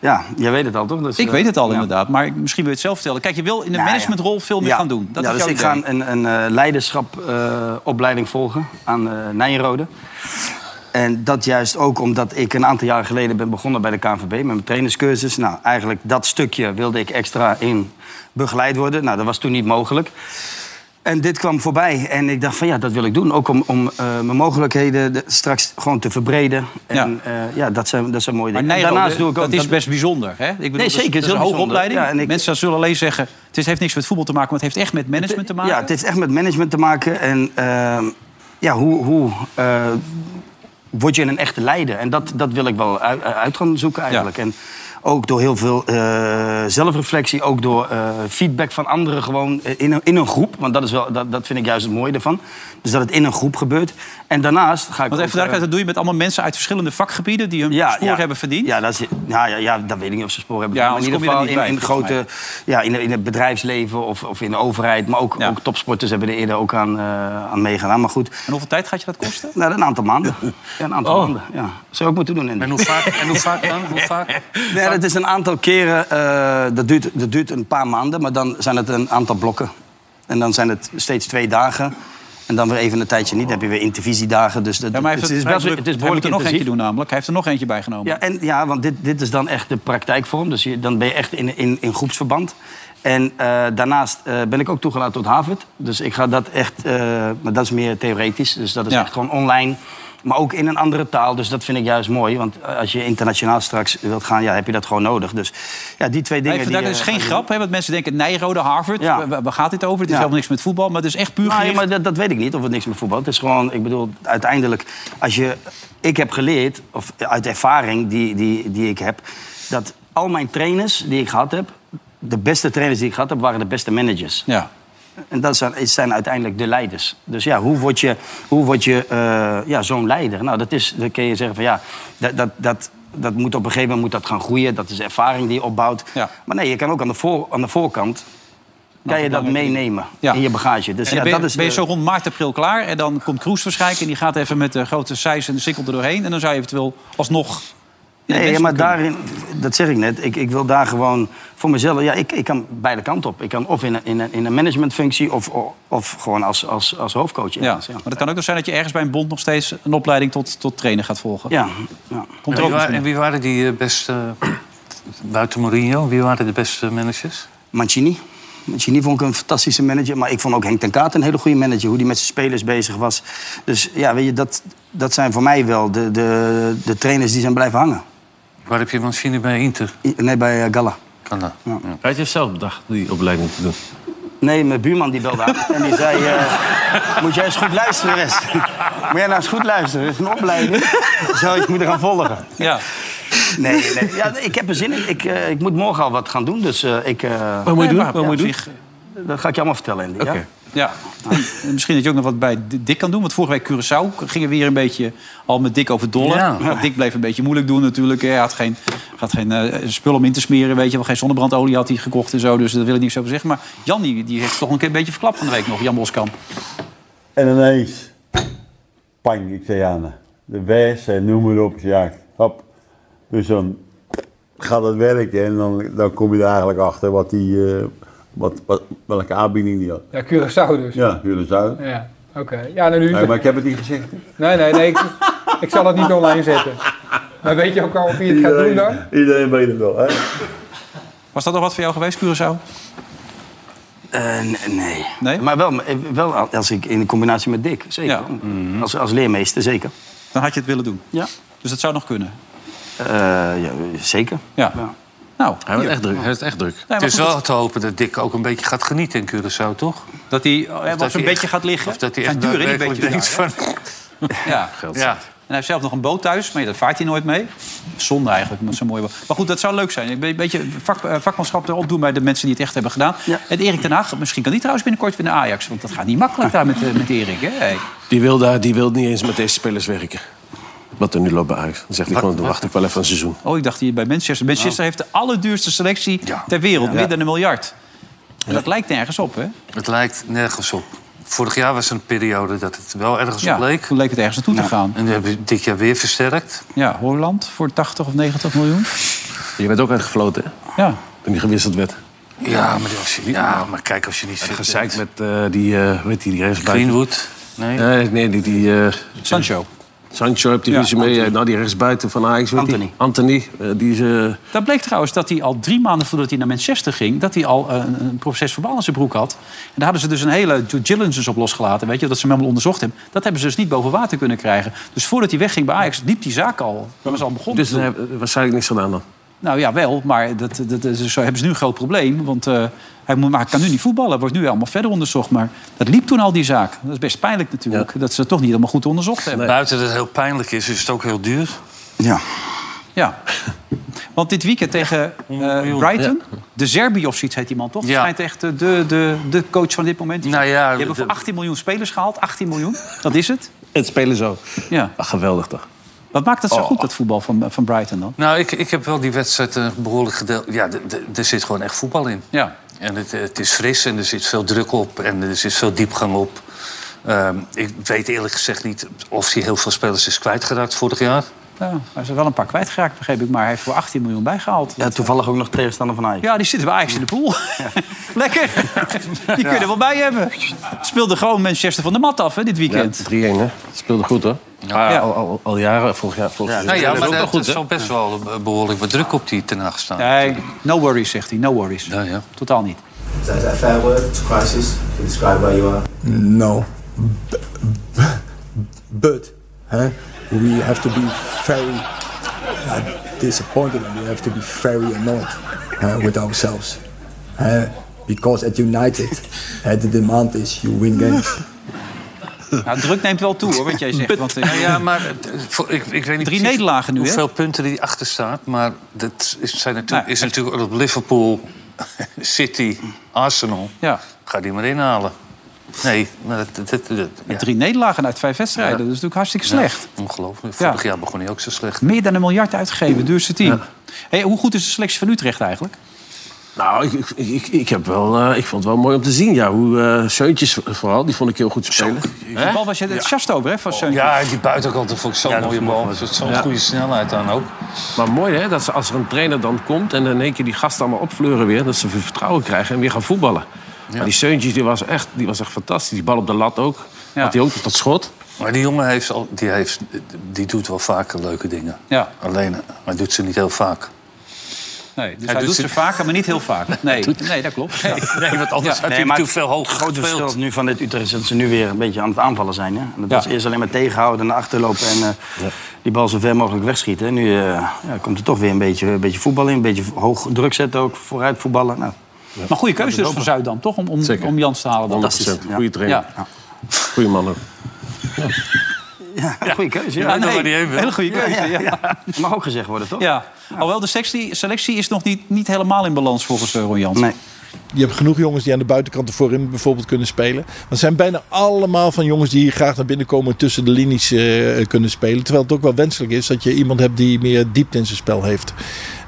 [SPEAKER 4] Ja, jij weet het al, toch? Dus,
[SPEAKER 2] Ik
[SPEAKER 4] eh,
[SPEAKER 2] weet het al
[SPEAKER 4] ja.
[SPEAKER 2] inderdaad, maar misschien wil je het zelf vertellen. Kijk, je wil in de
[SPEAKER 4] Nou ja.
[SPEAKER 2] managementrol veel meer
[SPEAKER 4] Ja.
[SPEAKER 2] gaan doen. Dat
[SPEAKER 4] ja,
[SPEAKER 2] is
[SPEAKER 4] dus
[SPEAKER 2] jouw
[SPEAKER 4] ik
[SPEAKER 2] idee.
[SPEAKER 4] ga een, een eh, leiderschapopleiding volgen aan eh Nijenrode. En dat juist ook omdat ik een aantal jaren geleden ben begonnen bij de KNVB... met mijn trainerscursus. Nou, eigenlijk dat stukje wilde ik extra in begeleid worden. Nou, dat was toen niet mogelijk. En dit kwam voorbij en ik dacht van ja, dat wil ik doen. Ook om, om eh, mijn mogelijkheden de- straks gewoon te verbreden. En ja, ja dat, zijn, dat zijn mooie
[SPEAKER 2] Maar
[SPEAKER 4] dingen. En
[SPEAKER 2] Nijrode,
[SPEAKER 4] daarnaast doe ik ook...
[SPEAKER 2] dat is best bijzonder. Hè? Ik bedoel,
[SPEAKER 4] Nee,
[SPEAKER 2] dat is-
[SPEAKER 4] zeker, het is
[SPEAKER 2] Dat is
[SPEAKER 4] heel
[SPEAKER 2] een hoge
[SPEAKER 4] bijzonder.
[SPEAKER 2] opleiding.
[SPEAKER 4] Ja, en ik-
[SPEAKER 2] Mensen zullen alleen zeggen, het is- heeft niks met voetbal te maken... maar het heeft echt met management te maken.
[SPEAKER 4] Ja, het heeft echt met management te maken. En ehm, ja, hoe, hoe, eh, word je een echte leider. En dat, dat wil ik wel uit, eh, uit gaan zoeken eigenlijk. En ook door heel veel eh, zelfreflectie, ook door eh, feedback van anderen gewoon eh, in een, in een groep. Want dat, is wel, dat, dat vind ik juist het mooie ervan. Dus dat het in een groep gebeurt. En daarnaast ga ik
[SPEAKER 2] Want
[SPEAKER 4] ook,
[SPEAKER 2] even duidelijkheid,
[SPEAKER 4] eh,
[SPEAKER 2] dat doe je met allemaal mensen uit verschillende vakgebieden die hun spoor hebben verdiend.
[SPEAKER 4] Ja, dat is, nou ja, ja, ja, dat weet ik niet of ze sporen hebben.
[SPEAKER 2] Ja,
[SPEAKER 4] maar in ieder
[SPEAKER 2] anders kom je
[SPEAKER 4] geval
[SPEAKER 2] er
[SPEAKER 4] in, in,
[SPEAKER 2] niet bij,
[SPEAKER 4] grote, ja, in, in het bedrijfsleven of, of in de overheid. Maar ook, ook topsporters hebben er eerder ook aan, eh, aan meegedaan. Maar goed.
[SPEAKER 2] En hoeveel tijd gaat je dat kosten?
[SPEAKER 4] Nou, een aantal maanden. Ja, een
[SPEAKER 2] Oh.
[SPEAKER 4] aantal maanden. Ja. Zou ik moeten doen. En
[SPEAKER 7] hoe vaak, en hoe vaak dan? Hoe vaak?
[SPEAKER 4] Nee, dat is een aantal keren. eh, dat, duurt, dat duurt een paar maanden. Maar dan zijn het een aantal blokken. En dan zijn het steeds twee dagen. En dan weer even een tijdje niet. Dan heb je weer intervisiedagen. Dus dat,
[SPEAKER 2] Ja, maar hij heeft
[SPEAKER 4] het, is best,
[SPEAKER 2] hij
[SPEAKER 4] het
[SPEAKER 2] moet
[SPEAKER 4] is
[SPEAKER 2] er nog
[SPEAKER 4] behoorlijk
[SPEAKER 2] eentje
[SPEAKER 4] intensief.
[SPEAKER 2] doen namelijk. Hij heeft er nog eentje bijgenomen.
[SPEAKER 4] Ja, en, ja want dit, dit is dan echt de praktijkvorm. Dus je, dan ben je echt in, in, in groepsverband. En eh, daarnaast eh, ben ik ook toegelaten tot Harvard. Dus ik ga dat echt... eh, maar dat is meer theoretisch. Dus dat is echt gewoon online. Maar ook in een andere taal. Dus dat vind ik juist mooi. Want eh, als je internationaal straks wilt gaan... Ja, heb je dat gewoon nodig. Dus ja, die twee
[SPEAKER 2] Maar
[SPEAKER 4] dingen...
[SPEAKER 2] even
[SPEAKER 4] die,
[SPEAKER 2] duidelijk,
[SPEAKER 4] eh,
[SPEAKER 2] het is dus geen grap, hè, want mensen denken Nijrode, Harvard, waar, waar- waar gaat dit over? Het is
[SPEAKER 4] Ja.
[SPEAKER 2] helemaal niks met voetbal, maar het is echt puur
[SPEAKER 4] Nou, ja,
[SPEAKER 2] gericht.
[SPEAKER 4] maar dat, dat weet ik niet, of het niks met voetbal. Het is gewoon, ik bedoel, uiteindelijk... Als je, ik heb geleerd, of eh, uit ervaring die, die, die ik heb... dat al mijn trainers die ik gehad heb... de beste trainers die ik gehad heb, waren de beste managers.
[SPEAKER 2] Ja.
[SPEAKER 4] En dat zijn, het zijn uiteindelijk de leiders. Dus ja, hoe word je, hoe word je eh, ja, zo'n leider? Nou, dat is, dan kun je zeggen van ja, dat, dat, dat, dat moet op een gegeven moment moet dat gaan groeien. Dat is ervaring die je opbouwt. Maar nee, je kan ook aan de, voor, aan de voorkant kan je dat meenemen in je bagage. Dus
[SPEAKER 2] en
[SPEAKER 4] ja,
[SPEAKER 2] dan ben, je-
[SPEAKER 4] dat is
[SPEAKER 2] ben je
[SPEAKER 4] de-
[SPEAKER 2] zo rond maart, april klaar. En dan komt Kroes waarschijnlijk. En die gaat even met de grote sijs en de sikkel er doorheen. En dan zou je eventueel alsnog... in het
[SPEAKER 4] Nee, ja,
[SPEAKER 2] westen
[SPEAKER 4] maar
[SPEAKER 2] kunnen.
[SPEAKER 4] daarin, dat zeg ik net, ik, ik wil daar gewoon voor mezelf... Ja, ik, ik kan beide kanten op. Ik kan of in een, in een, in een managementfunctie of, of gewoon als, als, als hoofdcoach.
[SPEAKER 2] Ja. Maar het kan ook nog zijn dat je ergens bij een bond nog steeds een opleiding tot, tot trainer gaat volgen.
[SPEAKER 4] Ja.
[SPEAKER 2] Komt
[SPEAKER 7] en,
[SPEAKER 2] er ook
[SPEAKER 7] wie waren,
[SPEAKER 2] misschien.
[SPEAKER 7] en wie waren die eh, beste... Buiten Mourinho, wie waren de beste managers?
[SPEAKER 4] Mancini. Mancini vond ik een fantastische manager. Maar ik vond ook Henk ten Kaat een hele goede manager. Hoe die met zijn spelers bezig was. Dus ja, weet je, dat, dat zijn voor mij wel de, de, de trainers die zijn blijven hangen.
[SPEAKER 7] Waar heb je Mancini bij Inter?
[SPEAKER 4] Nee, bij eh, Gala.
[SPEAKER 7] Kan dat.
[SPEAKER 3] Had je zelf bedacht die opleiding te doen?
[SPEAKER 4] Nee, mijn buurman die belde aan. En die zei, eh, moet jij eens goed luisteren, Wes. moet jij nou eens goed luisteren. Het is een opleiding. Zou je moeten gaan volgen.
[SPEAKER 2] Ja.
[SPEAKER 4] Nee, nee. Ja, ik heb er zin in. Ik, eh, ik moet morgen al wat gaan doen. Dus eh, ik... eh,
[SPEAKER 2] Wat moet je doen?
[SPEAKER 4] ja,
[SPEAKER 2] Wat moet je
[SPEAKER 4] op zich, Dat ga ik je allemaal vertellen, Andy. Ja?
[SPEAKER 2] Ja, en misschien dat je ook nog wat bij Dick kan doen. Want vorige week Curaçao gingen we hier een beetje al met Dick over dollar.
[SPEAKER 7] Ja.
[SPEAKER 2] Want Dick bleef een beetje moeilijk doen natuurlijk. Hij had geen, had geen eh, spul om in te smeren, weet je wel. Geen zonnebrandolie had hij gekocht en zo. Dus daar wil ik niks over zeggen. Maar Jan die, die heeft toch een keer een beetje verklapt van de week nog. Jan Boskamp.
[SPEAKER 17] En ineens, pang, ik zei aan haar, de wijs en noem maar op, ja, hop. Dus dan gaat het werken en dan, dan kom je er eigenlijk achter wat die, eh, wat, wat, welke aanbieding die had.
[SPEAKER 18] Ja, Curaçao dus.
[SPEAKER 17] Ja, jullie zouden.
[SPEAKER 18] Ja, oké. Ja, nou nu...
[SPEAKER 17] Nee, maar ik heb het niet gezegd.
[SPEAKER 18] Nee, nee, nee, Ik, ik zal het niet online zetten. Maar weet je ook al of je het gaat doen dan?
[SPEAKER 17] Iedereen weet het wel, hè?
[SPEAKER 2] Was dat nog wat voor jou geweest, Curaçao?
[SPEAKER 4] Eh, n- nee. Maar wel, eh, wel als ik, in combinatie met Dick, zeker. Mm-hmm. Als, als leermeester, zeker.
[SPEAKER 2] Dan had je het willen doen?
[SPEAKER 4] Mhm. Ja.
[SPEAKER 2] Dus dat zou nog kunnen?
[SPEAKER 4] Eh, ja, zeker.
[SPEAKER 2] Ja. Nou,
[SPEAKER 7] Hij wordt echt druk. Hij
[SPEAKER 3] is echt druk.
[SPEAKER 7] het is
[SPEAKER 2] goed.
[SPEAKER 7] wel te hopen dat Dick ook een beetje gaat genieten in Curaçao, toch?
[SPEAKER 2] Dat hij eh,
[SPEAKER 7] Of
[SPEAKER 2] een
[SPEAKER 7] dat hij
[SPEAKER 2] beetje
[SPEAKER 7] echt-
[SPEAKER 2] gaat liggen.
[SPEAKER 7] Of dat hij
[SPEAKER 2] Zijn
[SPEAKER 7] echt
[SPEAKER 2] duur, hè, die
[SPEAKER 7] daadwerkelijk
[SPEAKER 2] beetjes
[SPEAKER 7] denkt
[SPEAKER 2] Ja. ja. En hij heeft zelf nog een boot thuis, maar ja, daar vaart hij nooit mee. Zonde eigenlijk, met zo'n mooie boot. Maar goed, dat zou leuk zijn. Een be- beetje vak, eh, vakmanschap erop doen bij de mensen die het echt hebben gedaan. En Erik ten Hag, misschien kan die trouwens binnenkort weer naar Ajax. Want dat gaat niet makkelijk daar met, eh, met Erik, hè? Hey.
[SPEAKER 3] Die wil, daar, die wil niet eens met deze spelers werken. Wat er nu loopt bij Ajax. Dan zegt hij gewoon, dan wacht ik wel even een seizoen.
[SPEAKER 2] Oh, ik dacht hier bij Manchester. Manchester heeft de allerduurste selectie ter wereld.
[SPEAKER 7] Oh. Ja.
[SPEAKER 2] Meer dan een miljard. En dat lijkt nergens op, hè?
[SPEAKER 7] Het lijkt nergens op. Vorig jaar was er een periode dat het wel ergens
[SPEAKER 2] Ja,
[SPEAKER 7] op leek.
[SPEAKER 2] Toen leek het ergens naartoe te gaan.
[SPEAKER 7] En die hebben we dit jaar weer versterkt.
[SPEAKER 2] Ja, Holland voor 80 of 90 miljoen.
[SPEAKER 3] Je bent ook uitgefloten, hè?
[SPEAKER 2] Ja.
[SPEAKER 3] Toen die gewisseld werd.
[SPEAKER 7] Ja, maar, als je, niet- ja, maar kijk, als je niet fit
[SPEAKER 3] Gezeikt met eh, die, eh weet die, die rechtsbuiten.
[SPEAKER 7] Greenwood? Nee.
[SPEAKER 3] Nee, nee die... die eh,
[SPEAKER 2] Sancho.
[SPEAKER 3] Sancho heb die
[SPEAKER 2] Ja,
[SPEAKER 3] ruzie mee. eh, Nou, die rechtsbuiten van Ajax. weet die? Anthony. eh, die is... eh,
[SPEAKER 2] Dat bleek trouwens dat hij al drie maanden voordat hij naar Manchester ging... dat hij al eh, een, een proces verbaal in zijn broek had. En daar hadden ze dus een hele due diligence op losgelaten. Weet je, dat ze hem helemaal onderzocht hebben. Dat hebben ze dus niet boven water kunnen krijgen. Dus voordat hij wegging bij Ajax liep die zaak al. Dat was al begonnen.
[SPEAKER 3] dus daar hebben we waarschijnlijk niks gedaan dan.
[SPEAKER 2] Nou ja, wel, maar dat, dat, dat is, zo hebben ze nu een groot probleem. Want eh, hij, moet, maar hij kan nu niet voetballen. Wordt nu allemaal verder onderzocht. Maar dat liep toen al, die zaak. Dat is best pijnlijk natuurlijk. Dat ze het toch niet allemaal goed onderzocht hebben.
[SPEAKER 7] Buiten dat het heel pijnlijk is, is het ook heel duur.
[SPEAKER 4] Ja.
[SPEAKER 2] Ja. Want dit weekend tegen eh, Brighton, de Zerbi of zoiets heet die man toch? Ja. Schijnt echt eh, de, de, de coach van dit moment. Nou ja, die hebben voor 18 miljoen spelers gehaald. 18 miljoen, dat is het.
[SPEAKER 3] Het spelen zo.
[SPEAKER 2] Ja.
[SPEAKER 3] geweldig toch?
[SPEAKER 2] Wat maakt het zo goed, dat voetbal van, van Brighton dan?
[SPEAKER 7] Nou, ik, ik heb wel die wedstrijd een behoorlijk gedeeld. Ja, d- d- er zit gewoon echt voetbal in.
[SPEAKER 2] Ja.
[SPEAKER 7] En het, het is fris en er zit veel druk op en er zit veel diepgang op. Ehm, ik weet eerlijk gezegd niet of hij heel veel spelers is kwijtgeraakt vorig jaar.
[SPEAKER 2] Ja, hij is er wel een paar kwijtgeraakt, begreep ik. Maar hij heeft voor 18 miljoen bijgehaald.
[SPEAKER 4] Ja, toevallig ook nog tegenstander van Ajax.
[SPEAKER 2] Ja, die zitten bij Ajax in de pool. Lekker. Die kun je er wel bij hebben. Speelde gewoon Manchester van de mat af hè, dit weekend.
[SPEAKER 3] Ja, 3-1 hè? Speelde goed hoor.
[SPEAKER 2] Ja.
[SPEAKER 3] Ah, Al, al, al jaren, vorig jaar. Vorig
[SPEAKER 7] nou ja, maar dat,
[SPEAKER 3] goed,
[SPEAKER 7] is al best wel eh, behoorlijk wat druk op die ten acht staan.
[SPEAKER 2] Nee, no worries, zegt hij. No worries. Totaal niet.
[SPEAKER 8] Is that a fair word? Crisis? Can you describe where you are?
[SPEAKER 19] No. B- b- but huh, we have to be very uh, disappointed and we have to be very annoyed uh, with ourselves. Uh, because at United, uh, the demand is you win games.
[SPEAKER 2] Nou, druk neemt wel toe, hoor, wat jij zegt. Want, eh,
[SPEAKER 7] Nou ja, maar eh, voor- ik, ik weet niet
[SPEAKER 2] Drie
[SPEAKER 7] precies
[SPEAKER 2] nederlagen nu, hè?
[SPEAKER 7] hoeveel punten die achter staat. Maar dat is, zijn natuurlijk,
[SPEAKER 2] Nou,
[SPEAKER 7] is natuurlijk op Liverpool, City, Arsenal.
[SPEAKER 2] Ja.
[SPEAKER 7] Ga die maar inhalen. Nee, maar dat... dat, dat- dat- ja.
[SPEAKER 2] Drie nederlagen uit vijf wedstrijden. Dat is natuurlijk hartstikke slecht.
[SPEAKER 7] Ja, ongelooflijk. Vorig jaar begon hij ook zo slecht.
[SPEAKER 2] Meer dan een miljard uitgegeven, duurste team. Hey, hoe goed is de selectie van Utrecht eigenlijk?
[SPEAKER 3] Nou, ik, ik, ik, ik heb wel, eh, ik vond het wel mooi om te zien. Ja, hoe eh Seuntjes vooral, die vond ik heel goed spelen.
[SPEAKER 2] Die bal was je enthousiast over, hè, van Seuntjes?
[SPEAKER 7] Ja, die buitenkant dat vond ik zo'n
[SPEAKER 3] Ja, dat
[SPEAKER 7] mooie
[SPEAKER 3] vond ik
[SPEAKER 7] bal.
[SPEAKER 3] wel.
[SPEAKER 7] Er zat Zo'n
[SPEAKER 3] Ja.
[SPEAKER 7] goede snelheid aan ook.
[SPEAKER 3] Maar mooi hè, dat ze, als er een trainer dan komt en in één keer die gasten allemaal opvleuren weer, dat ze weer vertrouwen krijgen en weer gaan voetballen. Maar die Seuntjes die was, echt, die was echt fantastisch. Die bal op de lat ook. Had hij ook tot schot.
[SPEAKER 7] Maar die jongen heeft al, die heeft, die doet wel vaker leuke dingen.
[SPEAKER 2] Ja.
[SPEAKER 7] Alleen, hij doet ze niet heel vaak.
[SPEAKER 2] Nee, dus
[SPEAKER 7] Hij
[SPEAKER 2] hij,
[SPEAKER 7] doet
[SPEAKER 2] doet
[SPEAKER 7] ze-
[SPEAKER 2] ze vaker, maar niet heel vaak. Nee, nee dat klopt. Nee,
[SPEAKER 7] want anders had hij natuurlijk veel hoger
[SPEAKER 4] Dus Het grote
[SPEAKER 7] gespeeld.
[SPEAKER 4] verschil nu van dit Utrecht is dat ze nu weer een beetje aan het aanvallen zijn. Hè? En Dat was eerst alleen maar tegenhouden en achterlopen en eh, die bal zo ver mogelijk wegschieten. En nu eh, ja, komt er toch weer een beetje, een beetje voetbal in. Een beetje hoog druk zetten ook, vooruit voetballen. Nou,
[SPEAKER 2] Maar goede keuze dus
[SPEAKER 4] Laten we
[SPEAKER 2] van Zuidam, toch? Om, om, om Jans te halen. Dan.
[SPEAKER 3] 100%.
[SPEAKER 2] Ja.
[SPEAKER 3] Goeie trainer.
[SPEAKER 2] Ja.
[SPEAKER 3] Goeie man ook.
[SPEAKER 4] Ja, goede keuze.
[SPEAKER 2] Ja, Ah, nou, nee, hele goede keuze, ja.
[SPEAKER 4] Mag ook gezegd worden, toch?
[SPEAKER 2] Ja. Alhoewel, de selectie, selectie is nog niet, niet helemaal in balans volgens eh, Ron Jans. Nee.
[SPEAKER 9] Je hebt genoeg jongens die aan de buitenkant er voorin bijvoorbeeld kunnen spelen. Dat zijn bijna allemaal van jongens die graag naar binnen komen en tussen de linies eh, kunnen spelen. Terwijl het ook wel wenselijk is dat je iemand hebt die meer diepte in zijn spel heeft.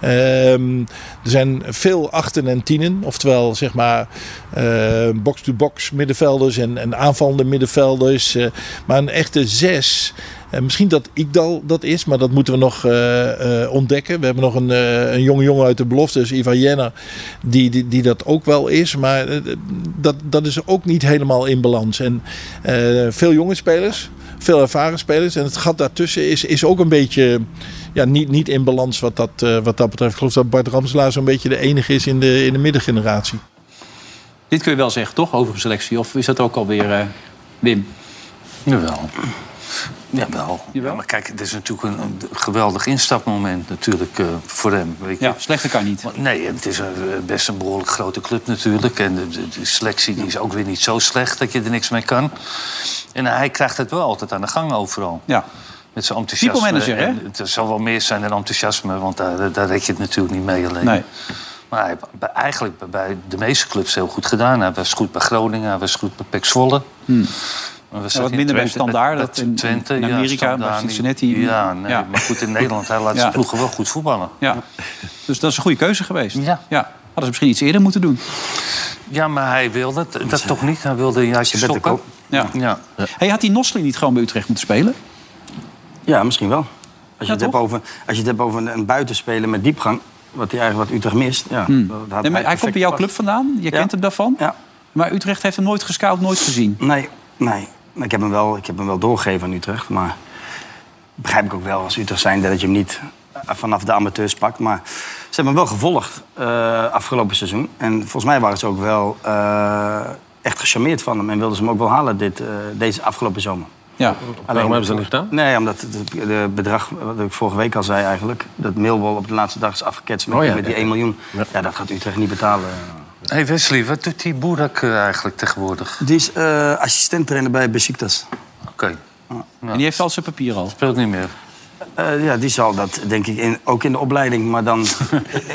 [SPEAKER 9] Ehm, er zijn veel achten en tienen. Oftewel zeg maar eh, box-to-box middenvelders en, en aanvallende middenvelders. eh, maar een echte zes. En misschien dat Ikdal dat is, maar dat moeten we nog eh, eh, ontdekken. We hebben nog een, eh, een jonge jongen uit de belofte, dus Ivan Jenner, die, die, die dat ook wel is. Maar eh, dat, dat is ook niet helemaal in balans. En eh, veel jonge spelers, veel ervaren spelers. En het gat daartussen is, is ook een beetje ja, niet, niet in balans wat dat, eh, wat dat betreft. Ik geloof dat Bart Ramselaar zo'n beetje de enige is in de, in de middengeneratie.
[SPEAKER 2] Dit kun je wel zeggen, toch? Over een selectie. Of is dat ook alweer eh Wim?
[SPEAKER 7] Jawel. Jawel. Ja, maar kijk, het is natuurlijk een, een geweldig instapmoment natuurlijk eh, voor hem. Weet je. Ja,
[SPEAKER 2] slechter kan niet.
[SPEAKER 7] nee, het is een, eh, best een behoorlijk grote club natuurlijk. En de, de- de selectie die is ook weer niet zo slecht dat je er niks mee kan. En hij krijgt het wel altijd aan de gang overal.
[SPEAKER 2] Ja.
[SPEAKER 7] Met zijn enthousiasme.
[SPEAKER 2] People manager, hè?
[SPEAKER 7] En Het zal wel meer zijn dan enthousiasme, want daar, daar red je het natuurlijk niet mee alleen.
[SPEAKER 2] Nee.
[SPEAKER 7] Maar hij heeft bij- eigenlijk bij- bij de meeste clubs heel goed gedaan. Hij was goed bij Groningen, hij was goed bij PEC Zwolle. Maar we
[SPEAKER 2] Hmm. Ja,
[SPEAKER 7] zaten
[SPEAKER 2] wat
[SPEAKER 7] in
[SPEAKER 2] minder bij
[SPEAKER 7] Twente-
[SPEAKER 2] Standaard,
[SPEAKER 7] bij
[SPEAKER 2] dat in-
[SPEAKER 7] Twente,
[SPEAKER 2] in
[SPEAKER 7] ja,
[SPEAKER 2] Amerika, bij
[SPEAKER 7] Standaard niet.
[SPEAKER 2] Cincinnati.
[SPEAKER 7] Ja, nee,
[SPEAKER 2] Ja.
[SPEAKER 7] maar goed, in Nederland, hij laat
[SPEAKER 2] Ja.
[SPEAKER 7] zijn ploegen wel goed voetballen.
[SPEAKER 2] Ja. Dus dat is een goede keuze geweest.
[SPEAKER 7] Ja.
[SPEAKER 2] ja. Hadden ze misschien iets eerder moeten doen.
[SPEAKER 7] Ja, maar hij wilde dat, dat toch niet. Hij wilde juist je stoppen.
[SPEAKER 2] Ja.
[SPEAKER 7] Ja.
[SPEAKER 2] Hey, had die Nosley niet gewoon bij Utrecht moeten spelen?
[SPEAKER 4] Ja, misschien wel. Als je, het, hebt over, als je het hebt over een, een buitenspeler met diepgang, wat, hij eigenlijk, wat Utrecht mist. Ja,
[SPEAKER 2] Hmm.
[SPEAKER 4] dat
[SPEAKER 2] Nee,
[SPEAKER 4] had
[SPEAKER 2] maar hij
[SPEAKER 4] perfect
[SPEAKER 2] komt bij jouw
[SPEAKER 4] gepast.
[SPEAKER 2] club vandaan. Je kent hem daarvan. Maar Utrecht heeft hem nooit gescout, nooit gezien.
[SPEAKER 4] Nee, nee. Maar Ik heb hem wel, ik heb hem wel doorgegeven aan Utrecht. Maar begrijp ik ook wel als Utrecht zijn dat je hem niet eh, vanaf de amateurs pakt. Maar ze hebben hem wel gevolgd eh, afgelopen seizoen. En volgens mij waren ze ook wel eh, echt gecharmeerd van hem. En wilden ze hem ook wel halen dit, eh, deze afgelopen zomer.
[SPEAKER 2] Ja.
[SPEAKER 4] Alleen-
[SPEAKER 3] hebben ze dat niet gedaan?
[SPEAKER 4] Nee, omdat het de bedrag, wat ik vorige week al zei eigenlijk... dat Millwall op de laatste dag is afgeketst met,
[SPEAKER 7] Oh ja,
[SPEAKER 4] met die
[SPEAKER 7] ja.
[SPEAKER 4] 1 miljoen. Ja. dat gaat Utrecht niet betalen.
[SPEAKER 7] Hé hey Wesley, wat doet die Boerak eh, eigenlijk tegenwoordig?
[SPEAKER 4] Die is assistent-trainer bij Besiktas.
[SPEAKER 7] Oké.
[SPEAKER 2] En die heeft al zijn papier al.
[SPEAKER 7] Speelt niet meer.
[SPEAKER 4] Eh, ja, die zal dat, denk ik, in, ook in de opleiding, maar dan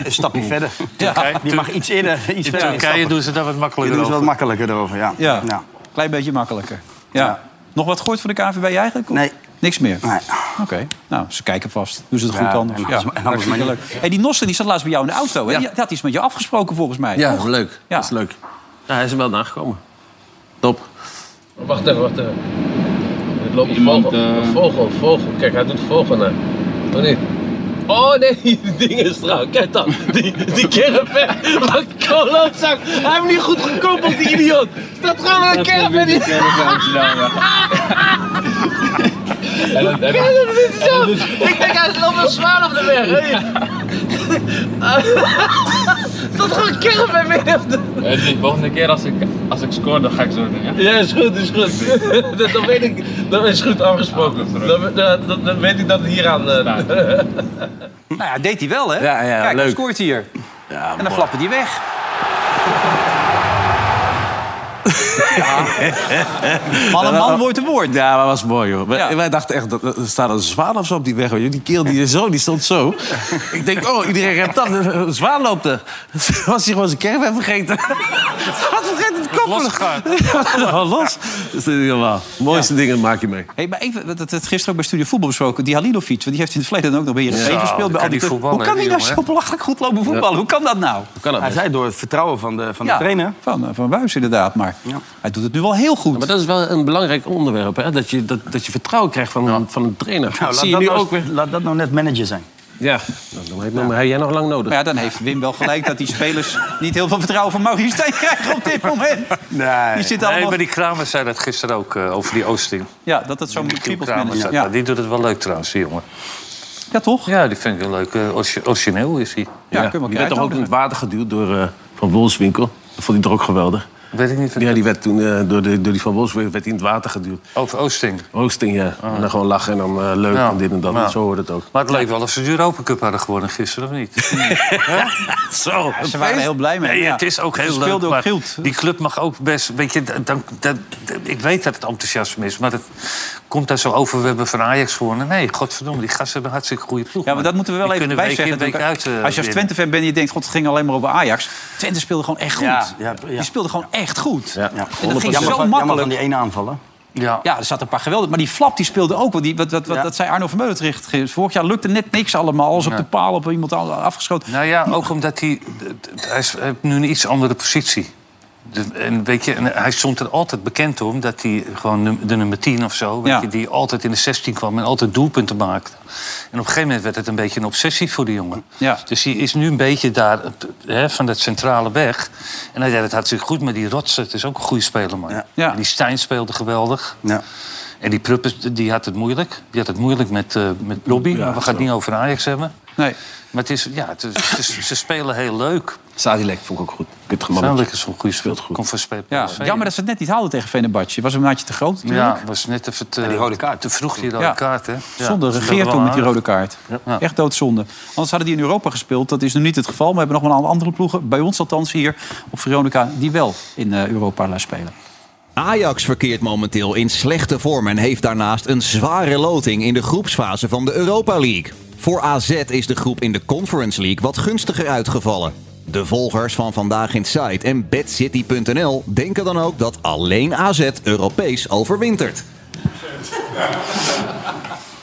[SPEAKER 4] een stapje verder.
[SPEAKER 7] Turkije-
[SPEAKER 4] die mag iets eerder. Iets
[SPEAKER 7] In
[SPEAKER 4] verder
[SPEAKER 7] Turkije
[SPEAKER 4] instappen.
[SPEAKER 7] doen ze dat wat
[SPEAKER 4] Die
[SPEAKER 7] makkelijker
[SPEAKER 4] doen ze wat
[SPEAKER 7] over.
[SPEAKER 4] makkelijker erover, ja.
[SPEAKER 2] Ja. Klein beetje makkelijker. Ja. Nog wat gehoord van de KVB eigenlijk? Nee. Niks meer? Oké. Nou, ze kijken vast. Doen ze het goed
[SPEAKER 4] Ja,
[SPEAKER 2] anders.
[SPEAKER 4] en
[SPEAKER 2] Ja,
[SPEAKER 4] anders- en anders maar
[SPEAKER 2] hartstikke
[SPEAKER 4] niet.
[SPEAKER 2] leuk. Hey, die Nossen die zat laatst bij jou in de auto. hè? Die had iets met je afgesproken volgens mij.
[SPEAKER 3] Ja,
[SPEAKER 2] toch?
[SPEAKER 3] leuk.
[SPEAKER 2] Ja.
[SPEAKER 3] Dat is leuk. Ja, hij is er wel nagekomen. Top.
[SPEAKER 1] Wacht even, wacht even. Het loopt een vogel. Een vogel, een vogel. Kijk, hij doet de vogel na. Oh nee. Oh nee, die ding is trouw. Kijk dan. Die, die caravan. Wat kolootzak. Hij heeft hem niet goed gekoppeld, die idioot. Staat gewoon aan een caravan. Die... Hoe kan dat niet zo? Ik denk, hij loopt wel zwaar op de weg. hè? Staat gewoon een caravan midden op de
[SPEAKER 20] De volgende keer als ik, als ik scoor, dan ga ik zo doen, ja?
[SPEAKER 1] Ja, is goed, is goed. dat, dat weet ik, dat is goed afgesproken. Dan dat, dat, dat weet ik dat het hieraan. aan.
[SPEAKER 2] Nou ja, deed hij wel, hè?
[SPEAKER 1] Ja, ja,
[SPEAKER 2] Kijk, dan
[SPEAKER 1] leuk.
[SPEAKER 2] scoort hij hier. en dan
[SPEAKER 1] mooi.
[SPEAKER 2] flappen die weg.
[SPEAKER 3] Man
[SPEAKER 2] een man wordt een woord.
[SPEAKER 3] Ja, maar was mooi, joh. Wij, wij dachten echt, dat- er staat een zwaan of zo op die weg. hoor. Die keel die zo, die stond zo. Ik denk, oh, iedereen remt dat. Een zwaan loopt er. Was hij gewoon zijn caravan vergeten? Had vergeten het koppelen. Ja, los. Dat is niet helemaal. Mooiste dingen maak je mee.
[SPEAKER 2] Hey, maar even, dat dat gisteren ook bij Studio Voetbal besproken. Die Halilovic, want die heeft in het verleden ook nog bij Heerenveen
[SPEAKER 4] Zo,
[SPEAKER 2] gespeeld.
[SPEAKER 4] die
[SPEAKER 2] Bij
[SPEAKER 4] kan
[SPEAKER 2] al die
[SPEAKER 4] niet
[SPEAKER 2] clubs.
[SPEAKER 4] voetballen,
[SPEAKER 2] Hoe kan
[SPEAKER 4] hè,
[SPEAKER 2] die
[SPEAKER 4] die
[SPEAKER 2] nou
[SPEAKER 4] jongen,
[SPEAKER 2] zo belachelijk goed lopen voetballen?
[SPEAKER 4] Ja.
[SPEAKER 2] Hoe kan dat nou?
[SPEAKER 4] Hij zei door het vertrouwen van de, van de
[SPEAKER 2] Ja,
[SPEAKER 4] trainer.
[SPEAKER 2] Van, eh, van Buis inderdaad, maar hij doet het nu wel heel goed.
[SPEAKER 3] Maar dat is wel een belangrijk onderwerp, hè? Dat je, dat, dat je vertrouwen krijgt van, van een trainer.
[SPEAKER 4] Nou,
[SPEAKER 3] dat
[SPEAKER 4] laat,
[SPEAKER 3] zie je
[SPEAKER 4] dat
[SPEAKER 3] nu
[SPEAKER 4] nou,
[SPEAKER 3] ook weer.
[SPEAKER 4] laat dat nou net manager zijn.
[SPEAKER 3] Ja, nou, dan heb, dan heb jij nog lang nodig.
[SPEAKER 2] Maar ja, dan heeft Wim wel gelijk dat die spelers niet heel veel vertrouwen van Maurice Stijn krijgen op dit moment.
[SPEAKER 4] Nee.
[SPEAKER 2] Die zit
[SPEAKER 7] Nee,
[SPEAKER 2] allemaal...
[SPEAKER 7] maar die Kramer zei dat gisteren ook eh, over die Oosting.
[SPEAKER 2] Ja, dat het zo'n
[SPEAKER 7] Michiel
[SPEAKER 2] kriebelt
[SPEAKER 7] Kramer
[SPEAKER 2] manager.
[SPEAKER 7] zei
[SPEAKER 2] Ja.
[SPEAKER 7] dat. Die doet het wel leuk trouwens, die jongen.
[SPEAKER 2] Ja, toch?
[SPEAKER 7] Ja, die vind ik wel leuk. Eh, orgi- Origineel is hij.
[SPEAKER 3] Ja, die werd toch ook in het water geduwd door eh, Van Wolfswinkel? Dat vond hij toch ook geweldig?
[SPEAKER 7] Weet ik niet.
[SPEAKER 3] Ja, die werd toen eh, door, de, door die Van Wolfswinkel werd hij in het water geduwd.
[SPEAKER 7] Over Oosting.
[SPEAKER 3] Oosting, ja. En dan gewoon lachen en dan eh, leuk
[SPEAKER 7] Ja.
[SPEAKER 3] en dit en dat.
[SPEAKER 7] Ja.
[SPEAKER 3] Zo hoort het ook.
[SPEAKER 7] Maar het leek wel of ze de Europa Cup hadden gewonnen gisteren, of niet? Zo,
[SPEAKER 2] Ja, ze waren er heel blij mee,
[SPEAKER 7] Nee,
[SPEAKER 2] ja.
[SPEAKER 7] Het is ook
[SPEAKER 2] Ze
[SPEAKER 7] heel
[SPEAKER 2] speelden
[SPEAKER 7] leuk.
[SPEAKER 2] ook
[SPEAKER 7] maar
[SPEAKER 2] gild.
[SPEAKER 7] die club mag ook best... Weet je, dan, dan, dan- ik weet dat het enthousiasme is, maar dat komt daar zo over. We hebben van Ajax gewonnen. Nee, godverdomme, die gasten hebben een hartstikke goede ploeg.
[SPEAKER 2] Ja, maar dat moeten we wel
[SPEAKER 7] Die
[SPEAKER 2] even
[SPEAKER 7] kunnen
[SPEAKER 2] bij
[SPEAKER 7] week in,
[SPEAKER 2] zeggen.
[SPEAKER 7] week uit,
[SPEAKER 2] natuurlijk.
[SPEAKER 7] eh,
[SPEAKER 2] als je als
[SPEAKER 7] winnen.
[SPEAKER 2] Twente-fan bent en je denkt, god, het ging alleen maar over Ajax. Twente speelde gewoon echt goed.
[SPEAKER 4] Ja, ja, ja.
[SPEAKER 2] Die speelde gewoon echt goed. En dat
[SPEAKER 4] 100%.
[SPEAKER 2] ging
[SPEAKER 4] Jammer
[SPEAKER 2] zo
[SPEAKER 4] van- jammer van
[SPEAKER 2] makkelijk.
[SPEAKER 4] die ene aanvallen.
[SPEAKER 7] Ja.
[SPEAKER 2] ja, er zaten een paar geweldig. Maar die flap die speelde ook. Want die, wat, wat, wat, Dat zei Arno van Meulentricht. gisteren. Vorig jaar lukte net niks allemaal. Alles op
[SPEAKER 7] Ja.
[SPEAKER 2] de paal, op iemand al- afgeschoten.
[SPEAKER 7] Nou ja, ook omdat hij... d- d- Hij is- hij heeft nu een iets andere positie. Dus, en weet je, en hij stond er altijd bekend om dat hij gewoon num- de nummer 10 of zo... Weet
[SPEAKER 2] Ja.
[SPEAKER 7] je, die altijd in de 16 kwam en altijd doelpunten maakte. En op een gegeven moment werd het een beetje een obsessie voor die jongen.
[SPEAKER 2] Ja.
[SPEAKER 7] Dus hij is nu een beetje daar hè, van dat centrale weg. En hij deed het hartstikke goed, maar die Rotsen, het is ook een goede speler, man. En die Stijn speelde geweldig. En die Pruppers, die had het moeilijk. Die had het moeilijk met, eh met Robbie. maar we gaan het niet over Ajax hebben.
[SPEAKER 2] Nee.
[SPEAKER 7] Maar het is, ja, het is, het is- ze spelen heel leuk.
[SPEAKER 3] Sadilek vond ik ook goed. Kut
[SPEAKER 7] Sadilek is een goede speelt goed. Komt van spelen.
[SPEAKER 2] Ja, jammer dat ze het net niet haalden tegen Fenerbahce. Was een maatje te groot natuurlijk.
[SPEAKER 7] Ja, was net even te,
[SPEAKER 2] Ja, die rode kaart.
[SPEAKER 7] te vroeg die rode
[SPEAKER 2] Ja.
[SPEAKER 7] kaart. Hè? Ja.
[SPEAKER 2] Zonde,
[SPEAKER 7] Ze
[SPEAKER 2] regeer
[SPEAKER 7] speelden
[SPEAKER 2] toen
[SPEAKER 7] wel
[SPEAKER 2] met die
[SPEAKER 7] aardig.
[SPEAKER 2] rode kaart.
[SPEAKER 7] Ja.
[SPEAKER 2] Echt doodzonde. Anders hadden die in Europa gespeeld. Dat is nu niet het geval. Maar we hebben nog wel een aantal andere ploegen, bij ons althans hier op Veronica, die wel in eh, Europa laten spelen.
[SPEAKER 21] Ajax verkeert momenteel in slechte vorm en heeft daarnaast een zware loting in de groepsfase van de Europa League. Voor AZ is de groep in de Conference League wat gunstiger uitgevallen. De volgers van Vandaag in Sight en BadCity.nl denken dan ook dat alleen AZ Europees overwintert.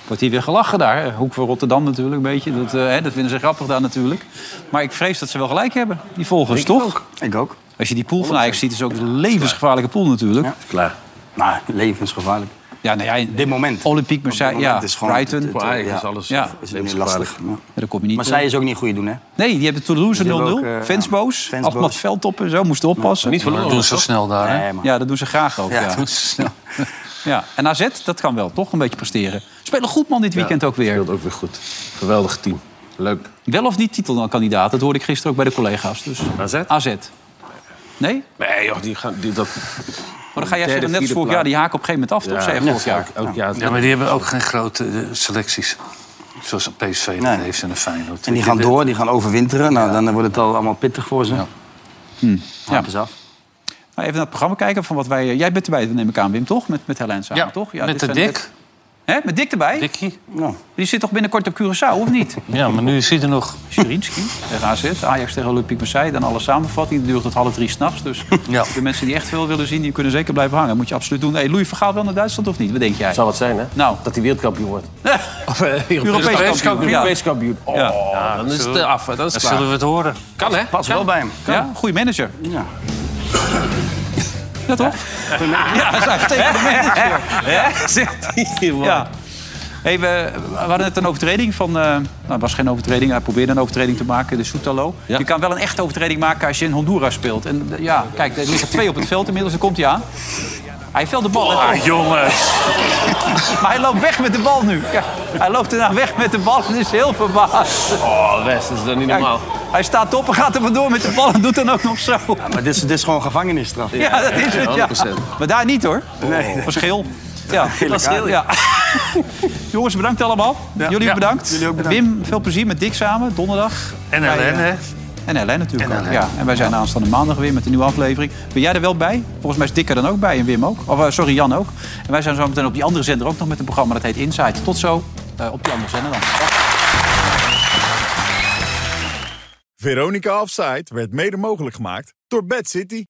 [SPEAKER 2] Wordt hier weer gelachen daar. Hoek voor Rotterdam natuurlijk een beetje. Dat, eh, hè, dat vinden ze grappig daar natuurlijk. Maar ik vrees dat ze wel gelijk hebben, die volgers, toch?
[SPEAKER 4] Ik ook.
[SPEAKER 2] Als je die pool van Ajax ziet, is ook een levensgevaarlijke pool natuurlijk.
[SPEAKER 3] Klaar.
[SPEAKER 4] Nou, levensgevaarlijk.
[SPEAKER 2] Ja, nou ja, dit moment. Olympique Marseille, ja,
[SPEAKER 4] Het is gewoon-
[SPEAKER 2] Brighton.
[SPEAKER 4] het- het- ja.
[SPEAKER 2] Ja.
[SPEAKER 4] is nu lastig. Ja.
[SPEAKER 2] daar kom je niet
[SPEAKER 4] Maar zij
[SPEAKER 2] door.
[SPEAKER 4] is ook niet goed doen, hè?
[SPEAKER 2] Nee, die hebben Toulouse 0-0.
[SPEAKER 4] Die hebben ook, eh,
[SPEAKER 2] fans
[SPEAKER 4] ja,
[SPEAKER 2] boos.
[SPEAKER 4] fans
[SPEAKER 2] Allemaal
[SPEAKER 4] boos.
[SPEAKER 2] veldtoppen en zo. Moesten oppassen.
[SPEAKER 7] Niet verloren, Dat doen ze toch? snel daar, hè?
[SPEAKER 4] Nee, man.
[SPEAKER 2] ja, dat doen ze graag ook.
[SPEAKER 4] Ja,
[SPEAKER 2] Ja,
[SPEAKER 4] dat doen
[SPEAKER 2] ja. En AZ, dat kan wel toch een beetje presteren. Spelen goed man dit weekend ook weer.
[SPEAKER 3] Speelt ook weer goed. Geweldig team. Leuk.
[SPEAKER 2] Wel of niet titelkandidaat? Dat hoorde ik gisteren ook bij de collega's. Dus.
[SPEAKER 3] AZ?
[SPEAKER 2] AZ. Nee?
[SPEAKER 3] eh, Nee, joh, die gaan, die, dat,
[SPEAKER 2] Maar dan ga jij zeggen, net als vorig jaar, die haak op een gegeven moment af, toch? Zei je vorig jaar.
[SPEAKER 7] ja, maar die hebben ook geen grote eh, selecties. Zoals een PSV dat heeft en een Feyenoord.
[SPEAKER 4] En die gaan door, die gaan overwinteren. Nou, dan wordt het al allemaal pittig voor ze.
[SPEAKER 2] Ja. Nou, even naar het programma kijken van wat wij... eh, Jij bent erbij, neem ik aan, Wim, toch? Met, met Helene samen,
[SPEAKER 7] Ja,
[SPEAKER 2] toch?
[SPEAKER 7] met
[SPEAKER 2] dit
[SPEAKER 7] de
[SPEAKER 2] zijn-
[SPEAKER 7] Dick.
[SPEAKER 2] Hè, met Dick erbij?
[SPEAKER 7] Dikkie.
[SPEAKER 2] Die zit toch binnenkort op Curaçao, of niet?
[SPEAKER 7] Ja, maar nu zit er nog...
[SPEAKER 2] Sjurinski tegen AZ, Ajax tegen Olympique Marseille. Dan alle samenvatting. Die duurt tot half drie s'nachts. Dus de mensen die echt veel willen zien, die kunnen zeker blijven hangen. Moet je absoluut doen. Hey, Louis vergaat wel naar Duitsland of niet? Wat denk jij?
[SPEAKER 6] Zou wat zijn, hè?
[SPEAKER 2] Nou.
[SPEAKER 6] Dat hij wereldkampioen wordt. Of eh,
[SPEAKER 2] Europees kampioen, ja.
[SPEAKER 6] Europees kampioen. Oh, dan is het af. Dat is
[SPEAKER 7] Dan
[SPEAKER 6] klaar.
[SPEAKER 7] zullen we het horen.
[SPEAKER 6] Kan, hè?
[SPEAKER 7] Pas wel bij hem.
[SPEAKER 2] Ja, goede manager.
[SPEAKER 4] Ja.
[SPEAKER 2] Ja, toch? Ja, dat is uitstekend manager. Ja, zegt hij. Ja. Hey, we, we hadden net een overtreding van... eh, nou, het was geen overtreding. Hij probeerde een overtreding te maken, de Soetalo. Je kan wel een echte overtreding maken als je in Honduras speelt. En eh, ja, kijk, er liggen twee op het veld inmiddels. Dan komt hij aan. Hij velt de bal.
[SPEAKER 7] Ah, jongens.
[SPEAKER 2] Maar hij loopt weg met de bal nu. Ja, hij loopt daarna weg met de bal en is heel verbaasd.
[SPEAKER 6] Oh, West, dat is dan niet
[SPEAKER 2] Kijk,
[SPEAKER 6] normaal.
[SPEAKER 2] hij staat op en gaat er vandoor met de bal en doet dan ook nog zo. Ja,
[SPEAKER 4] Maar dit is, dit is gewoon gevangenisstraf.
[SPEAKER 2] dat is het, ja.
[SPEAKER 4] 100%.
[SPEAKER 2] Maar daar niet, hoor.
[SPEAKER 4] Nee.
[SPEAKER 2] Dat was geel. Ja,
[SPEAKER 4] Gele
[SPEAKER 2] was geel, ja. Jongens, bedankt allemaal. Jullie
[SPEAKER 7] Ja.
[SPEAKER 2] bedankt.
[SPEAKER 7] Jullie ook bedankt.
[SPEAKER 2] Wim, veel plezier met Dick samen, donderdag.
[SPEAKER 7] En
[SPEAKER 2] Bij,
[SPEAKER 7] Helene,
[SPEAKER 2] eh,
[SPEAKER 7] hè?
[SPEAKER 2] En Helene natuurlijk.
[SPEAKER 7] En
[SPEAKER 2] ook,
[SPEAKER 7] Helene.
[SPEAKER 2] Ja. En wij zijn aanstaande maandag weer met een nieuwe aflevering. Ben jij er wel bij? Volgens mij is Dick er dan ook bij en Wim ook. Of eh, sorry, Jan ook. En wij zijn zo meteen op die andere zender ook nog met een programma. Dat heet Insight. Tot zo eh, op die andere zender dan.
[SPEAKER 5] Veronica Offside werd mede mogelijk gemaakt door Bad City.